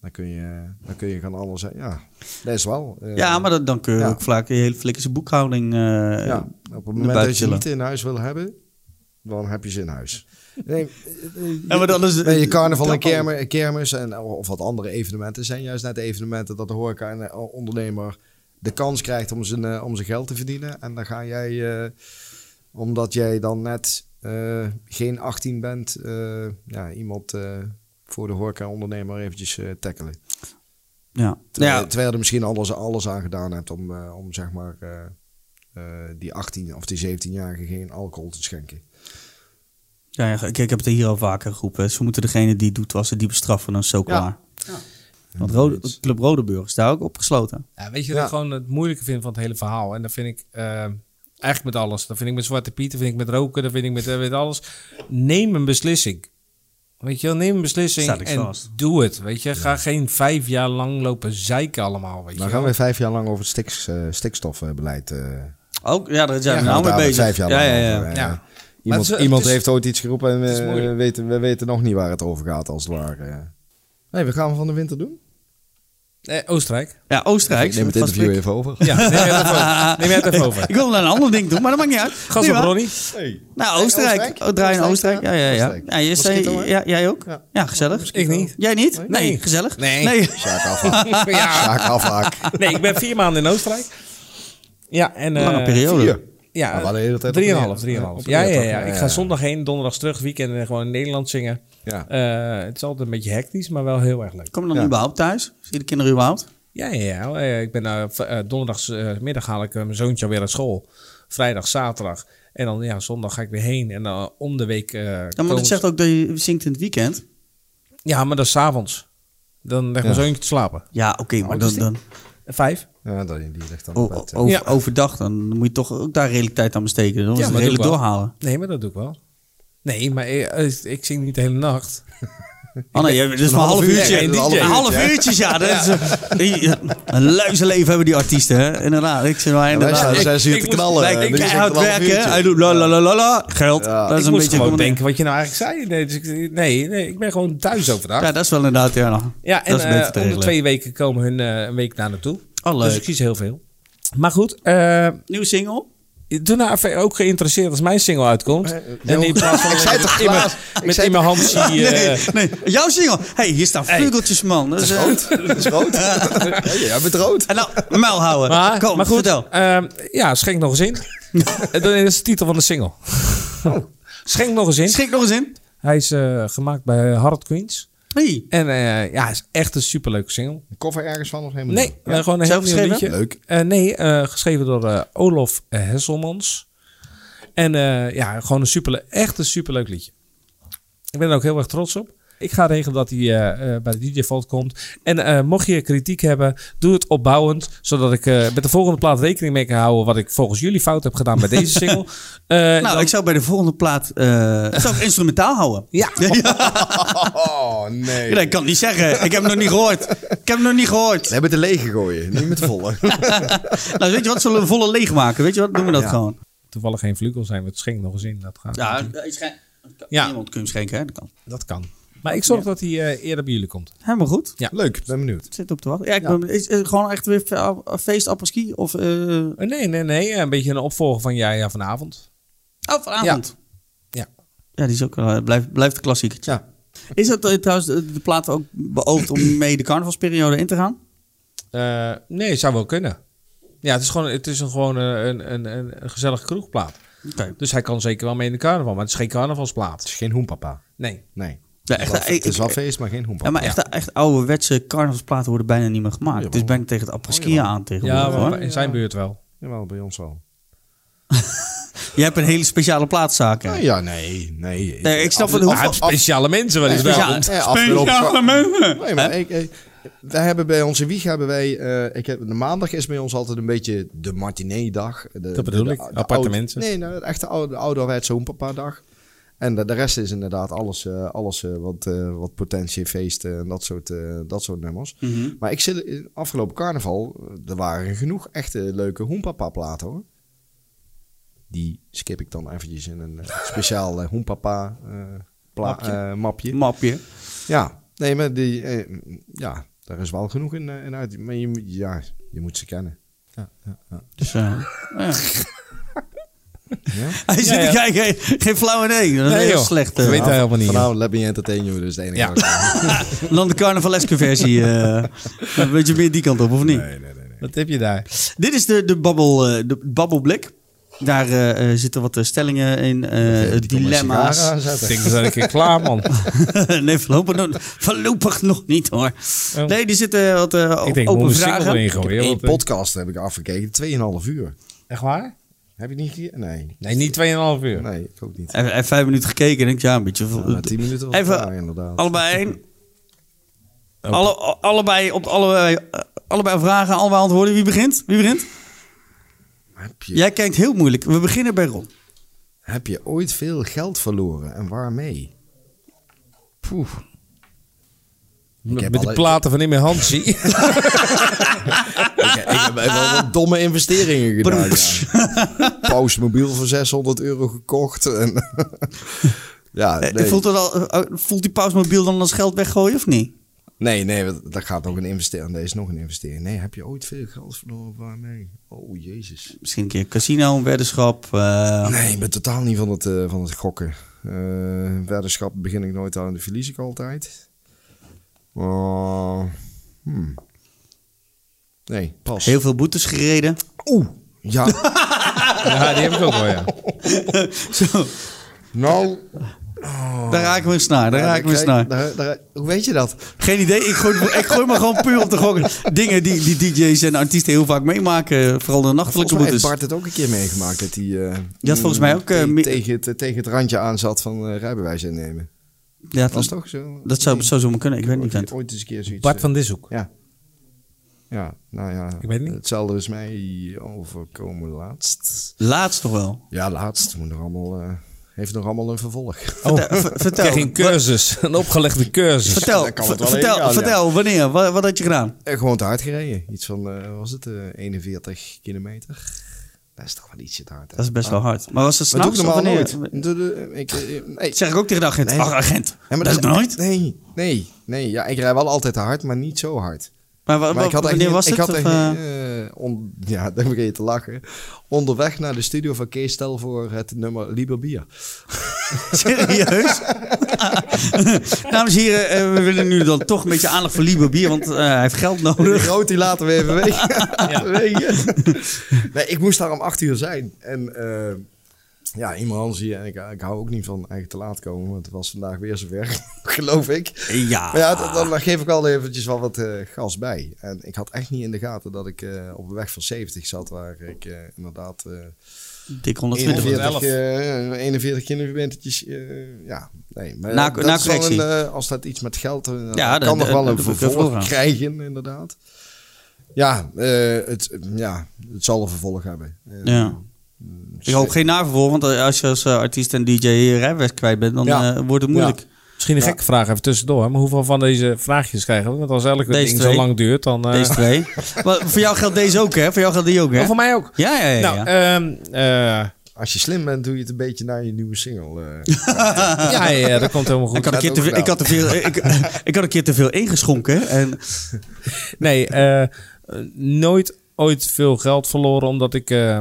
Speaker 2: Dan kun je, dan kun je gaan alles zeggen. Ja, dat is wel. eh,
Speaker 1: ja, maar dat- dan kun je
Speaker 2: ja.
Speaker 1: ook vaak de hele flikkerse boekhouding... eh,
Speaker 2: ja, op het moment
Speaker 1: buiten
Speaker 2: dat je
Speaker 1: chillen.
Speaker 2: niet in huis wil hebben, dan heb je ze in huis. Nee, eh, eh,
Speaker 1: Ja, maar dan is-
Speaker 2: Nee, je carnaval en
Speaker 1: dat-
Speaker 2: kermis, kermis en, eh, of wat andere evenementen zijn juist net de evenementen dat de horeca en de eh, ondernemer de kans krijgt om zijn, eh, om zijn geld te verdienen. En dan ga jij, eh, omdat jij dan net eh, geen 18 bent, eh, ja, iemand eh, voor de horeca ondernemer eventjes eh, tackelen.
Speaker 1: Ja.
Speaker 2: Terwijl,
Speaker 1: ja,
Speaker 2: terwijl je er misschien alles, alles aan gedaan hebt om, eh, om zeg maar eh, eh, die 18 of die 17-jarige geen alcohol te schenken.
Speaker 1: Ja, ja, ik, ik heb het hier al vaker geroepen. Ze moeten degene die het doet wassen, die bestraffen, dan is zo
Speaker 2: Ja.
Speaker 1: klaar. Want Rode, Club Rodeburg is daar ook opgesloten.
Speaker 3: Ja, weet je
Speaker 2: Ja.
Speaker 3: wat ik gewoon het moeilijke vind van het hele verhaal? En dat vind ik eh, eigenlijk met alles. Dat vind ik met Zwarte Piet, dat vind ik met roken, dat vind ik met, eh, met alles. Neem een beslissing. Weet je wel, neem een beslissing
Speaker 1: Staat niks
Speaker 3: en
Speaker 1: vast.
Speaker 3: doe het. Weet je, ga geen vijf jaar lang lopen zeiken allemaal. Weet je
Speaker 2: Dan
Speaker 3: wel.
Speaker 2: gaan we vijf jaar lang over het stiks, eh, stikstofbeleid. eh, gaan
Speaker 1: Ook, ja, daar zijn
Speaker 2: we
Speaker 1: we nou mee
Speaker 2: daar
Speaker 1: bezig.
Speaker 2: Vijf jaar
Speaker 1: ja, ja,
Speaker 2: lang
Speaker 1: ja.
Speaker 2: over, eh,
Speaker 3: Ja. Maar
Speaker 2: Iemand,
Speaker 3: het is-
Speaker 2: iemand
Speaker 3: het is-
Speaker 2: heeft ooit iets geroepen en
Speaker 3: het is
Speaker 2: eh,
Speaker 3: moeilijk.
Speaker 2: we, weten, we weten nog niet waar het over gaat, als het ware. eh. Nee, we gaan we van de winter doen.
Speaker 3: Eh, Oostenrijk.
Speaker 1: Ja, Oostenrijk.
Speaker 2: Ik neem het
Speaker 1: vast
Speaker 2: interview
Speaker 1: leuk.
Speaker 2: even over.
Speaker 3: Ja, neem jij het over. Neem jij het
Speaker 1: [laughs]
Speaker 3: even over.
Speaker 1: Ik wil naar een ander ding doen, maar dat maakt niet uit.
Speaker 3: Gas
Speaker 1: Nee,
Speaker 3: op,
Speaker 1: maar-
Speaker 3: Ronnie.
Speaker 2: Hey.
Speaker 1: Nou, Oostenrijk.
Speaker 2: Oostenrijk?
Speaker 1: Oh, draai in
Speaker 2: Oostenrijk,
Speaker 1: Oostenrijk. Ja, ja, ja.
Speaker 2: Oostenrijk.
Speaker 1: ja, je zei-
Speaker 2: Mosquito, hè?
Speaker 1: ja, jij ook? Ja,
Speaker 2: Ja.
Speaker 1: gezellig.
Speaker 3: Ik niet.
Speaker 1: Jij niet? Nee,
Speaker 3: Nee.
Speaker 1: gezellig.
Speaker 3: Nee.
Speaker 2: Sjaak afhaak.
Speaker 3: Ja.
Speaker 2: Sjaak afhaak.
Speaker 3: [laughs] Nee, ik ben vier maanden in Oostenrijk. Ja, en... eh,
Speaker 1: Lange periode.
Speaker 2: Vier.
Speaker 3: Ja,
Speaker 2: Maar we hadden de hele tijd op
Speaker 3: drieënhalf,
Speaker 2: neer.
Speaker 3: drieënhalf.
Speaker 2: Ja,
Speaker 3: Ja,
Speaker 2: op
Speaker 3: ja,
Speaker 2: neer,
Speaker 3: ja,
Speaker 2: toch?
Speaker 3: Ik
Speaker 2: Ja,
Speaker 3: ga
Speaker 2: ja.
Speaker 3: zondag heen, donderdag terug, weekend en gewoon in Nederland zingen.
Speaker 2: Ja.
Speaker 3: Eh, het is altijd een beetje hectisch, maar wel heel erg leuk.
Speaker 1: Kom je dan
Speaker 2: Ja.
Speaker 1: überhaupt thuis? Zie je de kinderen überhaupt?
Speaker 3: Ja, ja, ja. Eh, Ik ben eh, v- eh, donderdagsmiddag haal ik eh, mijn zoontje weer uit school. Vrijdag, zaterdag. En dan ja, zondag ga ik weer heen. En dan om de week. eh,
Speaker 1: Ja, maar
Speaker 3: komen
Speaker 1: dat
Speaker 3: ze-
Speaker 1: zegt ook dat je zingt in het weekend.
Speaker 3: Ja, maar dat is 's avonds. Dan leg mijn
Speaker 2: Ja.
Speaker 3: zoontje te slapen.
Speaker 1: Ja, oké, maar dan, dan
Speaker 3: Vijf.
Speaker 2: Ja, dat- die ligt dan op
Speaker 1: o- o-
Speaker 2: bed, eh.
Speaker 1: over,
Speaker 3: Ja.
Speaker 1: overdag dan moet je toch ook daar redelijk tijd aan besteden. Dan is
Speaker 3: maar
Speaker 1: het
Speaker 3: doe
Speaker 1: redelijk
Speaker 3: ik wel. [laughs]
Speaker 1: doorhalen.
Speaker 3: Nee, maar dat doe ik wel. Nee, maar ik, eh, ik zing niet de hele nacht.
Speaker 1: Oh nee, dat is maar een half
Speaker 2: half
Speaker 1: uurtje.
Speaker 2: uurtje,
Speaker 1: Een
Speaker 2: een
Speaker 1: half,
Speaker 2: DJ.
Speaker 1: uurtje, ja. Dat is, eh, een luizenleven hebben die artiesten, hè. Inderdaad, ik zeg maar
Speaker 2: Wij
Speaker 1: inderdaad.
Speaker 2: staan zes uur
Speaker 3: ik
Speaker 2: te
Speaker 3: moest-
Speaker 2: knallen.
Speaker 1: Wij-
Speaker 2: eh,
Speaker 1: ik
Speaker 2: nu is het
Speaker 1: hard
Speaker 2: een half
Speaker 1: werken,
Speaker 2: uurtje.
Speaker 1: hij doet la la la la la, geld.
Speaker 2: Ja.
Speaker 1: Dat is
Speaker 3: ik
Speaker 1: een
Speaker 3: moest
Speaker 1: beetje...
Speaker 3: gewoon
Speaker 1: common-
Speaker 3: denken wat je nou eigenlijk zei. Nee, dus ik, nee, nee, ik ben gewoon thuis overdag.
Speaker 1: Ja,
Speaker 3: Ja,
Speaker 1: dat is wel inderdaad, ja. nog.
Speaker 3: en
Speaker 1: dat is beter
Speaker 3: eh,
Speaker 1: te
Speaker 3: om de
Speaker 1: regelen.
Speaker 3: twee weken komen hun eh, een week naar naartoe.
Speaker 1: Oh,
Speaker 3: Dus
Speaker 1: leuk.
Speaker 3: ik kies heel veel. Maar goed, eh,
Speaker 1: Nieuwe single?
Speaker 3: Doe nou even ook geïnteresseerd als mijn single uitkomt. en die plaats van
Speaker 2: Eh, [laughs] Ik zei toch
Speaker 3: in mijn-
Speaker 2: Klaas? Ik
Speaker 3: met
Speaker 2: zei
Speaker 3: in mijn eh, handje.
Speaker 1: Nee, nee. Jouw single. hey, hier staan
Speaker 3: Hey.
Speaker 1: vleugeltjes, man. Dat is, eh,
Speaker 2: Dat is
Speaker 1: [laughs]
Speaker 2: rood. Ja, jij bent rood.
Speaker 1: en nou, muil houden.
Speaker 3: [laughs] maar,
Speaker 1: Kom,
Speaker 3: maar goed,
Speaker 1: vertel.
Speaker 3: ehm, ja, schenk nog eens
Speaker 2: [laughs]
Speaker 3: in. Eh, Dat is de titel van de single.
Speaker 2: Oh.
Speaker 3: Schenk nog eens in.
Speaker 1: Schrik nog eens in.
Speaker 3: Hij is eh, gemaakt bij Hard Queens.
Speaker 1: Hey.
Speaker 3: En eh, ja, is echt een superleuke single.
Speaker 2: Een koffer ergens van of helemaal
Speaker 3: Nee,
Speaker 2: niet?
Speaker 3: eh, gewoon een
Speaker 1: Zelf
Speaker 3: heel nieuw
Speaker 1: geschreven?
Speaker 3: liedje.
Speaker 2: Leuk.
Speaker 3: Eh, nee, eh, geschreven door eh, Olof eh, Hesselmans. En eh, ja, gewoon een super, echt een superleuk liedje. Ik ben er ook heel erg trots op. Ik ga regelen dat hij eh, eh, bij de DJ Vault komt. En eh, mocht je kritiek hebben, doe het opbouwend. Zodat ik eh, met de volgende plaat rekening mee kan houden. wat ik volgens jullie fout heb gedaan bij deze
Speaker 1: [laughs]
Speaker 3: single. Eh,
Speaker 1: Nou,
Speaker 3: dan-
Speaker 1: ik zou bij de volgende plaat... eh, zou ik instrumentaal [laughs] houden.
Speaker 3: Ja,
Speaker 2: Oh, nee.
Speaker 1: Ja, dat kan ik niet zeggen. Ik heb hem nog niet gehoord. Ik heb hem nog niet gehoord.
Speaker 2: We hebben het er leeg gegooid, niet met de volle.
Speaker 1: Nou, weet je wat? Zullen we een volle leeg maken? Weet je wat? Doen we dat
Speaker 2: Ja.
Speaker 1: gewoon.
Speaker 3: toevallig geen vlugel zijn, we het schenk nog eens in. Dat, gaat.
Speaker 1: Ja, eh, ik schenk-
Speaker 3: Ja.
Speaker 1: Iemand kun je hem schenken, hè? Dat kan.
Speaker 3: dat kan. Maar ik zorg dat hij eh, eerder bij jullie komt.
Speaker 1: Helemaal goed.
Speaker 2: [laughs] Leuk, ben benieuwd.
Speaker 1: Ik zit op te wachten. Ja, ik ben, is het gewoon echt weer fe- feest apres-ski of... eh oh,
Speaker 3: Eh, nee, nee, nee. Een beetje een opvolger van jij ja, vanavond.
Speaker 1: Oh, vanavond.
Speaker 3: Ja.
Speaker 1: Ja, die is ook, eh, blijft, blijft een klassiekertje.
Speaker 2: Ja.
Speaker 1: Is dat eh, trouwens de, de plaat ook beoogd om mee de carnavalsperiode in te gaan?
Speaker 3: Eh, nee, zou wel kunnen. Ja, het is gewoon, het is een, gewoon eh, een, een, een, een gezellige kroegplaat.
Speaker 1: Oké.
Speaker 3: Dus hij kan zeker wel mee in de carnaval, maar het is geen
Speaker 2: Het
Speaker 3: carnavalsplaat.
Speaker 2: is geen hoempapa.
Speaker 3: Nee.
Speaker 2: Nee.
Speaker 1: Ja,
Speaker 2: Het
Speaker 1: echt,
Speaker 2: is
Speaker 1: eh,
Speaker 2: wel-
Speaker 1: ik-
Speaker 2: het is wel
Speaker 1: ik-
Speaker 2: feest, maar geen hoempapa.
Speaker 1: Ja, maar
Speaker 3: Ja.
Speaker 1: echt, echt ouderwetse carnavalsplaten worden bijna niet meer gemaakt. Het is bijna tegen het apres-skiën aan tegenwoordig.
Speaker 3: Ja,
Speaker 1: hoor.
Speaker 3: maar in zijn buurt wel.
Speaker 2: Jawel, bij ons wel.
Speaker 1: Je hebt een hele speciale plaatzaak. hè?
Speaker 2: Oh, Ja, ja, nee, nee. Ik,
Speaker 1: Nee, ik snap het.
Speaker 2: af-
Speaker 1: Hoeveel...
Speaker 3: Hij heeft Ah, speciale mensen wel eens
Speaker 1: Ja,
Speaker 3: wel.
Speaker 2: eh, af-
Speaker 1: Speciale mensen.
Speaker 2: Nee, maar ik, ik- wij hebben bij onze wieg hebben wij. eh, ik heb, de maandag is bij ons altijd een beetje de matinee-dag. De-
Speaker 3: Dat bedoel
Speaker 2: de-
Speaker 3: ik,
Speaker 2: de- de
Speaker 3: aparte
Speaker 2: oude-
Speaker 3: mensen.
Speaker 2: Nee, nou, echt de oude, ouderwetse hoempapa-dag. En de, de rest is inderdaad alles, eh, alles eh, wat, eh, wat potentie, feesten en dat soort, eh, dat soort nummers. Maar ik zit in afgelopen carnaval, eh, er waren genoeg echte leuke hoempapa-platen hoor. Die skip ik dan eventjes in een eh, speciaal eh, hoempapa eh, pla-
Speaker 1: Mapje.
Speaker 2: eh, mapje.
Speaker 1: Mhm. Mapje.
Speaker 2: Ja, nee, maar die, eh, ja, daar is wel genoeg in, eh, in uit. Maar je, moet- ja, je moet ze kennen.
Speaker 1: Dus, eh, ja.
Speaker 2: Ja?
Speaker 1: Hij zit
Speaker 3: Ja,
Speaker 1: te
Speaker 3: ja.
Speaker 1: kijken. Geen flauw idee. Dat is
Speaker 3: Nee,
Speaker 1: heel
Speaker 3: joh.
Speaker 1: slecht.
Speaker 3: Dat weet
Speaker 1: eh
Speaker 3: hij helemaal niet.
Speaker 2: Vanavond let me entertain you, dus de enige.
Speaker 3: Ja.
Speaker 2: wat ik kan.
Speaker 1: dan de carnavaleske versie.
Speaker 3: [laughs]
Speaker 1: eh, een beetje meer die kant op, of niet?
Speaker 2: Nee, nee, nee. nee.
Speaker 3: Wat heb je daar?
Speaker 1: Dit is de, de, babbel, eh, de babbelblik. Daar eh, eh, zitten wat eh, stellingen in, eh
Speaker 2: Die kon mijn
Speaker 1: dilemma's.
Speaker 2: sigaren
Speaker 3: Ik
Speaker 2: aanzetten.
Speaker 3: denk, dat ben ik een keer klaar, man.
Speaker 1: [laughs] nee, voorlopig nog, voorlopig nog niet hoor. Nee, die zitten wat eh,
Speaker 3: Oh. Ik denk, ik moet
Speaker 1: open
Speaker 3: mijn single
Speaker 1: vragen.
Speaker 3: erin
Speaker 2: Ik heb
Speaker 3: gooien.
Speaker 2: één
Speaker 3: want, eh,
Speaker 2: podcast heb ik afgekeken, 2,5 uur.
Speaker 3: Echt waar?
Speaker 2: Heb je niet hier? Nee.
Speaker 3: Nee, niet 2,5 uur.
Speaker 2: Nee, ik ook niet.
Speaker 1: Even, even vijf minuten gekeken en denk ik, ja, een beetje...
Speaker 2: Ja, na tien minuten was het
Speaker 1: Even-
Speaker 2: klaar, inderdaad.
Speaker 1: Allebei één.
Speaker 3: Oh.
Speaker 1: Alle, allebei op allebei, eh, allebei vragen, allebei antwoorden. Wie begint? Wie begint?
Speaker 2: Heb je,
Speaker 1: Jij kijkt heel moeilijk. We beginnen bij Ron.
Speaker 2: heb je ooit veel geld verloren en waarmee? Poeh.
Speaker 3: Met
Speaker 2: heb
Speaker 3: die
Speaker 2: alle-
Speaker 3: platen van in mijn hand zie.
Speaker 2: Ik, ik heb even wel wat domme investeringen gedaan. [laughs] Ja. Pausmobiel voor 600 euro gekocht. En [laughs] ja, nee.
Speaker 1: Voelt, dat al, eh, voelt die pausmobiel dan als geld weggooien of niet?
Speaker 2: nee, nee, want dat gaat nog een investering. Nee, is nog een investering. Nee, heb je ooit veel geld verloren? Waarmee? Oh, jezus.
Speaker 1: Misschien een keer casino, een weddenschap. eh,
Speaker 2: Nee, ik ben totaal niet van het, eh, van het gokken. Eh weddenschap begin ik nooit aan, de verlies ik altijd. Eh, hmm. Nee, pas.
Speaker 1: heel veel boetes gereden. [laughs]
Speaker 2: Oeh, ja.
Speaker 3: ja, die heb ik ook wel, ja.
Speaker 1: Zo,
Speaker 2: nou,
Speaker 1: daar raken we eens naar. Daar
Speaker 2: Oh. Ja,
Speaker 1: raken we eens naar.
Speaker 2: kijk, daar- daar- hoe weet je dat?
Speaker 1: Geen idee. Ik gooi, ik gooi maar gewoon puur op de gokken. Dingen die, die DJ's en artiesten heel vaak meemaken. Vooral de
Speaker 2: Volgens
Speaker 1: nachtelijke
Speaker 2: mij heeft
Speaker 1: boetes.
Speaker 2: Bart het ook een keer meegemaakt. Dat hij eh,
Speaker 1: had volgens mij ook, eh,
Speaker 2: te-
Speaker 1: mi-
Speaker 2: tegen, het, tegen het randje aan zat van eh, rijbewijs innemen.
Speaker 1: Ja,
Speaker 2: Dat was
Speaker 1: dat,
Speaker 2: toch zo?
Speaker 1: dat zou, zou zomaar kunnen. Ik weet niet.
Speaker 2: ooit,
Speaker 1: vent.
Speaker 2: ooit eens een keer zoiets.
Speaker 3: Bart
Speaker 2: eh,
Speaker 3: van Dishoek.
Speaker 2: Ja. Ja, nou ja.
Speaker 3: Ik weet niet.
Speaker 2: Hetzelfde is mij overkomen laatst.
Speaker 1: Laatst toch wel.
Speaker 2: Ja, laatst. Moet nog allemaal, eh, heeft nog allemaal een vervolg. [laughs]
Speaker 3: Oh,
Speaker 1: Vertel- ver- vertel.
Speaker 3: kreeg je een cursus. Een opgelegde cursus.
Speaker 1: Vertel,
Speaker 2: Daar kan het wel
Speaker 1: vertel,
Speaker 2: heen gaan, ja.
Speaker 1: vertel wanneer? Wat, wat had je gedaan?
Speaker 2: En Eh, gewoon te hard gereden. Iets van, eh, wat was het, eh, 41 kilometer? Dat is toch wel ietsje te hard. hè?
Speaker 1: Dat is best wel hard. Maar was het
Speaker 2: Ah. Maar dat
Speaker 1: s'nachts
Speaker 2: doe
Speaker 1: of
Speaker 2: ik normaal
Speaker 1: wanneer?
Speaker 2: nooit. Doe- doe- ik, eh, nee,
Speaker 1: Dat zeg ik ook tegen de agent.
Speaker 2: Nee.
Speaker 1: Ach, agent.
Speaker 2: Ja, maar
Speaker 1: dat is
Speaker 2: dat-
Speaker 1: nooit.
Speaker 2: Nee, nee, nee. Ja, ik rij wel altijd te hard, maar niet zo hard.
Speaker 1: Maar, Eh, wa-
Speaker 2: Maar ik had echt
Speaker 1: wanneer
Speaker 2: niet-
Speaker 1: was
Speaker 2: ik
Speaker 1: het?
Speaker 2: had
Speaker 1: Of,
Speaker 2: echt
Speaker 1: eh,
Speaker 2: niet, eh, on- ja, [laughs] dan begin je te lachen. Onderweg naar de studio van Kees Stel voor het nummer Lieber Bier.
Speaker 1: [laughs] Serieus? Dames en heren, eh, we willen nu dan toch een beetje aandacht voor Lieber Bier, want eh, hij heeft geld
Speaker 2: Die
Speaker 1: nodig.
Speaker 2: groot, die laten we even weg. [laughs] nee, ik moest daar om acht uur zijn. En eh ja, iemand anders hier. En ik, ik hou ook niet van eigenlijk te laat komen, want het was vandaag weer zover, [laughs] geloof ik.
Speaker 1: Ja.
Speaker 2: Maar ja, d- dan, dan geef ik al eventjes wel wat eh, gas bij. En ik had echt niet in de gaten dat ik eh, op een weg van 70 zat, waar ik eh, inderdaad eh,
Speaker 1: Dik 120.
Speaker 2: 41, eh 41 kinderwintertjes. eh ja, nee. Maar
Speaker 1: Na-
Speaker 2: dat
Speaker 1: na
Speaker 2: is wel
Speaker 1: correctie.
Speaker 2: een, eh, als dat iets met geld... eh,
Speaker 1: Ja,
Speaker 2: dan kan
Speaker 1: dat-
Speaker 2: nog wel
Speaker 1: dat- dat-
Speaker 2: een
Speaker 1: dat- dat- dat-
Speaker 2: vervolg krijgen, inderdaad. Ja, eh, het, ja, het zal een vervolg hebben. Eh, dus,
Speaker 1: Ja. Ik hoop geen navervolg, want eh, als je als eh, artiest en DJ je rijbewijs kwijt bent, dan
Speaker 2: Ja.
Speaker 1: eh, wordt het moeilijk.
Speaker 3: Misschien een gekke vraag even tussendoor. hè, Maar hoeveel van deze vraagjes krijgen we? Want als elke
Speaker 1: Deze
Speaker 3: ding
Speaker 1: twee.
Speaker 3: zo lang duurt, dan... eh,
Speaker 1: Deze
Speaker 3: [laughs]
Speaker 1: twee. maar voor jou geldt deze ook, hè? Voor jou geldt die ook, hè?
Speaker 3: Oh, voor mij ook.
Speaker 1: Ja, ja, ja.
Speaker 3: Nou,
Speaker 1: ja.
Speaker 3: ehm, eh,
Speaker 2: Als je slim bent, doe je het een beetje naar je nieuwe single.
Speaker 1: [laughs]
Speaker 2: eh.
Speaker 3: ja, ja, dat komt helemaal
Speaker 1: ik,
Speaker 3: goed.
Speaker 1: had een keer te
Speaker 2: ook
Speaker 1: veel, ik, had te veel, ik, ik [laughs] had een keer te veel ingeschonken. En
Speaker 3: Nee, eh, eh, nooit ooit veel geld verloren omdat ik eh,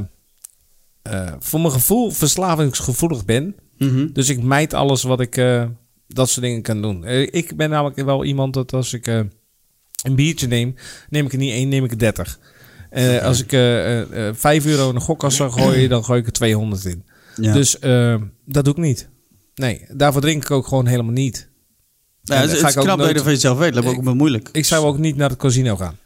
Speaker 3: eh, voor mijn gevoel verslavingsgevoelig ben.
Speaker 1: Mhm.
Speaker 3: Dus ik mijd alles wat ik eh, dat soort dingen kan doen. Eh, ik ben namelijk wel iemand dat als ik eh, een biertje neem, neem ik er niet één, neem ik er dertig. als ik eh, eh, eh, vijf euro in de gokkas zou gooien, dan gooi ik er 200 in.
Speaker 1: Ja.
Speaker 3: Dus eh, dat doe ik niet. Nee, daarvoor drink ik ook gewoon helemaal niet.
Speaker 1: Ja,
Speaker 3: En
Speaker 1: het is het
Speaker 3: dan ga ik ook
Speaker 1: is knap dat je
Speaker 3: nooit-
Speaker 1: dat van jezelf weet. Dat is ook wel moeilijk.
Speaker 3: Ik zou ook niet naar het casino gaan.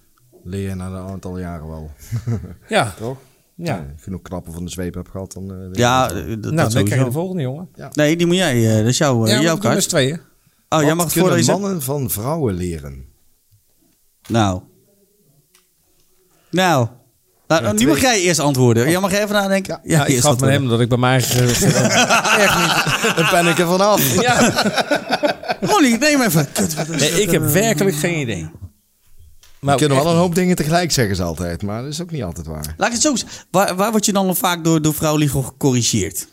Speaker 2: Leer je na een aantal jaren wel. [laughs]
Speaker 3: Ja.
Speaker 2: Toch?
Speaker 3: Ja.
Speaker 2: Eh, genoeg knappen van de zweep heb gehad. Dan, eh,
Speaker 1: Ja, eh, dat, dat
Speaker 3: nou, dan krijg je de
Speaker 1: sowieso.
Speaker 3: volgende, jongen.
Speaker 1: Nee, die moet jij. eh, dat is jouw, eh,
Speaker 3: ja,
Speaker 1: jouw
Speaker 3: jouw
Speaker 1: kaart.
Speaker 3: Met z'n tweeën.
Speaker 1: Oh, jij
Speaker 2: Wat
Speaker 1: mag het
Speaker 2: kunnen
Speaker 1: voorlezen?
Speaker 2: mannen van vrouwen leren? [laughs]
Speaker 1: Nou. Nou. Nou, nu mag jij eerst antwoorden. Jij mag even nadenken.
Speaker 3: Ja,
Speaker 1: eerst
Speaker 3: ik gaf met
Speaker 1: antwoorden.
Speaker 3: hem dat ik bij mij...
Speaker 1: [laughs]
Speaker 2: Dan ben ik er vanaf.
Speaker 3: ja.
Speaker 1: Molly, neem even. Kut, wat is
Speaker 3: nee,
Speaker 1: dat,
Speaker 3: ik heb
Speaker 1: eh?
Speaker 3: werkelijk geen idee. Maar
Speaker 2: We kunnen
Speaker 3: echt-
Speaker 2: wel een hoop dingen tegelijk zeggen ze altijd, maar dat is ook niet altijd waar.
Speaker 1: Laat ik het zo zeggen. Waar, waar word je dan vaak door, door vrouw Ligo gecorrigeerd?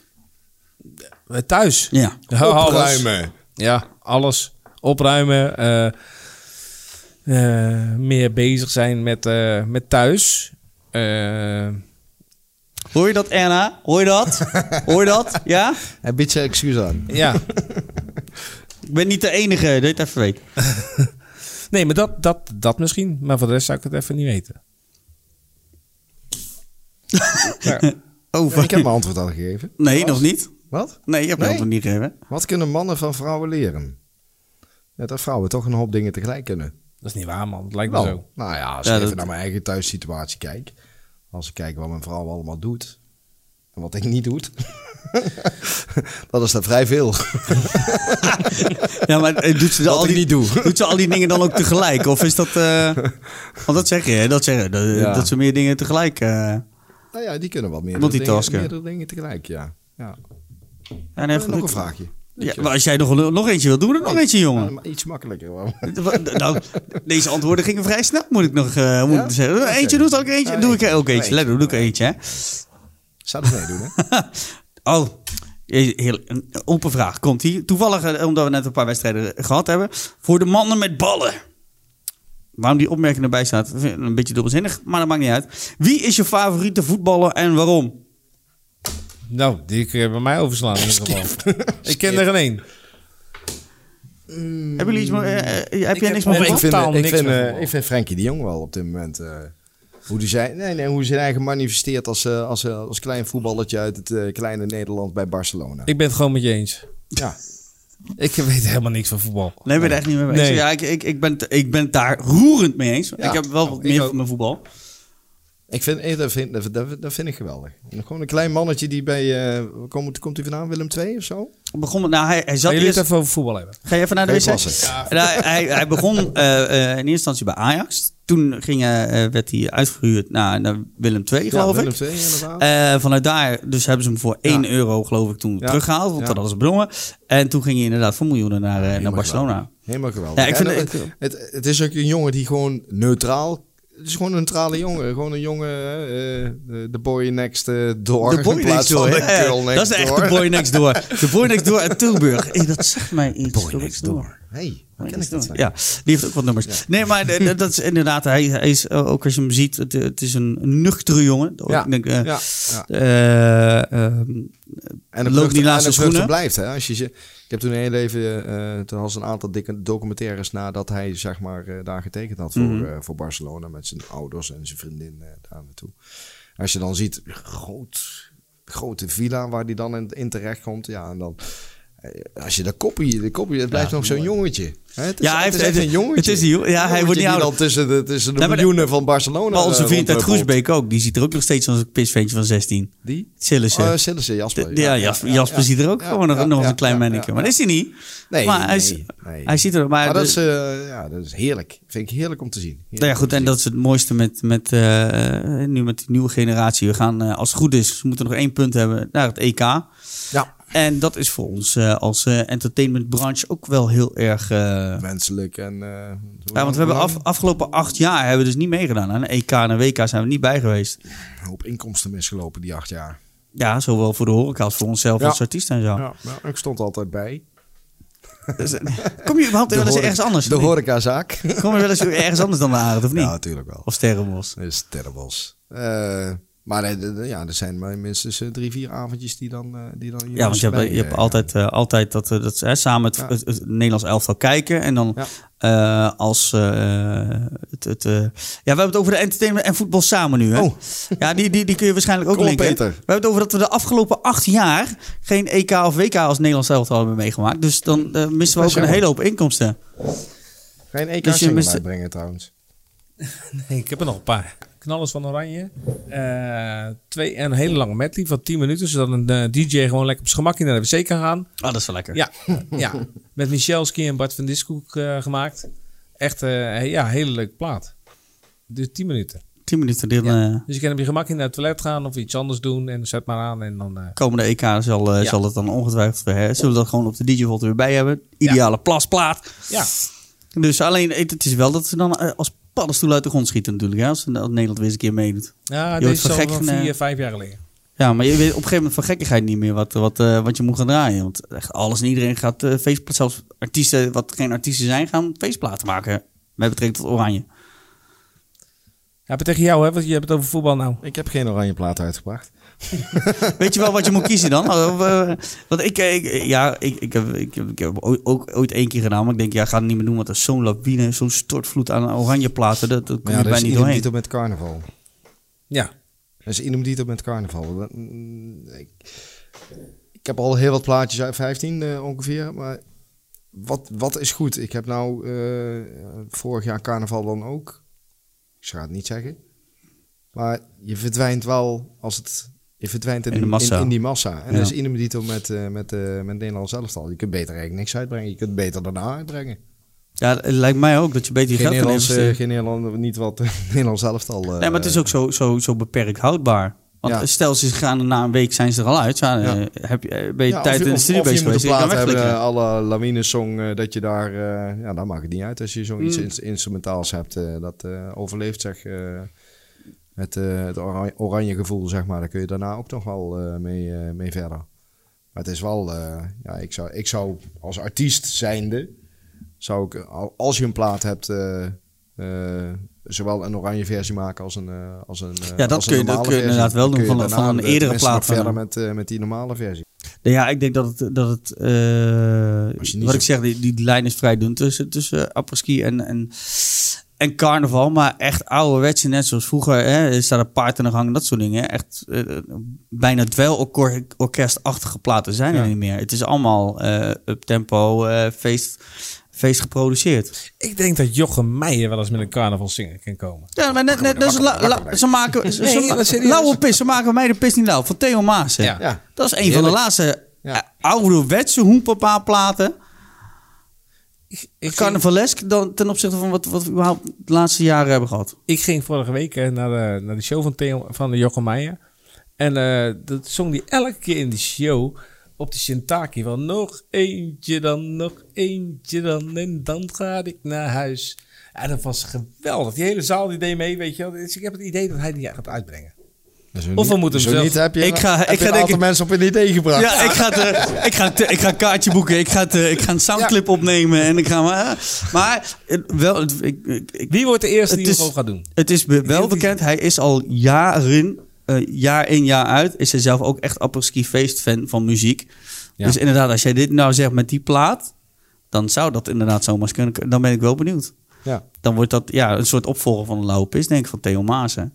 Speaker 3: Eh, Thuis.
Speaker 1: Ja.
Speaker 3: Ho- alles. Ja, alles. Opruimen. eh, eh, meer bezig zijn met, eh, met thuis. Eh,
Speaker 1: Hoor je dat, Erna? Hoor je [laughs] dat? Hoor je dat? Ja?
Speaker 2: En bied je excuus aan.
Speaker 3: ja.
Speaker 1: [laughs] Ik ben niet de enige, dat je het even weet.
Speaker 3: Nee, maar dat, dat, dat misschien. Maar voor de rest zou ik het even niet
Speaker 1: [laughs]
Speaker 3: weten.
Speaker 1: Oh,
Speaker 2: Ik heb mijn antwoord al gegeven.
Speaker 1: Nee, nog niet.
Speaker 2: Wat?
Speaker 1: Nee, je hebt mijn
Speaker 2: Nee.
Speaker 1: antwoord niet gegeven.
Speaker 2: Wat kunnen mannen van vrouwen leren? Ja, dat vrouwen toch een hoop dingen tegelijk kunnen.
Speaker 3: Dat is niet waar, man. Het lijkt me
Speaker 2: Nou,
Speaker 3: zo.
Speaker 2: nou ja, als
Speaker 1: Ja,
Speaker 2: ik even
Speaker 1: dat-
Speaker 2: naar mijn eigen thuissituatie kijk. Als ik kijk wat mijn vrouw allemaal doet. En wat ik niet doe, [laughs] dat is er vrij veel.
Speaker 1: [laughs] Ja, maar eh, doet ze, al
Speaker 2: ik
Speaker 1: die,
Speaker 2: niet
Speaker 1: [laughs]
Speaker 2: doe.
Speaker 1: doet ze al die dingen dan ook tegelijk? Of is dat... [laughs] eh, want dat zeg je, hè? Dat, zeg je, dat,
Speaker 2: Ja.
Speaker 1: dat ze meer dingen tegelijk... eh,
Speaker 2: Nou ja, die kunnen wat meer.
Speaker 1: Multitasken.
Speaker 2: Dingen, meerdere dingen tegelijk, ja. ja.
Speaker 1: ja, nee,
Speaker 2: nog
Speaker 1: goed.
Speaker 2: een vraagje.
Speaker 1: Ja, maar als jij nog, nog eentje wil doen, dan nog eentje, jongen.
Speaker 2: Maar iets makkelijker. hoor. [laughs]
Speaker 1: Nou, deze antwoorden gingen vrij snel, moet ik nog eh, moet
Speaker 2: Ja?
Speaker 1: ik zeggen.
Speaker 2: Oké.
Speaker 1: Eentje doet ook eentje.
Speaker 2: Ah,
Speaker 1: Doe ik
Speaker 2: eentje.
Speaker 1: ook eentje.
Speaker 2: Eentje.
Speaker 1: Let op, doe ik eentje, hè.
Speaker 2: Zou dat meedoen, hè?
Speaker 1: [laughs] Oh, jezus, heel, een open vraag. Komt hier. Toevallig, eh, omdat we net een paar wedstrijden eh, gehad hebben. Voor de mannen met ballen. Waarom die opmerking erbij staat, vind ik een beetje dubbelzinnig, maar dat maakt niet uit. Wie is je favoriete voetballer en waarom?
Speaker 3: Nou, die kun je bij mij overslaan in
Speaker 1: [laughs]
Speaker 3: ieder geval. ik ken er geen één.
Speaker 1: [laughs] Hebben jullie iets, meer- eh, eh, heb jij
Speaker 3: heb
Speaker 1: niks
Speaker 3: nog
Speaker 1: meer?
Speaker 2: Nee,
Speaker 1: voetbal?
Speaker 2: ik, vind,
Speaker 3: totaal
Speaker 2: ik,
Speaker 3: niks
Speaker 2: vind,
Speaker 3: met
Speaker 2: eh,
Speaker 3: voetbal.
Speaker 2: ik vind Frenkie de Jong wel op dit moment. eh, hoe hij zijn, nee, nee, hoe zijn eigen manifesteert als, eh, als, eh, als klein voetballertje uit het eh, kleine Nederland bij Barcelona.
Speaker 3: Ik ben het gewoon met je eens.
Speaker 2: Ja.
Speaker 3: Ik weet helemaal niks van voetbal.
Speaker 1: Nee, ik ben het echt niet meer mee eens.
Speaker 3: Nee.
Speaker 1: Ja, ik, ik, ik, ben het, ik ben het daar roerend mee eens.
Speaker 2: Ja.
Speaker 1: Ik heb wel wat
Speaker 2: Nou, ik
Speaker 1: meer
Speaker 2: ook.
Speaker 1: van mijn voetbal.
Speaker 2: Ik vind, eh, dat, vind, dat, dat- dat vind ik geweldig. En gewoon een klein mannetje die bij. eh komt, komt hij vandaan? Willem II of zo?
Speaker 1: Begon, met- nou, hij, hij zat
Speaker 3: Gaan jullie het
Speaker 1: eerst...
Speaker 3: even over voetbal hebben?
Speaker 1: Ga je even naar de
Speaker 2: Geen
Speaker 1: wc?
Speaker 2: klasse.
Speaker 1: Nou, hij, hij begon eh, eh, in eerste instantie bij Ajax. Toen ging, eh, eh, werd hij uitgehuurd naar, naar Willem II, geloof
Speaker 2: Willem
Speaker 1: ik.
Speaker 2: II inderdaad.
Speaker 1: Eh, vanuit daar dus hebben ze hem voor 1 euro, geloof ik, toen teruggehaald. Want
Speaker 2: Ja.
Speaker 1: dat hadden ze bedongen. En toen ging hij inderdaad voor miljoenen naar, eh, naar
Speaker 2: nou,
Speaker 1: Barcelona.
Speaker 2: Helemaal geweldig.
Speaker 1: Ja, ik vind
Speaker 2: En,
Speaker 1: het-
Speaker 2: eh, het, het, is ook een jongen die gewoon neutraal. Het is gewoon een neutrale jongen. Gewoon een jongen. eh, eh, De boy next eh, door.
Speaker 1: De boy
Speaker 2: in
Speaker 1: next
Speaker 2: plaats
Speaker 1: door.
Speaker 2: van
Speaker 1: hè?
Speaker 2: de girl
Speaker 1: Ja,
Speaker 2: next
Speaker 1: dat is echt
Speaker 2: door.
Speaker 1: de boy next door. De boy next door uit
Speaker 2: [laughs]
Speaker 1: Tilburg. Hey, dat zegt mij iets. Boy next door.
Speaker 2: Hey, waar
Speaker 1: Ja,
Speaker 2: ken ik dat van?
Speaker 1: Ja, die heeft ook wat nummers. Nee, maar de- de- dat is inderdaad, hij, hij is eh, ook als je hem ziet, het, het is een nuchtere jongen.
Speaker 2: Ja,
Speaker 1: Ik denk, eh,
Speaker 2: ja, ja.
Speaker 1: eh, ehm,
Speaker 2: En
Speaker 1: Loopt
Speaker 2: vlucht-
Speaker 1: die laatste
Speaker 2: en de vlucht
Speaker 1: schoenen?
Speaker 2: blijft. Hè? Als je, ze- ik heb toen heel even, eh, toen was een aantal dikke documentaires nadat hij zeg maar eh, daar getekend had voor,
Speaker 1: Mhm.
Speaker 2: eh, voor Barcelona met zijn ouders en zijn vriendin eh, daar naartoe. Als je dan ziet, groot, grote villa waar die dan in, in terecht komt, ja en dan. eh, Als je de kopie, de kopie, het blijft nog zo'n jongetje. Hè, het is,
Speaker 1: Ja, hij
Speaker 2: het is
Speaker 1: heeft-
Speaker 2: echt een jongetje.
Speaker 1: het is die- ja, hij
Speaker 2: Jongetje
Speaker 1: wordt niet
Speaker 2: die
Speaker 1: ouder.
Speaker 2: dan tussen de, tussen de
Speaker 1: Nee, maar de-
Speaker 2: miljoenen van Barcelona.
Speaker 1: maar onze
Speaker 2: eh,
Speaker 1: vriend uit
Speaker 2: rondhuppelt.
Speaker 1: Groesbeek ook, die ziet er ook nog steeds als een pisveentje van 16.
Speaker 2: Die?
Speaker 1: Sillissen.
Speaker 2: Oh, Sillissen, Jasper.
Speaker 1: Dus, eh, ja, Jasper, Jasper ziet er ook
Speaker 2: ja,
Speaker 1: gewoon nog,
Speaker 2: ja,
Speaker 1: nog als
Speaker 2: ja,
Speaker 1: een klein
Speaker 2: ja,
Speaker 1: manneke.
Speaker 2: ja,
Speaker 1: maar dat is hij niet.
Speaker 2: Nee,
Speaker 1: maar hij,
Speaker 2: nee,
Speaker 1: is-
Speaker 2: nee.
Speaker 1: hij ziet er... Maar,
Speaker 2: Maar
Speaker 1: de-
Speaker 2: dat is, eh, ja, dat is heerlijk. Vind ik heerlijk om te zien. Heerlijk
Speaker 1: nou ja, goed,
Speaker 2: om
Speaker 1: en
Speaker 2: te
Speaker 1: dat is het mooiste met, met, eh, eh, nu met die nieuwe generatie. We gaan, eh, als het goed is, we moeten nog één punt hebben naar het EK.
Speaker 2: zien. Ja.
Speaker 1: En dat is voor ons eh, als eh, entertainmentbranche ook wel heel erg. eh,
Speaker 2: Menselijk en... eh,
Speaker 1: ja, want we hebben af, afgelopen acht jaar hebben we dus niet meegedaan. Aan een EK en een WK zijn we niet bij geweest.
Speaker 2: Een hoop inkomsten misgelopen die acht jaar.
Speaker 1: Ja, zowel voor de horeca als voor onszelf
Speaker 2: Ja.
Speaker 1: als artiesten en zo.
Speaker 2: Ja, nou, ik stond altijd bij.
Speaker 1: Dus, eh, kom je überhaupt wel eens
Speaker 2: horeca-
Speaker 1: ergens anders?
Speaker 2: De horecazaak.
Speaker 1: Kom je wel eens ergens anders dan de Arend, of niet?
Speaker 2: Ja, natuurlijk wel.
Speaker 1: Of Sterrenbos.
Speaker 2: Dat is terribles. Eh, maar eh, de- de- ja, er zijn maar minstens eh, drie, vier avondjes die dan... eh, die dan
Speaker 1: Ja, want je hebt, je hebt altijd, eh, altijd dat, eh, dat ze, hè, samen het,
Speaker 2: Ja.
Speaker 1: het, het Nederlands elftal kijken. En dan eh, als eh, het. het eh, ja, we hebben het over de entertainment en voetbal samen nu. Hè?
Speaker 2: Oh.
Speaker 1: Ja, die, die, die kun je waarschijnlijk ook
Speaker 2: Kom op,
Speaker 1: linken.
Speaker 2: Peter.
Speaker 1: We hebben het over dat we de afgelopen acht jaar geen EK of WK als Nederlands elftal hebben meegemaakt. Dus dan eh, missen we
Speaker 2: is
Speaker 1: ook een
Speaker 2: jammer.
Speaker 1: hele hoop inkomsten.
Speaker 2: Geen ek
Speaker 1: Dus je
Speaker 2: dus
Speaker 1: mist-
Speaker 2: brengen trouwens.
Speaker 3: Nee, ik heb er nog een paar. Knallers van Oranje. Eh, twee en een hele lange medley van 10 minuten. Zodat een eh, DJ gewoon lekker op zijn gemakje naar de wc kan gaan.
Speaker 1: Ah, dat is wel lekker.
Speaker 3: Ja, ja. met Michelski en Bart van Discoek eh, gemaakt. Echt eh ja, hele leuke plaat. Dus 10 minuten.
Speaker 1: Tien minuten. Dan eh,
Speaker 3: Dus je kan op je gemakje naar het toilet gaan of iets anders doen. En zet maar aan en dan... eh,
Speaker 1: komende EK zal, eh,
Speaker 3: Ja.
Speaker 1: zal het dan ongetwijfeld weer. Hè, zullen we dat gewoon op de DJ-volt weer bij hebben? Ideale plasplaat.
Speaker 3: ja,
Speaker 1: Dus alleen, het het is wel dat ze dan eh, als paddenstoel uit de grond schieten natuurlijk. Hè? Als als Nederland weer eens een keer meedoet.
Speaker 3: ja
Speaker 1: wordt
Speaker 3: deze is al
Speaker 1: gek van,
Speaker 3: van
Speaker 1: eh,
Speaker 3: vier, vijf jaar geleden.
Speaker 1: Ja, maar je weet op een gegeven moment van gekkigheid niet meer wat, wat, eh, wat je moet gaan draaien. Want echt alles en iedereen gaat eh feestplaten. Zelfs artiesten, wat geen artiesten zijn, gaan feestplaten maken. Met betrekking tot Oranje. [laughs]
Speaker 3: Ja, maar tegen jou, hè, want je hebt het over voetbal nou.
Speaker 2: Ik heb geen oranje plaat uitgebracht.
Speaker 1: Weet je wel wat je moet kiezen dan? Of, eh, Want ik, eh, ik- ja, ik, ik, heb, ik, heb, ik heb ooit- ook ooit één keer gedaan. Maar ik denk, ja, ga het niet meer doen. Want dat is zo'n lawine, zo'n stortvloed aan oranje platen. Dat, dat kom
Speaker 2: Maar ja,
Speaker 1: je
Speaker 2: dat
Speaker 1: bijna
Speaker 2: is
Speaker 1: niet
Speaker 2: idem
Speaker 1: doorheen.
Speaker 2: dito met carnaval.
Speaker 3: Ja,
Speaker 2: Dat is idem dito met carnaval. Dat- mm, Ik, ik heb al heel wat plaatjes uit 15 eh, ongeveer, maar wat, wat is goed? Ik heb nou eh, vorig jaar carnaval dan ook. Ik ga het niet zeggen. Maar je verdwijnt wel als het Je verdwijnt in,
Speaker 1: In de massa.
Speaker 2: In, in die massa. En
Speaker 1: Ja.
Speaker 2: dat is ieder dito met, eh, met, eh met Nederland zelf al. Je kunt beter eigenlijk niks uitbrengen. Je kunt beter daarna uitbrengen.
Speaker 1: Ja, het lijkt mij ook dat je beter je
Speaker 2: Geen
Speaker 1: geld kan
Speaker 2: Nederlands, eh,
Speaker 1: investeren.
Speaker 2: geen Nederland, niet wat [laughs] Nederlands eh, zelf al.
Speaker 1: nee, maar het is ook zo, zo, zo beperkt houdbaar. Want
Speaker 2: Ja.
Speaker 1: stel, ze gaan er na een week zijn ze er al uit. Ja, eh, heb je, eh, ben je tijd in de studio bezig geweest?
Speaker 2: geweest.
Speaker 1: Je
Speaker 2: Je
Speaker 1: kan
Speaker 2: moet een plaat hebben,
Speaker 1: wegklikken.
Speaker 2: alle lawine-song, eh, dat je daar... eh, ja, dan mag het niet uit als je zoiets
Speaker 1: Hmm.
Speaker 2: ins- instrumentaals hebt. eh, dat eh, overleeft, zeg... eh, het, eh, het oranje, oranje gevoel, zeg maar. Daar kun je daarna ook nog wel eh, mee, eh, mee verder. Maar het is wel... eh, ja, ik zou, ik zou als artiest zijnde... Zou ik, al- als je een plaat hebt... eh, eh, zowel een oranje versie maken als een eh, als een eh,
Speaker 1: Ja, dat
Speaker 2: als een
Speaker 1: kun je- dat
Speaker 2: normale
Speaker 1: kun je
Speaker 2: versie.
Speaker 1: inderdaad wel
Speaker 2: Dan
Speaker 1: doen
Speaker 2: kun je
Speaker 1: van een-
Speaker 2: daarna
Speaker 1: van een
Speaker 2: de- tenminste
Speaker 1: eerdere plaat
Speaker 2: nog verder
Speaker 1: dan-
Speaker 2: met, eh, met die normale versie.
Speaker 1: Nee, Ja, ik denk dat het, dat het eh,
Speaker 2: Als je
Speaker 1: wat
Speaker 2: niet
Speaker 1: ik
Speaker 2: zo-
Speaker 1: zeg, die, die lijn is vrij dun tussen, tussen apres-ski en, en, en carnaval. Maar echt ouderwetse, net zoals vroeger, hè, staat een paard in de gang en dat soort dingen. Echt eh, bijna dweilorkestachtige platen zijn er
Speaker 2: Ja.
Speaker 1: niet meer. Het is allemaal eh up-tempo, eh, feest, feest geproduceerd.
Speaker 3: Ik denk dat Jochem Meijer wel eens met een carnavalszinger kan komen.
Speaker 1: Ja, maar net, net, net zo la- la- ze maken ze-
Speaker 3: Nee,
Speaker 1: ze-
Speaker 3: maar serieus.
Speaker 1: lauwe pis, ze maken mij de pis niet lauw. Van Theo Maas. hè.
Speaker 3: Ja.
Speaker 2: Ja.
Speaker 1: Dat is een van de
Speaker 2: Heerlijk.
Speaker 1: laatste
Speaker 2: Ja.
Speaker 1: ja. ouderwetse hoenpapa-platen.
Speaker 3: Ik, ik, ging,
Speaker 1: Carnavalesk dan ten opzichte van wat, wat we überhaupt de laatste jaren hebben gehad.
Speaker 3: ik ging vorige week eh, naar de, naar de show van, Theo, van de Jochem Meijer. En eh, dat zong die elke keer in die show op de Shintaki. Van nog eentje dan, nog eentje dan en dan ga ik naar huis. En dat was geweldig. Die hele zaal die deed mee, weet je wel. Dus ik heb het idee dat hij die gaat uitbrengen. Of we moeten hem
Speaker 2: zo
Speaker 3: zelf-
Speaker 2: niet heb je,
Speaker 1: Ik ga-
Speaker 2: heb
Speaker 1: ik
Speaker 2: je
Speaker 1: ga
Speaker 2: een
Speaker 1: denk
Speaker 2: aantal
Speaker 1: ik-
Speaker 2: mensen op een idee gebracht.
Speaker 1: Ja, ik ga, het, eh, ik, ga het, eh, ik ga een kaartje boeken, ik ga, het, eh, ik ga een soundclip opnemen en ik ga maar. Maar eh, wel, het- ik, ik, ik-
Speaker 3: Wie wordt de eerste die
Speaker 1: Het
Speaker 3: het
Speaker 1: is-
Speaker 3: gewoon gaat doen?
Speaker 1: het is be- wel bekend, hij is al jaren, eh, jaar in jaar uit, is hij zelf ook echt apres-ski feest fan van muziek.
Speaker 3: Ja.
Speaker 1: Dus inderdaad, als jij dit nou zegt met die plaat, dan zou dat inderdaad zomaar eens kunnen. Dan ben ik wel benieuwd.
Speaker 2: Ja.
Speaker 1: Dan wordt dat ja, een soort opvolger van de lauwe pis, denk ik, van Theo Maassen.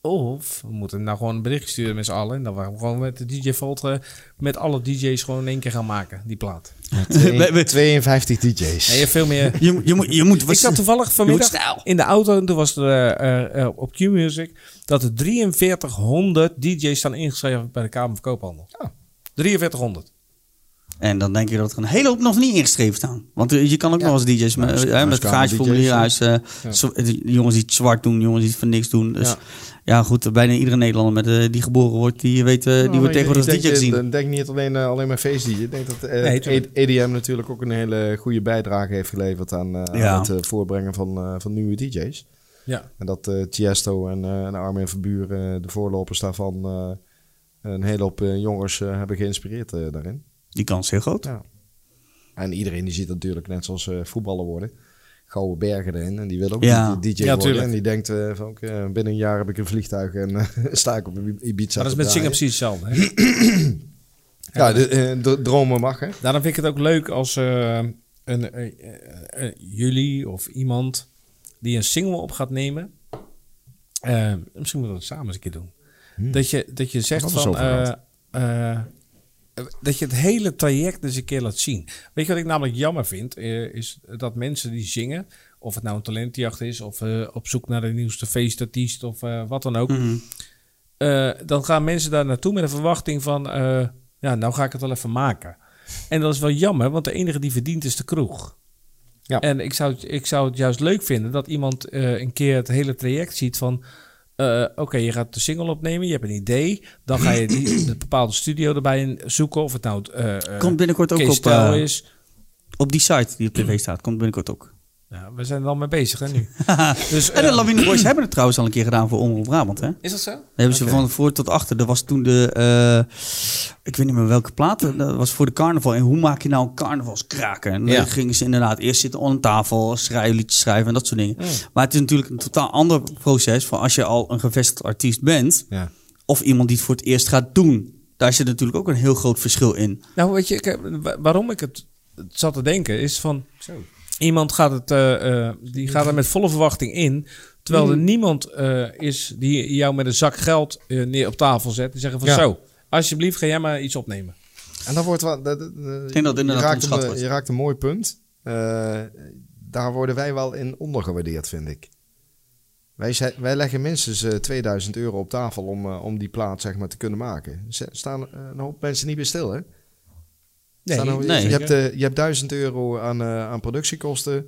Speaker 3: Of we moeten hem nou gewoon een bericht sturen met z'n allen. En dan gaan we gewoon met de DJ Volt eh, met alle DJ's gewoon in één keer gaan maken, die plaat.
Speaker 1: We- we-
Speaker 2: 52 DJ's.
Speaker 3: Nee, veel meer.
Speaker 1: Je, je, moet- je moet...
Speaker 3: Ik zat toevallig vanmiddag
Speaker 1: snel.
Speaker 3: in de auto en toen was er eh, eh, eh, op Q-Music dat er 4300 DJ's staan ingeschreven bij de Kamer van Koophandel. 4300.
Speaker 1: En dan denk je dat er een hele hoop nog niet ingeschreven staan. Want eh, je kan ook
Speaker 2: Ja.
Speaker 1: nog als DJ's met,
Speaker 2: dus-
Speaker 1: eh,
Speaker 2: dus
Speaker 1: met
Speaker 2: kan
Speaker 1: gaatjeformulier
Speaker 2: DJ's,
Speaker 1: uit. eh, zo- eh, Jongens die het zwart doen, jongens die het voor niks doen. Dus ja,
Speaker 2: Ja.
Speaker 1: goed, bijna iedere Nederlander met, eh, die geboren wordt, die, weet, eh,
Speaker 2: Oh,
Speaker 1: die wordt tegenwoordig als DJ gezien.
Speaker 2: Ik denk niet alleen, eh, alleen maar feest DJ. Ik denk dat eh,
Speaker 3: Nee, tuurlijk.
Speaker 2: EDM natuurlijk ook een hele goede bijdrage heeft geleverd aan, eh, aan
Speaker 1: Ja.
Speaker 2: het eh, voorbrengen van, eh, van nieuwe DJ's.
Speaker 3: Ja.
Speaker 2: En dat eh Tiesto en, eh en Armin van Buren, eh, de voorlopers daarvan, eh, een hele hoop eh, jongens eh, hebben geïnspireerd eh, daarin.
Speaker 1: Die kans is heel groot.
Speaker 2: Ja. En iedereen die ziet dat natuurlijk net zoals eh voetballen worden. Gouden bergen erin. En die wil ook
Speaker 1: Ja.
Speaker 2: die DJ
Speaker 3: Ja,
Speaker 2: worden.
Speaker 3: tuurlijk.
Speaker 2: En die denkt eh, van oké, binnen een jaar heb ik een vliegtuig en eh, [laughs] sta ik op Ibiza.
Speaker 3: Maar dat is
Speaker 2: te
Speaker 3: met zingen
Speaker 2: draaien.
Speaker 3: precies hetzelfde. hè.
Speaker 2: Ja, de, eh, d- dromen mag hè.
Speaker 3: Daarom Nou, vind ik het ook leuk als eh, een, eh, eh, eh, jullie of iemand die een single op gaat nemen. eh, misschien moeten we dat samen eens een keer doen. Dat, je, dat je zegt
Speaker 2: Hmm. Wat is
Speaker 3: van.
Speaker 2: over gehad?
Speaker 3: eh, eh, dat je het hele traject eens een keer laat zien. Weet je wat ik namelijk jammer vind? eh, is dat mensen die zingen, of het nou een talentenjacht is, of eh, op zoek naar de nieuwste feestartiest, of eh, wat dan ook.
Speaker 1: Mhm.
Speaker 3: Eh, dan gaan mensen daar naartoe met een verwachting van, eh, ja, nou ga ik het wel even maken. En dat is wel jammer, want de enige die verdient is de kroeg.
Speaker 2: Ja.
Speaker 3: En ik zou, het- ik zou het juist leuk vinden dat iemand eh, een keer het hele traject ziet van... eh, Oké, je gaat de single opnemen, je hebt een idee. Dan ga je
Speaker 1: [clears throat]
Speaker 3: die, de bepaalde studio erbij in zoeken. Of het nou eh eh,
Speaker 1: Komt binnenkort ook
Speaker 3: Kees
Speaker 1: op,
Speaker 3: Stijl
Speaker 1: eh,
Speaker 3: is.
Speaker 1: op die site die op tv staat. Komt binnenkort
Speaker 2: [laughs]
Speaker 1: ook.
Speaker 3: Ja, Nou, we zijn er al mee bezig hè,
Speaker 1: [laughs]
Speaker 3: nu. dus,
Speaker 1: en de
Speaker 3: eh,
Speaker 1: Lawine Boys hebben het trouwens al een keer gedaan voor Omroep Brabant. Hè?
Speaker 3: is dat zo?
Speaker 1: Daar hebben ze van voor tot achter. Dat was toen de. eh, ik weet niet meer welke plaat. Dat was voor de carnaval. En hoe maak je nou een carnavalskraken? En
Speaker 3: Ja.
Speaker 1: dan gingen ze inderdaad eerst zitten aan een tafel, schrijven, liedjes schrijven en dat soort dingen. Maar het is natuurlijk een totaal ander proces van als je al een gevestigd artiest bent.
Speaker 2: Ja.
Speaker 1: Of iemand die het voor het eerst gaat doen. Daar zit natuurlijk ook een heel groot verschil in.
Speaker 3: Nou, weet je, ik heb- wa- waarom ik het zat te denken is van... Iemand gaat, het, eh, eh, die gaat er met volle verwachting in. Terwijl er niemand eh, is die jou met een zak geld eh, neer op tafel zet. En zeggen van
Speaker 2: Ja.
Speaker 3: zo, alsjeblieft ga jij maar iets opnemen.
Speaker 2: En dat wordt wel. dat- dat-
Speaker 1: denk dat
Speaker 2: dat-
Speaker 1: het
Speaker 2: je,
Speaker 1: inderdaad
Speaker 2: raakt
Speaker 1: onderschat
Speaker 2: een,
Speaker 1: wordt.
Speaker 2: je raakt een mooi Eh, punt. Eh, daar worden wij wel in ondergewaardeerd, vind ik. Wij, zijn- wij leggen minstens eh, 2000 euro op tafel om, eh, om die plaat zeg maar, te kunnen maken. Er staan eh, een hoop mensen niet meer stil, hè? Staan er-
Speaker 1: nee.
Speaker 2: je, hebt, eh, je hebt 1000 euro aan, eh, aan productiekosten,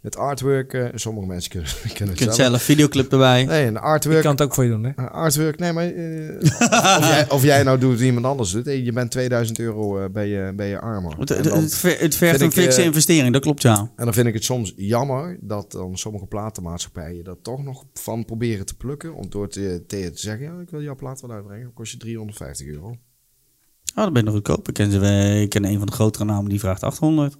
Speaker 2: het artwork. eh, sommige mensen kunnen, [laughs] kunnen
Speaker 1: Je
Speaker 2: het
Speaker 1: kunt
Speaker 2: zelf.
Speaker 1: zelf videoclip erbij.
Speaker 2: Nee, een
Speaker 3: Ik
Speaker 2: artwork.
Speaker 3: kan het ook voor je doen, hè?
Speaker 2: eh, artwork, nee, maar
Speaker 1: [laughs]
Speaker 2: eh, of, jij, of jij nou doet of iemand anders doet. eh, Je bent 2000 euro eh, bij, je, bij je armer.
Speaker 1: Het,
Speaker 2: En
Speaker 1: het,
Speaker 2: dan-
Speaker 1: eh, het ver- het vergt een
Speaker 2: vind ik,
Speaker 1: fikse
Speaker 2: eh,
Speaker 1: investering, dat klopt ja.
Speaker 2: En dan vind ik het soms jammer dat dan sommige platenmaatschappijen dat toch nog van proberen te plukken. Om door te, tegen te zeggen, ja, ik wil jouw plaat wel uitbrengen. Dan kost je 350 euro.
Speaker 1: Oh, dat ben je nog goedkoop. Ik ken, ze, eh, ik ken een van de grotere namen, die vraagt 800.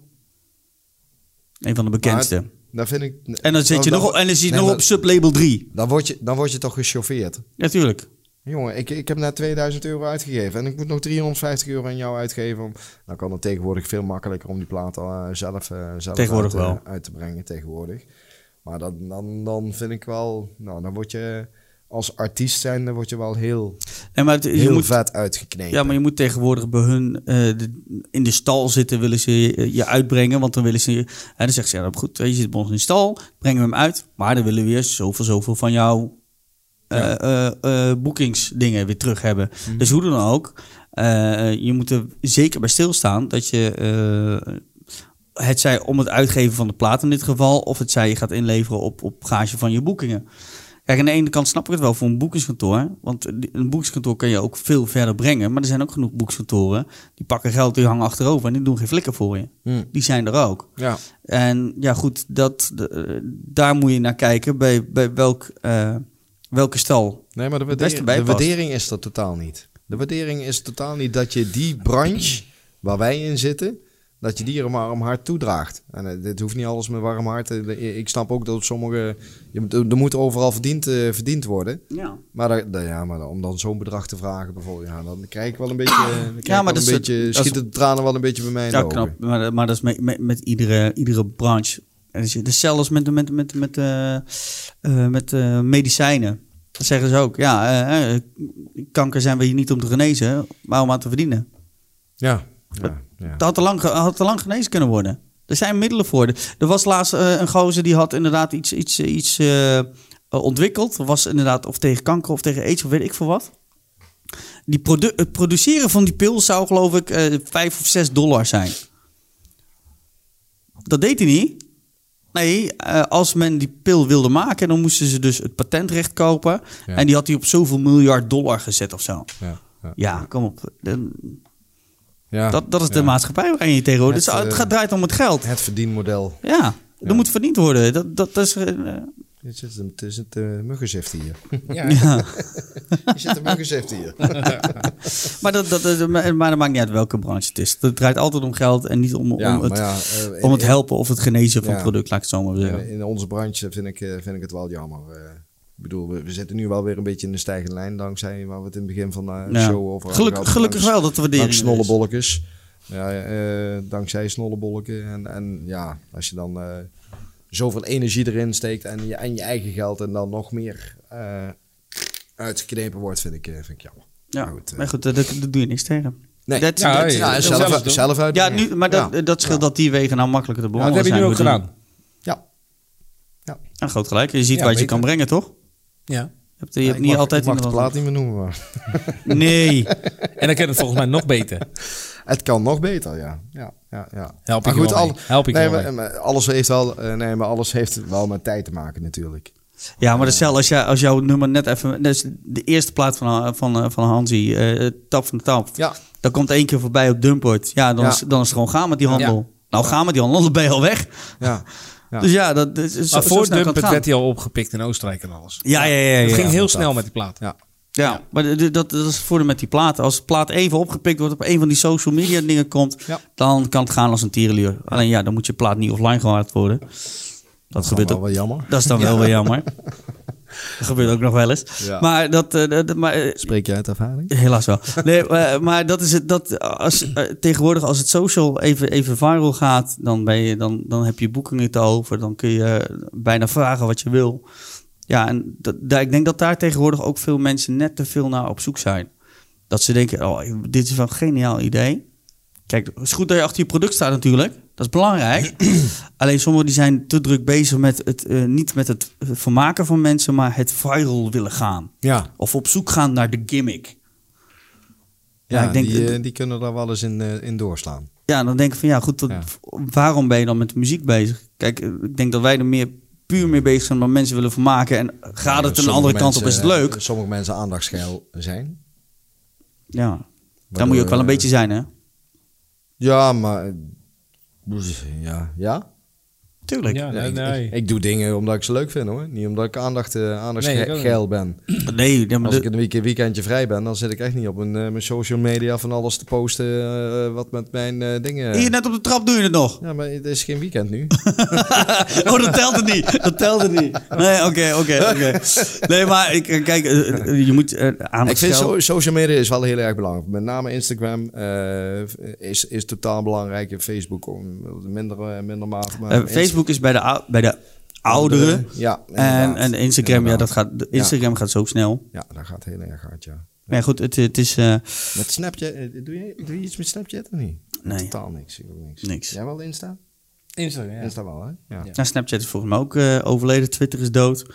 Speaker 1: Een van de bekendste.
Speaker 2: Dan vind ik...
Speaker 1: en dan zit je nog, op- en dan zit je
Speaker 2: Oh, nee,
Speaker 1: nog
Speaker 2: maar-
Speaker 1: op sublabel 3.
Speaker 2: Dan word je, dan word je toch gechauffeerd.
Speaker 1: Natuurlijk.
Speaker 2: Jongen, ik, ik heb net 2000 euro uitgegeven. En ik moet nog 350 euro aan jou uitgeven. Om, nou kan het tegenwoordig veel makkelijker om die plaat eh, zelf, eh, zelf
Speaker 1: Tegenwoordig
Speaker 2: uit, eh,
Speaker 1: wel.
Speaker 2: uit te brengen. Tegenwoordig. Maar dan, dan, dan vind ik wel... Nou, dan word je... Als artiest zijn, dan word je wel heel,
Speaker 1: En maar het- je
Speaker 2: heel
Speaker 1: moet,
Speaker 2: vet uitgeknepen.
Speaker 1: ja, maar je moet tegenwoordig bij hun eh, de- in de stal zitten, willen ze eh, je, je uitbrengen. Want dan willen ze je. En dan zeggen ze, ja, dat is goed, je zit bij ons in de stal, brengen we hem uit. Maar dan willen we weer zoveel, zoveel van jouw eh, eh, eh, boekingsdingen weer terug hebben. Dus hoe dan ook, eh, je moet er zeker bij stilstaan dat je. eh, het zij om het uitgeven van de plaat in dit geval, of het zij je gaat inleveren op, op gage van je boekingen. Kijk, aan de ene kant snap ik het wel voor een boekingskantoor. Want die- een boekingskantoor kan je ook veel verder brengen. Maar er zijn ook genoeg boekingskantoren. Die pakken geld, die hangen achterover en die doen geen flikker voor je.
Speaker 2: Hm.
Speaker 1: Die zijn er ook.
Speaker 2: Ja.
Speaker 1: En ja, goed, dat, de- eh, daar moet je naar kijken bij, bij welk, eh, welke stal.
Speaker 2: Nee, maar de
Speaker 1: Het beste
Speaker 2: waardering,
Speaker 1: bij
Speaker 2: de
Speaker 1: past.
Speaker 2: waardering is dat totaal niet. De waardering is totaal niet dat je die branche waar wij in zitten, dat je die er maar om hart toedraagt. En eh, dit hoeft niet alles met warm hart. Eh, Ik snap ook dat sommige. Je, moet- er moet overal verdiend, eh, verdiend worden.
Speaker 1: Ja,
Speaker 2: Maar, daar- daar- ja, maar om dan zo'n bedrag te vragen, bijvoorbeeld, ja, dan krijg ik wel een beetje. eh, dan krijg
Speaker 1: Ja, maar
Speaker 2: ik wel
Speaker 1: dat
Speaker 2: een
Speaker 1: is-
Speaker 2: beetje
Speaker 1: dat is-
Speaker 2: schieten de tranen wel een beetje bij mij in de
Speaker 1: ja
Speaker 2: ogen.
Speaker 1: knap. Maar, maar dat is met, met, met iedere, iedere branche. En dus je- dus zelfs met, met, met, met, eh, eh, met eh, medicijnen. Dat zeggen ze ook. Ja, eh, eh, kanker zijn we hier niet om te genezen, maar om aan te verdienen.
Speaker 2: Ja. Ja, ja.
Speaker 1: Dat had te lang, ge- had te lang genezen kunnen worden. Er zijn middelen voor. Er- Er was laatst eh, een gozer die had inderdaad iets, iets, eh, iets eh, eh, ontwikkeld. Was inderdaad of tegen kanker of tegen aids of weet ik veel wat. Die produ- het produceren van die pil zou geloof ik eh 5 of 6 dollar zijn. Dat deed hij niet. Nee, eh, als men die pil wilde maken, dan moesten ze dus het patentrecht kopen.
Speaker 2: Ja.
Speaker 1: En die had hij op zoveel miljard dollar gezet of zo.
Speaker 2: Ja, ja.
Speaker 1: Ja, kom op. Dan-
Speaker 2: Ja,
Speaker 1: dat, dat is de
Speaker 2: Ah. ja.
Speaker 1: maatschappij waarin je tegenwoordig... Het,
Speaker 2: Het,
Speaker 1: het
Speaker 2: eh,
Speaker 1: gaat draait om het geld.
Speaker 2: Het verdienmodel.
Speaker 1: Ja, er moet verdiend worden. Dat, dat, dat is... eh,
Speaker 2: Dit zit hem- Het is het eh, muggenzift
Speaker 1: [laughs]
Speaker 2: hier.
Speaker 1: ja.
Speaker 2: Er zit een muggenzift hier.
Speaker 1: maar, dat, dat, dat- maar maar dat maakt niet uit welke branche het is. Het draait altijd om geld en niet om,
Speaker 2: Ja,
Speaker 1: om, het,
Speaker 2: maar ja, eh, in-
Speaker 1: om het helpen of het genezen van
Speaker 2: Ja.
Speaker 1: het product, laat ik het zo maar
Speaker 2: In,
Speaker 1: zeggen.
Speaker 2: in onze branche vind ik, eh, vind ik het wel jammer. eh. ik bedoel, we, we zitten nu wel weer een beetje in de stijgende lijn dankzij waar we het in het begin van eh, de
Speaker 1: Ja.
Speaker 2: show over hadden
Speaker 1: Geluk-
Speaker 2: gehad.
Speaker 1: gelukkig
Speaker 2: Dank-
Speaker 1: wel dat de waardering
Speaker 2: Dank
Speaker 1: er is.
Speaker 2: snollebolletjes. Ja, eh, dankzij snollebolken. En, en ja, als je dan eh, zoveel energie erin steekt en je, en je eigen geld en dan nog meer eh, uitgeknepen wordt, vind ik, eh, vind ik jammer.
Speaker 1: Ja,
Speaker 2: Maar goed, eh.
Speaker 1: maar goed, dat, dat- dat doe je niks tegen.
Speaker 2: Nee.
Speaker 1: Dat-
Speaker 3: Ja,
Speaker 1: dat-
Speaker 3: ja,
Speaker 2: Ja, en
Speaker 3: dat
Speaker 2: zelf,
Speaker 3: zelf
Speaker 2: zelf,
Speaker 3: doen.
Speaker 2: uit.
Speaker 1: ja, nu, maar dat,
Speaker 2: Ja.
Speaker 1: dat scheelt dat die wegen nou makkelijker te
Speaker 3: Ja, dat
Speaker 1: bewandelen
Speaker 3: heb je nu
Speaker 1: zijn.
Speaker 3: ook
Speaker 1: bedoel-
Speaker 3: gedaan.
Speaker 2: Ja.
Speaker 1: Ja, groot gelijk. Je ziet
Speaker 3: Ja,
Speaker 1: wat je
Speaker 3: beter.
Speaker 1: kan brengen, toch? Je
Speaker 3: Ja.
Speaker 1: hebt, je hebt
Speaker 2: Ik
Speaker 1: niet
Speaker 2: mag-
Speaker 1: altijd...
Speaker 2: ik mag de
Speaker 1: iemand
Speaker 2: plaat niet meer noemen, maar
Speaker 1: anders.
Speaker 2: [laughs]
Speaker 1: Nee.
Speaker 3: En dan kan het volgens mij nog beter.
Speaker 2: het kan nog beter, ja. ja, ja, ja.
Speaker 3: Help
Speaker 2: Maar
Speaker 3: ik je wel mee. Help ik je
Speaker 2: nee,
Speaker 3: wel
Speaker 2: maar-
Speaker 3: mee.
Speaker 2: maar alles heeft wel, eh, nee, maar alles heeft wel met tijd te maken natuurlijk.
Speaker 1: Ja, maar dat is hetzelfde als, jij- als jouw nummer net even... Dat is de eerste plaat van, eh, van, van Hansi, eh Tap van de Tap.
Speaker 2: Ja.
Speaker 1: Dan komt één keer voorbij op Dumport. Ja, dan,
Speaker 2: Ja.
Speaker 1: Is, dan is het gewoon gaan met die handel.
Speaker 3: Ja.
Speaker 1: Nou, gaan met die handel, [laughs] dan ben je al weg.
Speaker 3: [laughs]
Speaker 2: Ja. Ja.
Speaker 1: Dus ja, dat dat is zo,
Speaker 3: Maar
Speaker 1: zo
Speaker 3: voor
Speaker 1: snel kan het
Speaker 3: Dumpert
Speaker 1: gaan.
Speaker 3: werd hij al opgepikt in Oostenrijk en alles.
Speaker 1: Ja, ja, ja. ja,
Speaker 3: Het
Speaker 1: ja.
Speaker 3: ging heel
Speaker 2: dat-
Speaker 3: snel met die plaat.
Speaker 2: Ja.
Speaker 1: Ja, maar d- d- dat, dat is het voordeel met die platen. Als de plaat even opgepikt wordt op een van die social media dingen komt...
Speaker 2: Ja.
Speaker 1: dan kan het gaan als een tierenlier. Alleen ja, dan moet je plaat niet offline gehaald worden. Dat,
Speaker 2: Dat is
Speaker 1: gebeurt
Speaker 2: wel
Speaker 1: ook.
Speaker 2: wel jammer.
Speaker 1: Dat is dan wel weer jammer. Dat gebeurt ook nog wel eens.
Speaker 2: Ja.
Speaker 1: Maar dat... eh, dat- maar, eh,
Speaker 2: Spreek je uit ervaring?
Speaker 1: Helaas wel. Nee, maar, maar dat is het. Dat als, eh, tegenwoordig, als het social even, even viral gaat, dan, ben je, dan, dan heb je boekingen te over. Dan kun je eh, bijna vragen wat je wil. Ja, en dat, daar, ik denk dat daar tegenwoordig ook veel mensen net te veel naar op zoek zijn. Dat ze denken: oh, dit is wel een geniaal idee. Kijk, het is goed dat je achter je product staat natuurlijk. Dat is belangrijk. [clears throat] Alleen sommigen die zijn te druk bezig met het, eh, niet met het vermaken van mensen, maar het viral willen gaan.
Speaker 2: Ja.
Speaker 1: Of op zoek gaan naar de gimmick. Ja, ik denk,
Speaker 2: die,
Speaker 1: dat-
Speaker 2: eh, die kunnen daar wel eens in, eh, in doorslaan.
Speaker 1: ja, dan denk ik van ja, goed, dat-
Speaker 2: Ja.
Speaker 1: waarom ben je dan met de muziek bezig? Kijk, eh, ik denk dat wij er meer puur mee bezig zijn, maar mensen willen vermaken. En gaat het een
Speaker 2: Sommige
Speaker 1: andere kant op, is
Speaker 2: mensen- eh,
Speaker 1: het leuk.
Speaker 2: Sommige mensen aandachtsgeil zijn.
Speaker 1: Ja, daar moet je ook wel een beetje zijn, hè?
Speaker 2: Ja, maar... eh, boez- Ja? ja?
Speaker 1: Tuurlijk.
Speaker 3: Ja, nee,
Speaker 2: ik,
Speaker 3: nee.
Speaker 2: ik- ik doe dingen omdat ik ze leuk vind, hoor. Niet omdat ik aandacht, eh
Speaker 3: Nee, ik ook
Speaker 2: aandachtsgeil ben.
Speaker 1: Nee, ja, maar
Speaker 2: Als
Speaker 1: de-
Speaker 2: ik een week- weekendje vrij ben, dan zit ik echt niet op mijn, eh, mijn social media van alles te posten eh, wat met mijn eh, dingen...
Speaker 1: hier nou- net op de trap doe je het nog. [laughs]
Speaker 2: Ja, maar het is geen weekend nu.
Speaker 1: Oh, dat telt het niet. Dat telt het niet. Nee, oké, oké, oké. Nee, maar ik, eh, kijk, eh, eh, je moet eh, aan
Speaker 2: ik
Speaker 1: het
Speaker 2: vind
Speaker 1: geld-
Speaker 2: so- social media is wel heel erg belangrijk. Met name Instagram eh, is, is totaal belangrijk. En Facebook om minder, eh, minder maat. Maar
Speaker 1: Eh,
Speaker 2: Insta-
Speaker 1: Facebook is bij de, ou- bij de ouderen.
Speaker 2: Ja,
Speaker 1: En,
Speaker 2: inderdaad.
Speaker 1: en Instagram, ja,
Speaker 2: Inderdaad.
Speaker 1: dat gaat, Instagram gaat zo snel.
Speaker 2: Ja, dat gaat heel erg hard, ja.
Speaker 1: Maar ja, goed, het, het is... eh,
Speaker 2: Met Snapchat, eh, doe je, doe je iets met Snapchat of niet?
Speaker 1: nee,
Speaker 2: Totaal niks, ik doe niks.
Speaker 1: Niks.
Speaker 2: Jij wel Insta?
Speaker 3: Instagram, ja.
Speaker 2: Insta wel, hè? Ja. ja.
Speaker 1: nou, Snapchat is volgens mij ook eh, overleden. Twitter is dood.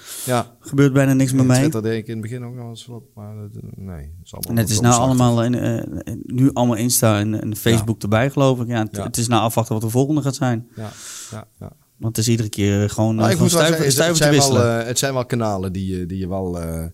Speaker 1: Gebeurt bijna niks meer
Speaker 2: En
Speaker 1: mee.
Speaker 2: Twitter deed ik in het begin ook nog eens wat, maar dat- nee. dat Is allemaal
Speaker 1: En het is nou allemaal, in, eh, nu allemaal Insta en, en Facebook erbij, geloof ik. Ja, het,
Speaker 2: Ja.
Speaker 1: het is nou afwachten wat de volgende gaat zijn.
Speaker 2: Ja, ja, ja.
Speaker 1: Want het is iedere keer eh, gewoon,
Speaker 2: Nou,
Speaker 1: eh,
Speaker 2: ik
Speaker 1: gewoon
Speaker 2: moet wel
Speaker 1: stuiver,
Speaker 2: zeggen,
Speaker 1: stuiver
Speaker 2: het,
Speaker 1: te
Speaker 2: zijn
Speaker 1: wisselen.
Speaker 2: wel, eh, het zijn wel kanalen die, je- die, je, wel, eh,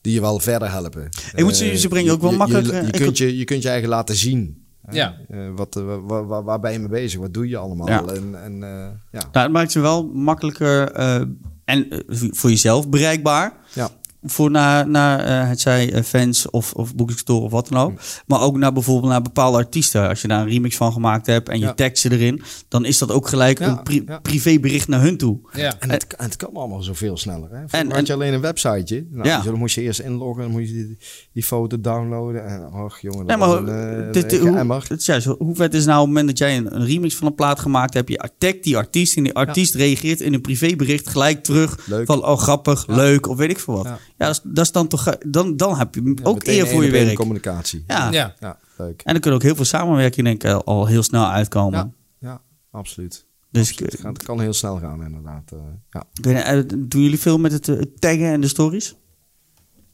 Speaker 2: die je wel verder helpen.
Speaker 1: Ik moet ze-
Speaker 2: Eh,
Speaker 1: ze brengen ook wel
Speaker 2: je- je-
Speaker 1: makkelijk,
Speaker 2: Je,
Speaker 1: eh,
Speaker 2: je,
Speaker 1: ik-
Speaker 2: kunt je, je kunt je eigen laten zien. hè?
Speaker 3: Ja.
Speaker 2: Eh, wat, eh, wa- wa- wa- waar ben je mee bezig? Wat doe je allemaal?
Speaker 1: Ja.
Speaker 2: En, en, eh, ja.
Speaker 1: Nou, het maakt ze wel makkelijker eh, en eh, voor jezelf bereikbaar.
Speaker 2: Ja.
Speaker 1: Voor naar, naar eh, het zij eh, fans of, of boekingstore of wat dan ook. Maar ook naar bijvoorbeeld naar bepaalde artiesten. Als je daar een remix van gemaakt hebt en je
Speaker 2: Ja.
Speaker 1: tagt ze erin, dan is dat ook gelijk
Speaker 2: Ja,
Speaker 1: een pri-
Speaker 2: ja.
Speaker 1: privébericht naar hun toe.
Speaker 3: Ja.
Speaker 2: En het, en het kan allemaal zoveel sneller. Hè?
Speaker 1: En-
Speaker 2: En,
Speaker 1: en-
Speaker 2: had je alleen een websiteje. Nou,
Speaker 1: Ja.
Speaker 2: dus Dan moest je eerst inloggen, dan moest je die, die foto downloaden. En, och jongen,
Speaker 1: Nee,
Speaker 2: dat
Speaker 1: maar
Speaker 2: was een, eh,
Speaker 1: dit,
Speaker 2: een
Speaker 1: hoe,
Speaker 2: geëmmer.
Speaker 1: het is juist, hoe vet is nou op het moment dat jij een, een remix van een plaat gemaakt hebt, je tagt die artiest en die artiest reageert in een privébericht gelijk terug
Speaker 2: Leuk.
Speaker 1: van oh grappig, leuk of weet ik veel wat. Ja,
Speaker 2: Ja.
Speaker 1: dat, is, dat is dan toch dan, dan heb je ook
Speaker 2: Meteen
Speaker 1: eer voor
Speaker 2: één
Speaker 1: je
Speaker 2: op één
Speaker 1: werk.
Speaker 2: communicatie.
Speaker 1: Ja.
Speaker 3: Ja.
Speaker 2: Ja, leuk.
Speaker 1: En er kunnen ook heel veel samenwerkingen denk ik al heel snel uitkomen.
Speaker 2: Ja, ja absoluut.
Speaker 1: Dus ik,
Speaker 2: Absoluut. Het, gaat, het kan heel snel gaan, inderdaad. eh, ja.
Speaker 1: ik weet niet, eh, doen jullie veel met het eh, het taggen en de stories?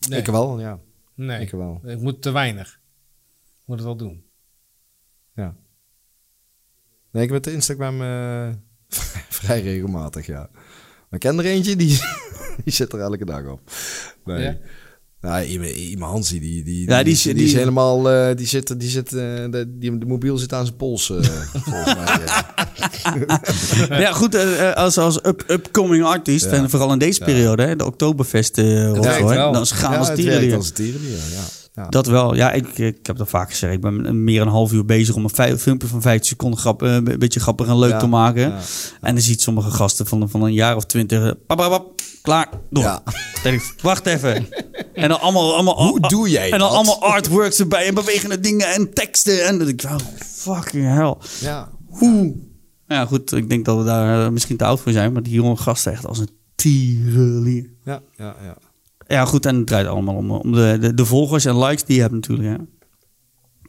Speaker 3: Nee.
Speaker 2: Ik wel, ja.
Speaker 3: Nee.
Speaker 2: Ik wel.
Speaker 3: Ik moet te weinig. Ik moet het wel doen.
Speaker 2: ja. Nee, ik ben op Instagram eh, [laughs] vrij regelmatig, ja. Maar ik ken er eentje, die, [laughs] die zit er elke dag op. Nee.
Speaker 3: Ja?
Speaker 2: Nou, iemand- iemand Hansie, die, die,
Speaker 1: Ja, die
Speaker 2: die,
Speaker 1: is-
Speaker 2: die,
Speaker 1: die-
Speaker 2: is helemaal... eh, die zit, die zit, eh, de, die, de mobiel zit aan zijn pols, eh, [laughs] volgens mij. eh.
Speaker 1: [laughs] ja, goed, eh, eh, als, als up, upcoming artiest,
Speaker 2: Ja.
Speaker 1: en vooral in deze periode, hè, de Oktoberfest eh
Speaker 3: werkt
Speaker 1: rol, hè,
Speaker 3: wel.
Speaker 1: dan gaan
Speaker 2: Ja,
Speaker 1: als
Speaker 2: het
Speaker 1: tieren
Speaker 2: werkt
Speaker 1: hier.
Speaker 2: als een tierenlier, ja. ja.
Speaker 1: Dat wel, ja, ik, ik heb dat vaak gezegd. Ik ben meer een half uur bezig om een fi- filmpje van 15 seconden grap, eh, een beetje grappig en leuk
Speaker 2: Ja,
Speaker 1: te maken.
Speaker 2: ja.
Speaker 1: En dan ziet sommige gasten van, van een jaar of twintig, eh, pap, pap, pap, klaar, door.
Speaker 2: Ja.
Speaker 1: Dan denk ik, wacht even. En dan allemaal, allemaal,
Speaker 2: Hoe doe jij
Speaker 1: En dan
Speaker 2: dat?
Speaker 1: allemaal artworks erbij en bewegende dingen en teksten. En dan denk ik, wow, fucking hell.
Speaker 2: ja.
Speaker 1: Hoe? Ja, goed, ik denk dat we daar eh, misschien te oud voor zijn, maar die jonge gasten echt als een tierenlier.
Speaker 2: Ja, ja, ja.
Speaker 1: Ja, goed, en het draait allemaal om, eh, om de, de, de volgers en likes die je hebt natuurlijk. Hè?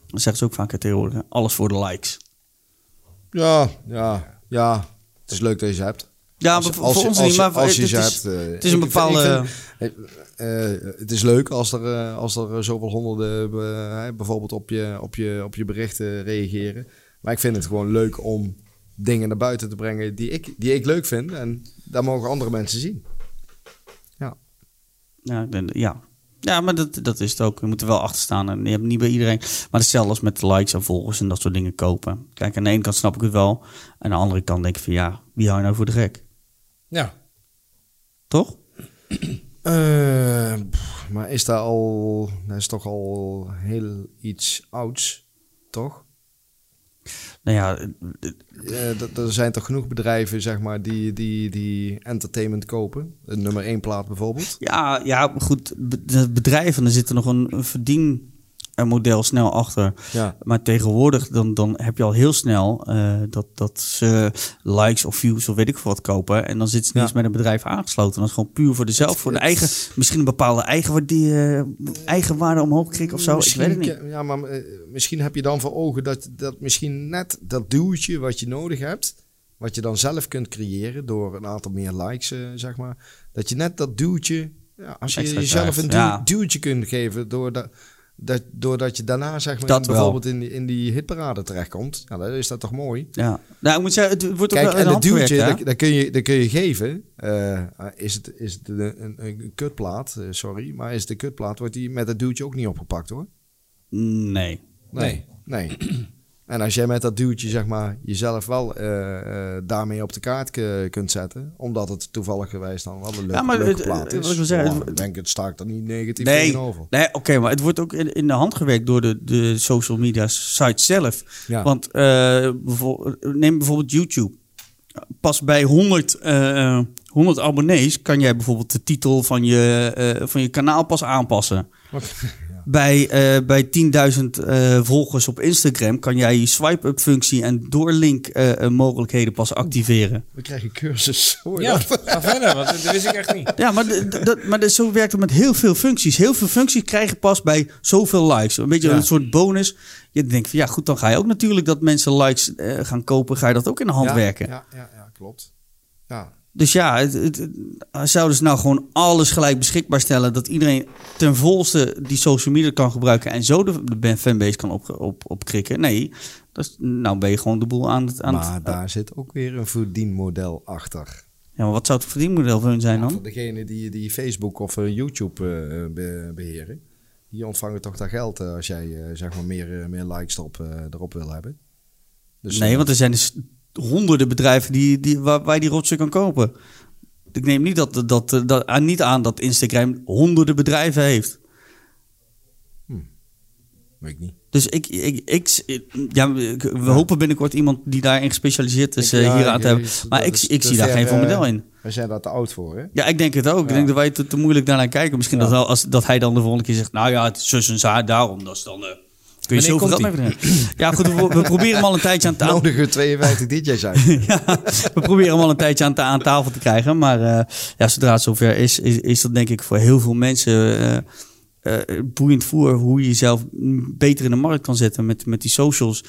Speaker 1: Dat zeggen ze ook vaak hè, tegenwoordig. hè. Alles voor de likes.
Speaker 2: Ja, ja, ja. Het is leuk dat je ze hebt.
Speaker 1: Ja, maar voor- voor ons niet, maar voor-
Speaker 2: als je
Speaker 1: het
Speaker 2: ze
Speaker 1: is-
Speaker 2: hebt. eh,
Speaker 1: het is een
Speaker 2: ik- ik vind- ik
Speaker 1: bepaalde-
Speaker 2: vind, eh, eh, het is leuk als er, eh, als er zoveel honderden eh, hè, bijvoorbeeld op je, op, je, op je berichten reageren. Maar ik vind het gewoon leuk om dingen naar buiten te brengen die ik, die ik leuk vind. En daar mogen andere mensen zien. Ja,
Speaker 1: Ja, ik denk- ja. ja maar dat, dat is het ook. Je moet er wel achter staan. En je hebt niet bij iedereen. Maar hetzelfde als met de likes en volgers en dat soort dingen kopen. Kijk, aan de ene kant snap ik het wel. Aan de andere kant denk ik van ja, wie hou je nou voor de gek?
Speaker 3: Ja.
Speaker 1: Toch?
Speaker 2: Eh, pff, maar is daar al... Dat is toch al heel iets ouds, toch?
Speaker 1: Nou ja,
Speaker 2: Eh, dat- er zijn toch genoeg bedrijven, zeg maar, die, die, die entertainment kopen. Een nummer 1 plaat bijvoorbeeld.
Speaker 1: Ja, ja maar goed, be- de bedrijven, er zit er nog een, een verdien... een model snel achter.
Speaker 2: Ja.
Speaker 1: Maar tegenwoordig dan, dan heb je al heel snel eh, dat, dat ze likes of views of weet ik veel wat kopen. En dan zit ze niet
Speaker 2: Ja.
Speaker 1: eens met een bedrijf aangesloten. Dat is gewoon puur voor dezelf, voor de eigen, misschien een bepaalde eigenwaarde, eigenwaarde omhoog kreeg of zo.
Speaker 2: Misschien
Speaker 1: ik weet het niet.
Speaker 2: ke- Ja, maar eh, misschien heb je dan voor ogen dat, dat misschien net dat duwtje wat je nodig hebt, wat je dan zelf kunt creëren door een aantal meer likes, eh, zeg maar, dat je net dat duwtje, ja, als je
Speaker 1: Extra
Speaker 2: jezelf
Speaker 1: krijgt,
Speaker 2: een duw-
Speaker 1: ja.
Speaker 2: duwtje kunt geven door dat, dat, doordat je daarna, zeg maar,
Speaker 1: Dat
Speaker 2: in-
Speaker 1: wel.
Speaker 2: bijvoorbeeld in die, in die hitparade terechtkomt, ja, dan is dat toch mooi.
Speaker 1: Ja. Nou, ik moet zeggen, het wordt ook
Speaker 2: Kijk,
Speaker 1: wel een
Speaker 2: en het
Speaker 1: handproject,
Speaker 2: duwtje,
Speaker 1: hè?
Speaker 2: dat, dat, kun je, dat kun je geven. Eh, is het, is het een, een, een kutplaat, eh, sorry, maar is het een kutplaat, wordt die met dat duwtje ook niet opgepakt hoor.
Speaker 1: Nee.
Speaker 2: Nee. Nee. En als jij met dat duwtje, zeg maar, jezelf wel eh, eh, daarmee op de kaart ke- kunt zetten. Omdat het toevallig geweest dan wel een leuke,
Speaker 1: Ja, maar
Speaker 2: leuke
Speaker 1: het-
Speaker 2: plaat
Speaker 1: eh,
Speaker 2: is.
Speaker 1: wat ik wil zeggen,
Speaker 2: Ja,
Speaker 1: het-
Speaker 2: ik denk het staat er niet negatief
Speaker 1: Nee,
Speaker 2: tegenover.
Speaker 1: nee oké, maar het wordt ook in, in de hand gewerkt door de, de social media site zelf.
Speaker 2: Ja.
Speaker 1: Want eh, bijvoor- neem bijvoorbeeld YouTube. Pas bij 100, eh, eh, 100 abonnees kan jij bijvoorbeeld de titel van je, eh, van je kanaal pas
Speaker 2: [laughs]
Speaker 1: aanpassen. Bij, eh, bij 10.000 eh, volgers op Instagram kan jij je swipe-up functie en doorlink eh, eh, mogelijkheden pas activeren.
Speaker 2: We krijgen cursus. [laughs] Hoor je
Speaker 3: Ja,
Speaker 2: dat?
Speaker 3: [laughs] ga verder, want dat wist ik echt niet.
Speaker 1: Ja, maar, d- d- dat, maar dat- zo werkt het met heel veel functies. Heel veel functies krijgen pas bij zoveel likes. Een beetje
Speaker 2: Ja.
Speaker 1: een soort bonus. Je denkt van ja, goed, dan ga je ook natuurlijk dat mensen likes eh, gaan kopen. Ga je dat ook in de hand
Speaker 2: Ja,
Speaker 1: werken.
Speaker 2: Ja, ja, ja, klopt. Ja,
Speaker 1: Dus ja, het, het, het- zouden ze nou gewoon alles gelijk beschikbaar stellen. Dat iedereen ten volste die social media kan gebruiken. En zo de, de ban- fanbase kan opkrikken. Op, op opkrikken. nee, dat is, nou ben je gewoon de boel aan het. Aan het-
Speaker 2: maar daar zit ook weer een verdienmodel achter.
Speaker 1: ja, maar wat zou het verdienmodel voor hun zijn
Speaker 2: Voor
Speaker 1: dan?
Speaker 2: degene die, die Facebook of eh, YouTube eh, eh, be- beheren. Die ontvangen toch daar geld eh, als jij eh, zeg maar meer, eh, meer likes erop, eh, erop wil hebben. Dus,
Speaker 1: nee,
Speaker 2: eh,
Speaker 1: want er zijn dus honderden bedrijven die, die, waar, waar je die rotzooi kan kopen. Ik neem niet, dat, dat, dat, aan- niet aan dat Instagram honderden bedrijven heeft.
Speaker 2: Weet ik niet.
Speaker 1: Dus ik, ik, ik, ja, ik- we hopen binnenkort iemand die daarin gespecialiseerd is eh,
Speaker 2: Ja,
Speaker 1: hier aan
Speaker 2: ik-
Speaker 1: te hebben.
Speaker 2: ik-
Speaker 1: Maar
Speaker 2: dat
Speaker 1: ik,
Speaker 2: is
Speaker 1: ik
Speaker 2: te
Speaker 1: zie daar
Speaker 2: ver,
Speaker 1: geen
Speaker 2: eh,
Speaker 1: vermodel in.
Speaker 2: We zijn daar te oud voor, hè?
Speaker 1: Ja, ik denk het ook. Ik denk dat wij te, te moeilijk daarnaar kijken. Misschien dat, wel als, dat hij dan de volgende keer zegt... nou ja, het is zus en zaar, daarom. Dat is dan... eh, kun je
Speaker 3: Wanneer
Speaker 1: zoveel geld
Speaker 3: komt
Speaker 1: mee verdienen. Ja, goed, we, we proberen hem al een
Speaker 2: [laughs]
Speaker 1: tijdje aan het aan,
Speaker 2: Nodige
Speaker 1: [laughs]
Speaker 2: 52 DJ's uit.
Speaker 1: ja, we proberen hem al een tijdje aan, ta- aan tafel te krijgen. Maar eh, ja, zodra het zover is, is, is dat denk ik voor heel veel mensen eh, eh, boeiend voor hoe je jezelf mm, beter in de markt kan zetten met, met die socials.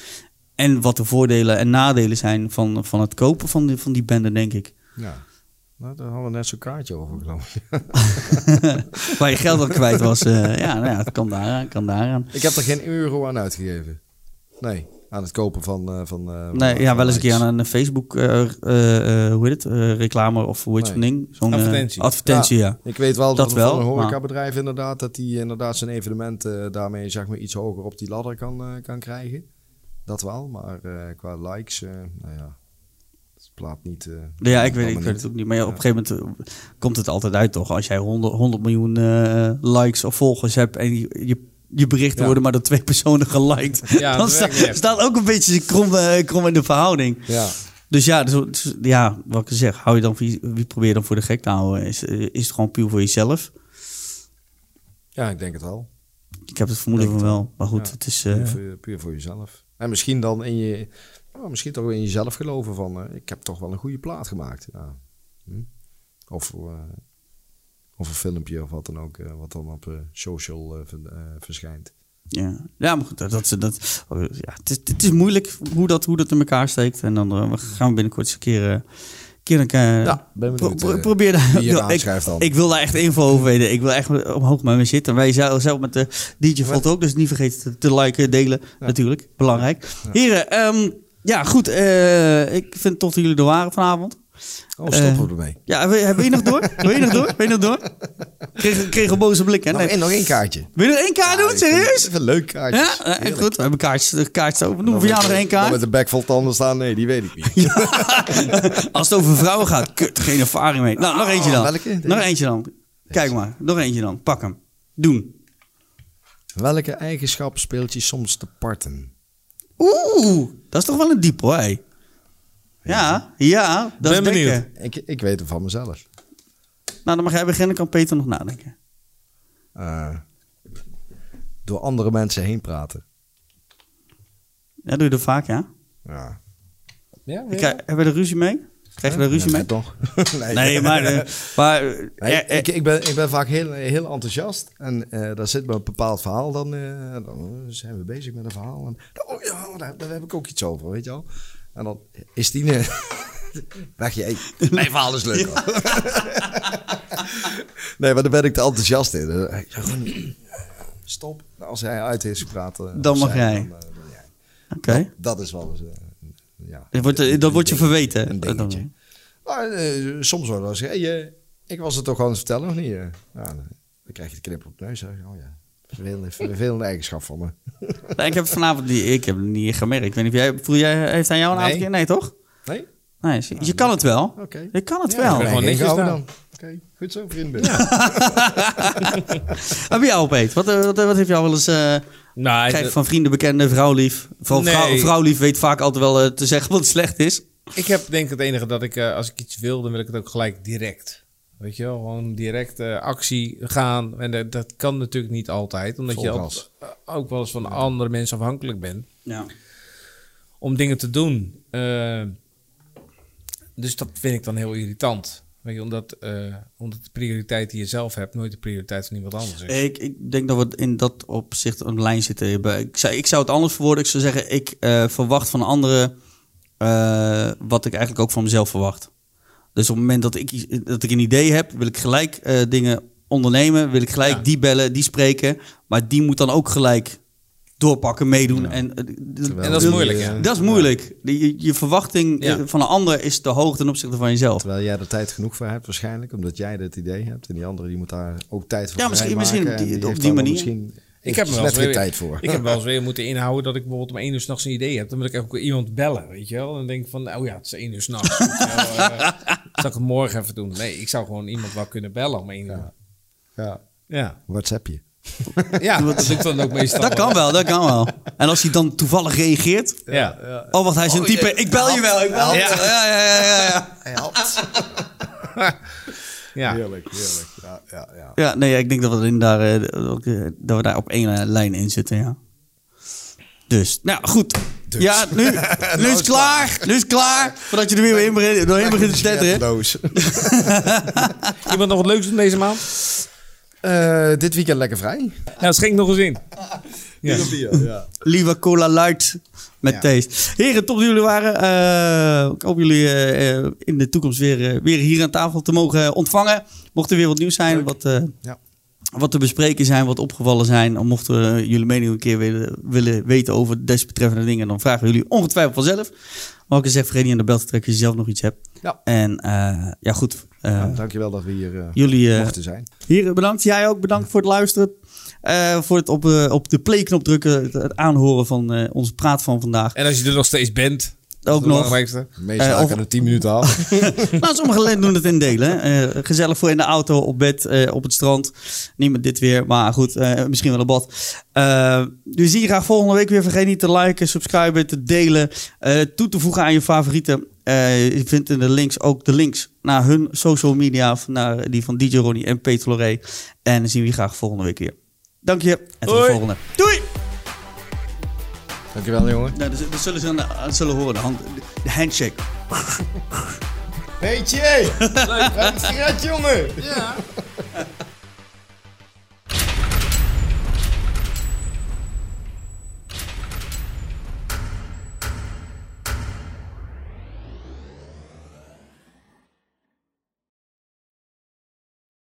Speaker 1: En wat de voordelen en nadelen zijn van, van het kopen van die, van die bende, denk ik. [laughs]
Speaker 2: Ja. Nou, daar hadden we net zo'n kaartje over geloof ik.
Speaker 1: Waar je geld al kwijt was. eh, ja, nou ja, het kan daaraan, kan daaraan.
Speaker 2: Ik heb er geen euro aan uitgegeven. Nee, aan het kopen van... eh, van eh,
Speaker 1: Nee,
Speaker 2: van
Speaker 1: ja, wel eens een
Speaker 2: likes.
Speaker 1: keer aan een Facebook, eh, eh, eh, hoe heet het, Eh, reclame of hoe heet zo'n
Speaker 2: Nee.
Speaker 1: ding? Zo'n, eh,
Speaker 3: Advertentie.
Speaker 1: advertentie, ja.
Speaker 2: Ik weet wel
Speaker 1: Dat
Speaker 2: dat,
Speaker 1: wel,
Speaker 2: wel, een
Speaker 1: maar-
Speaker 2: horecabedrijf inderdaad... dat die inderdaad zijn evenement eh, daarmee zeg maar, iets hoger op die ladder kan, eh, kan krijgen. Dat wel, maar eh, qua likes... eh, nou ja, het plaat niet... eh,
Speaker 1: Ja, ik weet, ik
Speaker 2: op dat
Speaker 1: weet
Speaker 2: moment.
Speaker 1: het ook niet. Maar ja, op een gegeven moment eh, komt het altijd uit, toch? Als jij 100, 100 miljoen eh, likes of volgers hebt en je, je, je berichten
Speaker 2: Ja.
Speaker 1: worden maar door twee [laughs] personen geliked,
Speaker 3: Ja,
Speaker 1: dan
Speaker 3: dat
Speaker 1: sta,
Speaker 3: werkt niet echt.
Speaker 1: staat ook een beetje krom, eh, krom in de verhouding.
Speaker 2: Ja,
Speaker 1: Dus ja, dus- dus- ja, wat ik zeg, hou je dan voor je- wie probeer je dan voor de gek te houden? Is, eh, is het gewoon puur voor jezelf?
Speaker 2: ja, ik denk het wel.
Speaker 1: Ik heb het vermoeden van wel. Maar goed,
Speaker 2: Ja.
Speaker 1: het is. eh,
Speaker 2: Puur voor- puur voor jezelf. En misschien dan in je, oh, misschien toch in jezelf geloven van, eh, ik heb toch wel een goede plaat gemaakt. Ja. Hm? Of, eh, of een filmpje of wat dan ook, eh, wat dan op eh, social eh, ver- eh, verschijnt.
Speaker 1: Ja. ja, maar goed, dat, dat, dat, oh, ja, het, is, het is moeilijk hoe dat, hoe dat in elkaar steekt. En dan eh, we gaan we binnenkort eens een keer, eh, keer een keer...
Speaker 2: Ja, ben benieuwd,
Speaker 1: pro- pro-
Speaker 2: eh,
Speaker 1: probeer daar...
Speaker 2: wie je
Speaker 1: Ja, ik,
Speaker 2: aanschrijft dan.
Speaker 1: ik wil daar echt info over weten. Ik wil echt omhoog met me zitten. Wij zelf, zelf met de DJ Volt ook, dus niet vergeten te, te liken, delen. Natuurlijk, belangrijk. Heren, ehm, ja goed. eh, ik vind het tof dat jullie er waren vanavond.
Speaker 2: Oh, stoppen
Speaker 1: Eh,
Speaker 2: we ermee.
Speaker 1: Ja, hebben hebben we je nog door? Wil je nog door? Wil je nog door? Kreeg, kreeg een boze blik, hè?
Speaker 2: Nou,
Speaker 1: Nee.
Speaker 2: en nog één kaartje.
Speaker 1: Wil je nog één kaart doen?
Speaker 2: Ah, ik vind
Speaker 1: Serieus?
Speaker 2: het Een leuk kaartje.
Speaker 1: Ja, eh, echt goed. We hebben kaartjes, eh, kaartjes open. Doen we voor jou nog één kaart.
Speaker 2: Met de bek vol tanden staan, nee, die weet ik niet.
Speaker 1: [laughs] Als het over vrouwen gaat, kut, geen ervaring mee. Nou, nog eentje dan.
Speaker 2: Oh, welke? Deze?
Speaker 1: Nog eentje dan. Kijk maar, nog eentje dan. Pak hem. Doen.
Speaker 2: Welke eigenschap speelt je soms te parten?
Speaker 1: Oeh, dat is toch wel een diep hoor. hé. Ja, ja, dat
Speaker 3: Ben
Speaker 1: is
Speaker 3: benieuwd.
Speaker 1: denken.
Speaker 2: Ik, ik weet het van mezelf.
Speaker 1: Nou, dan mag jij beginnen, kan Peter nog nadenken.
Speaker 2: Eh, door andere mensen heen praten.
Speaker 1: Ja, doe je dat vaak, ja?
Speaker 2: Ja.
Speaker 3: Ja,
Speaker 1: Ik krijg- hebben we er ruzie mee? Krijg je er ruzie mee?
Speaker 2: Ja, toch? [laughs] nee,
Speaker 1: Nee, maar... eh, maar eh,
Speaker 2: Nee,
Speaker 1: eh,
Speaker 2: ik, ik, ben, ik ben vaak heel, heel enthousiast en eh, daar zit me een bepaald verhaal. Dan, eh, dan zijn we bezig met een verhaal. En, oh ja, daar, daar heb ik ook iets over, weet je wel. En dan is die... eh, [laughs] Dacht je, hey, mijn verhaal is leuk. [laughs] nee, maar daar ben ik te enthousiast in. Dan, eh, Jeroen, Stop. Nou, Als hij uit is gepraat... eh,
Speaker 1: Dan
Speaker 2: of
Speaker 1: mag
Speaker 2: zij,
Speaker 1: jij.
Speaker 2: eh, dan jij.
Speaker 1: Oké.
Speaker 2: Dat is wel eens... eh, ja,
Speaker 1: Dat wordt, eh, dat wordt je verweten.
Speaker 2: een dingetje. Maar, eh, soms wordt wel eens gezegd, hey, eh, ik was het toch gewoon te vertellen of niet? eh? Ja, dan, dan krijg je de knip op de neus. Dan zeg je, oh ja,
Speaker 1: [laughs]
Speaker 2: vervelende, vervelende eigenschap van me.
Speaker 1: Nee, ik heb het vanavond niet, ik heb het niet echt gemerkt. Ik weet niet of jij, voel jij, heeft hij jou een
Speaker 2: Nee.
Speaker 1: aantal keer? Nee, toch?
Speaker 2: Nee?
Speaker 1: Nee, je, je kan het wel.
Speaker 2: Oké.
Speaker 1: Je kan het
Speaker 2: Ja,
Speaker 1: wel.
Speaker 2: nee,
Speaker 3: gewoon
Speaker 2: geen
Speaker 3: netjes
Speaker 2: gehouden
Speaker 3: nou.
Speaker 2: dan. Oké, goed zo, vriend. Ben.
Speaker 1: Ah, Bij jou, Peet, wat, eh, wat, eh, wat heeft jou wel eens... eh
Speaker 3: Nou,
Speaker 1: krijg je
Speaker 3: ik-
Speaker 1: van vrienden, bekenden, vrouwlief? Vooral
Speaker 3: Nee.
Speaker 1: vrouw, vrouwlief weet vaak altijd wel eh, te zeggen wat slecht is.
Speaker 3: ik heb denk ik het enige dat ik, eh, als ik iets wil, dan wil ik het ook gelijk direct. Weet je wel, gewoon direct eh, actie gaan. En dat, dat kan natuurlijk niet altijd, omdat
Speaker 2: Vol
Speaker 3: je al-
Speaker 2: gas.
Speaker 3: eh, ook wel eens van andere mensen afhankelijk bent.
Speaker 1: Ja.
Speaker 3: om dingen te doen. Eh, dus dat vind ik dan heel irritant. Weet je, omdat, eh, omdat de prioriteit die je zelf hebt nooit de prioriteit van iemand anders is.
Speaker 1: Ik, ik denk dat we in dat opzicht een lijn zitten. Bij- Ik zou, ik zou het anders verwoorden. Ik zou zeggen, ik eh, verwacht van anderen eh, wat ik eigenlijk ook van mezelf verwacht. Dus op het moment dat ik, iets- dat ik een idee heb, wil ik gelijk eh, dingen ondernemen. Wil ik gelijk
Speaker 3: Ja.
Speaker 1: die bellen, die spreken. Maar die moet dan ook gelijk doorpakken, meedoen. En, eh,
Speaker 3: En dat is moeilijk, ja.
Speaker 1: dat is moeilijk. Die- Je, je verwachting
Speaker 3: eh, Ja.
Speaker 1: eh, van een ander is te hoog ten opzichte van jezelf.
Speaker 2: Terwijl jij er tijd genoeg voor hebt waarschijnlijk, omdat jij dat idee hebt. En die andere die moet daar ook tijd voor
Speaker 1: Ja, misschien- misschien
Speaker 2: vrijmaken. En
Speaker 1: die- op
Speaker 2: heeft
Speaker 1: die
Speaker 2: daar wel
Speaker 1: manier.
Speaker 2: Misschien
Speaker 3: Ik heb, me wel
Speaker 2: net
Speaker 3: eens
Speaker 2: geen
Speaker 3: weer,
Speaker 2: tijd voor.
Speaker 3: ik heb wel eens weer moeten inhouden dat ik bijvoorbeeld om één uur s'nachts een idee heb. Dan wil ik ook iemand bellen, weet je wel. Dan denk ik van, oh ja, het is één uur s'nachts. weet je wel, eh, Zal ik het morgen even doen? Nee, ik zou gewoon iemand wel kunnen bellen om één uur.
Speaker 2: Ja,
Speaker 3: Ja,
Speaker 2: WhatsAppje.
Speaker 3: ja dat doe ik dan ook meestal.
Speaker 1: Dat kan wel, dat kan wel. En als hij dan toevallig reageert,
Speaker 3: Ja.
Speaker 1: Oh, wacht, hij is een type. ik bel je wel, ik bel je wel. Ja, ja, ja, ja, ja.
Speaker 3: Ja.
Speaker 2: Heerlijk, heerlijk. Ja, ja, ja.
Speaker 1: Ja, nee, ik denk dat we, in daar, eh, dat ik, eh, dat we daar op één eh, lijn in zitten, ja. Dus, nou goed. Ja, nu, [laughs] nu is het Nou, klaar. Nu is het klaar. Voordat je er weer in begint, doorheen begint te tetteren.
Speaker 2: Zetloos.
Speaker 3: Iemand nog wat leuks doen deze maand?
Speaker 2: Eh, dit weekend lekker vrij.
Speaker 3: Nou, schenk nog eens in. Ja.
Speaker 2: [laughs] ja.
Speaker 1: Lieve Cola Light met deze. Heren, top dat jullie waren. Eh, ik hoop jullie eh, eh, in de toekomst weer, eh, weer hier aan tafel te mogen eh, ontvangen. Mocht er weer wat nieuws zijn, wat, eh,
Speaker 2: Ja.
Speaker 1: wat te bespreken zijn, wat opgevallen zijn. En mochten we jullie mening een keer willen, willen weten over desbetreffende dingen, dan vragen we jullie ongetwijfeld vanzelf. Maar ook eens even vergeet niet aan de bel te trekken als je zelf nog iets hebt.
Speaker 2: Ja.
Speaker 1: En eh, ja, goed. eh,
Speaker 2: Nou, dankjewel dat we hier eh,
Speaker 1: Jullie eh,
Speaker 2: mochten zijn.
Speaker 1: Heren, bedankt. Jij ook bedankt voor het luisteren. Eh, voor het op, eh, op de playknop drukken. Het, het aanhoren van eh, onze praat van vandaag.
Speaker 3: En als je er nog steeds bent,
Speaker 1: Ook nog.
Speaker 3: belangrijkste.
Speaker 1: Eh,
Speaker 2: Meestal uh,
Speaker 1: of-
Speaker 2: kan het 10 minuten
Speaker 1: [laughs]
Speaker 2: af.
Speaker 1: Nou, sommige leden doen het in delen. hè. Eh, gezellig voor in de auto, op bed, eh, op het strand. Niet met dit weer, maar goed, eh, misschien wel een bad. Eh, we zien je graag volgende week weer. Vergeet niet te liken, subscriben, te delen. eh, toe te voegen aan je favorieten. Eh, je vindt in de links ook de links naar hun social media. of Naar die van DJ Ronnie en Peet Floré. En dan zien we je graag volgende week weer. Dank je en tot de
Speaker 3: Hoi.
Speaker 1: volgende. Doei!
Speaker 2: Dankjewel, jongen.
Speaker 1: Nou, dat, dat zullen ze aan de- aan zullen horen. De, hand, de handshake.
Speaker 2: Weet je, hey. we hebben het gered, jongen.
Speaker 3: Ja.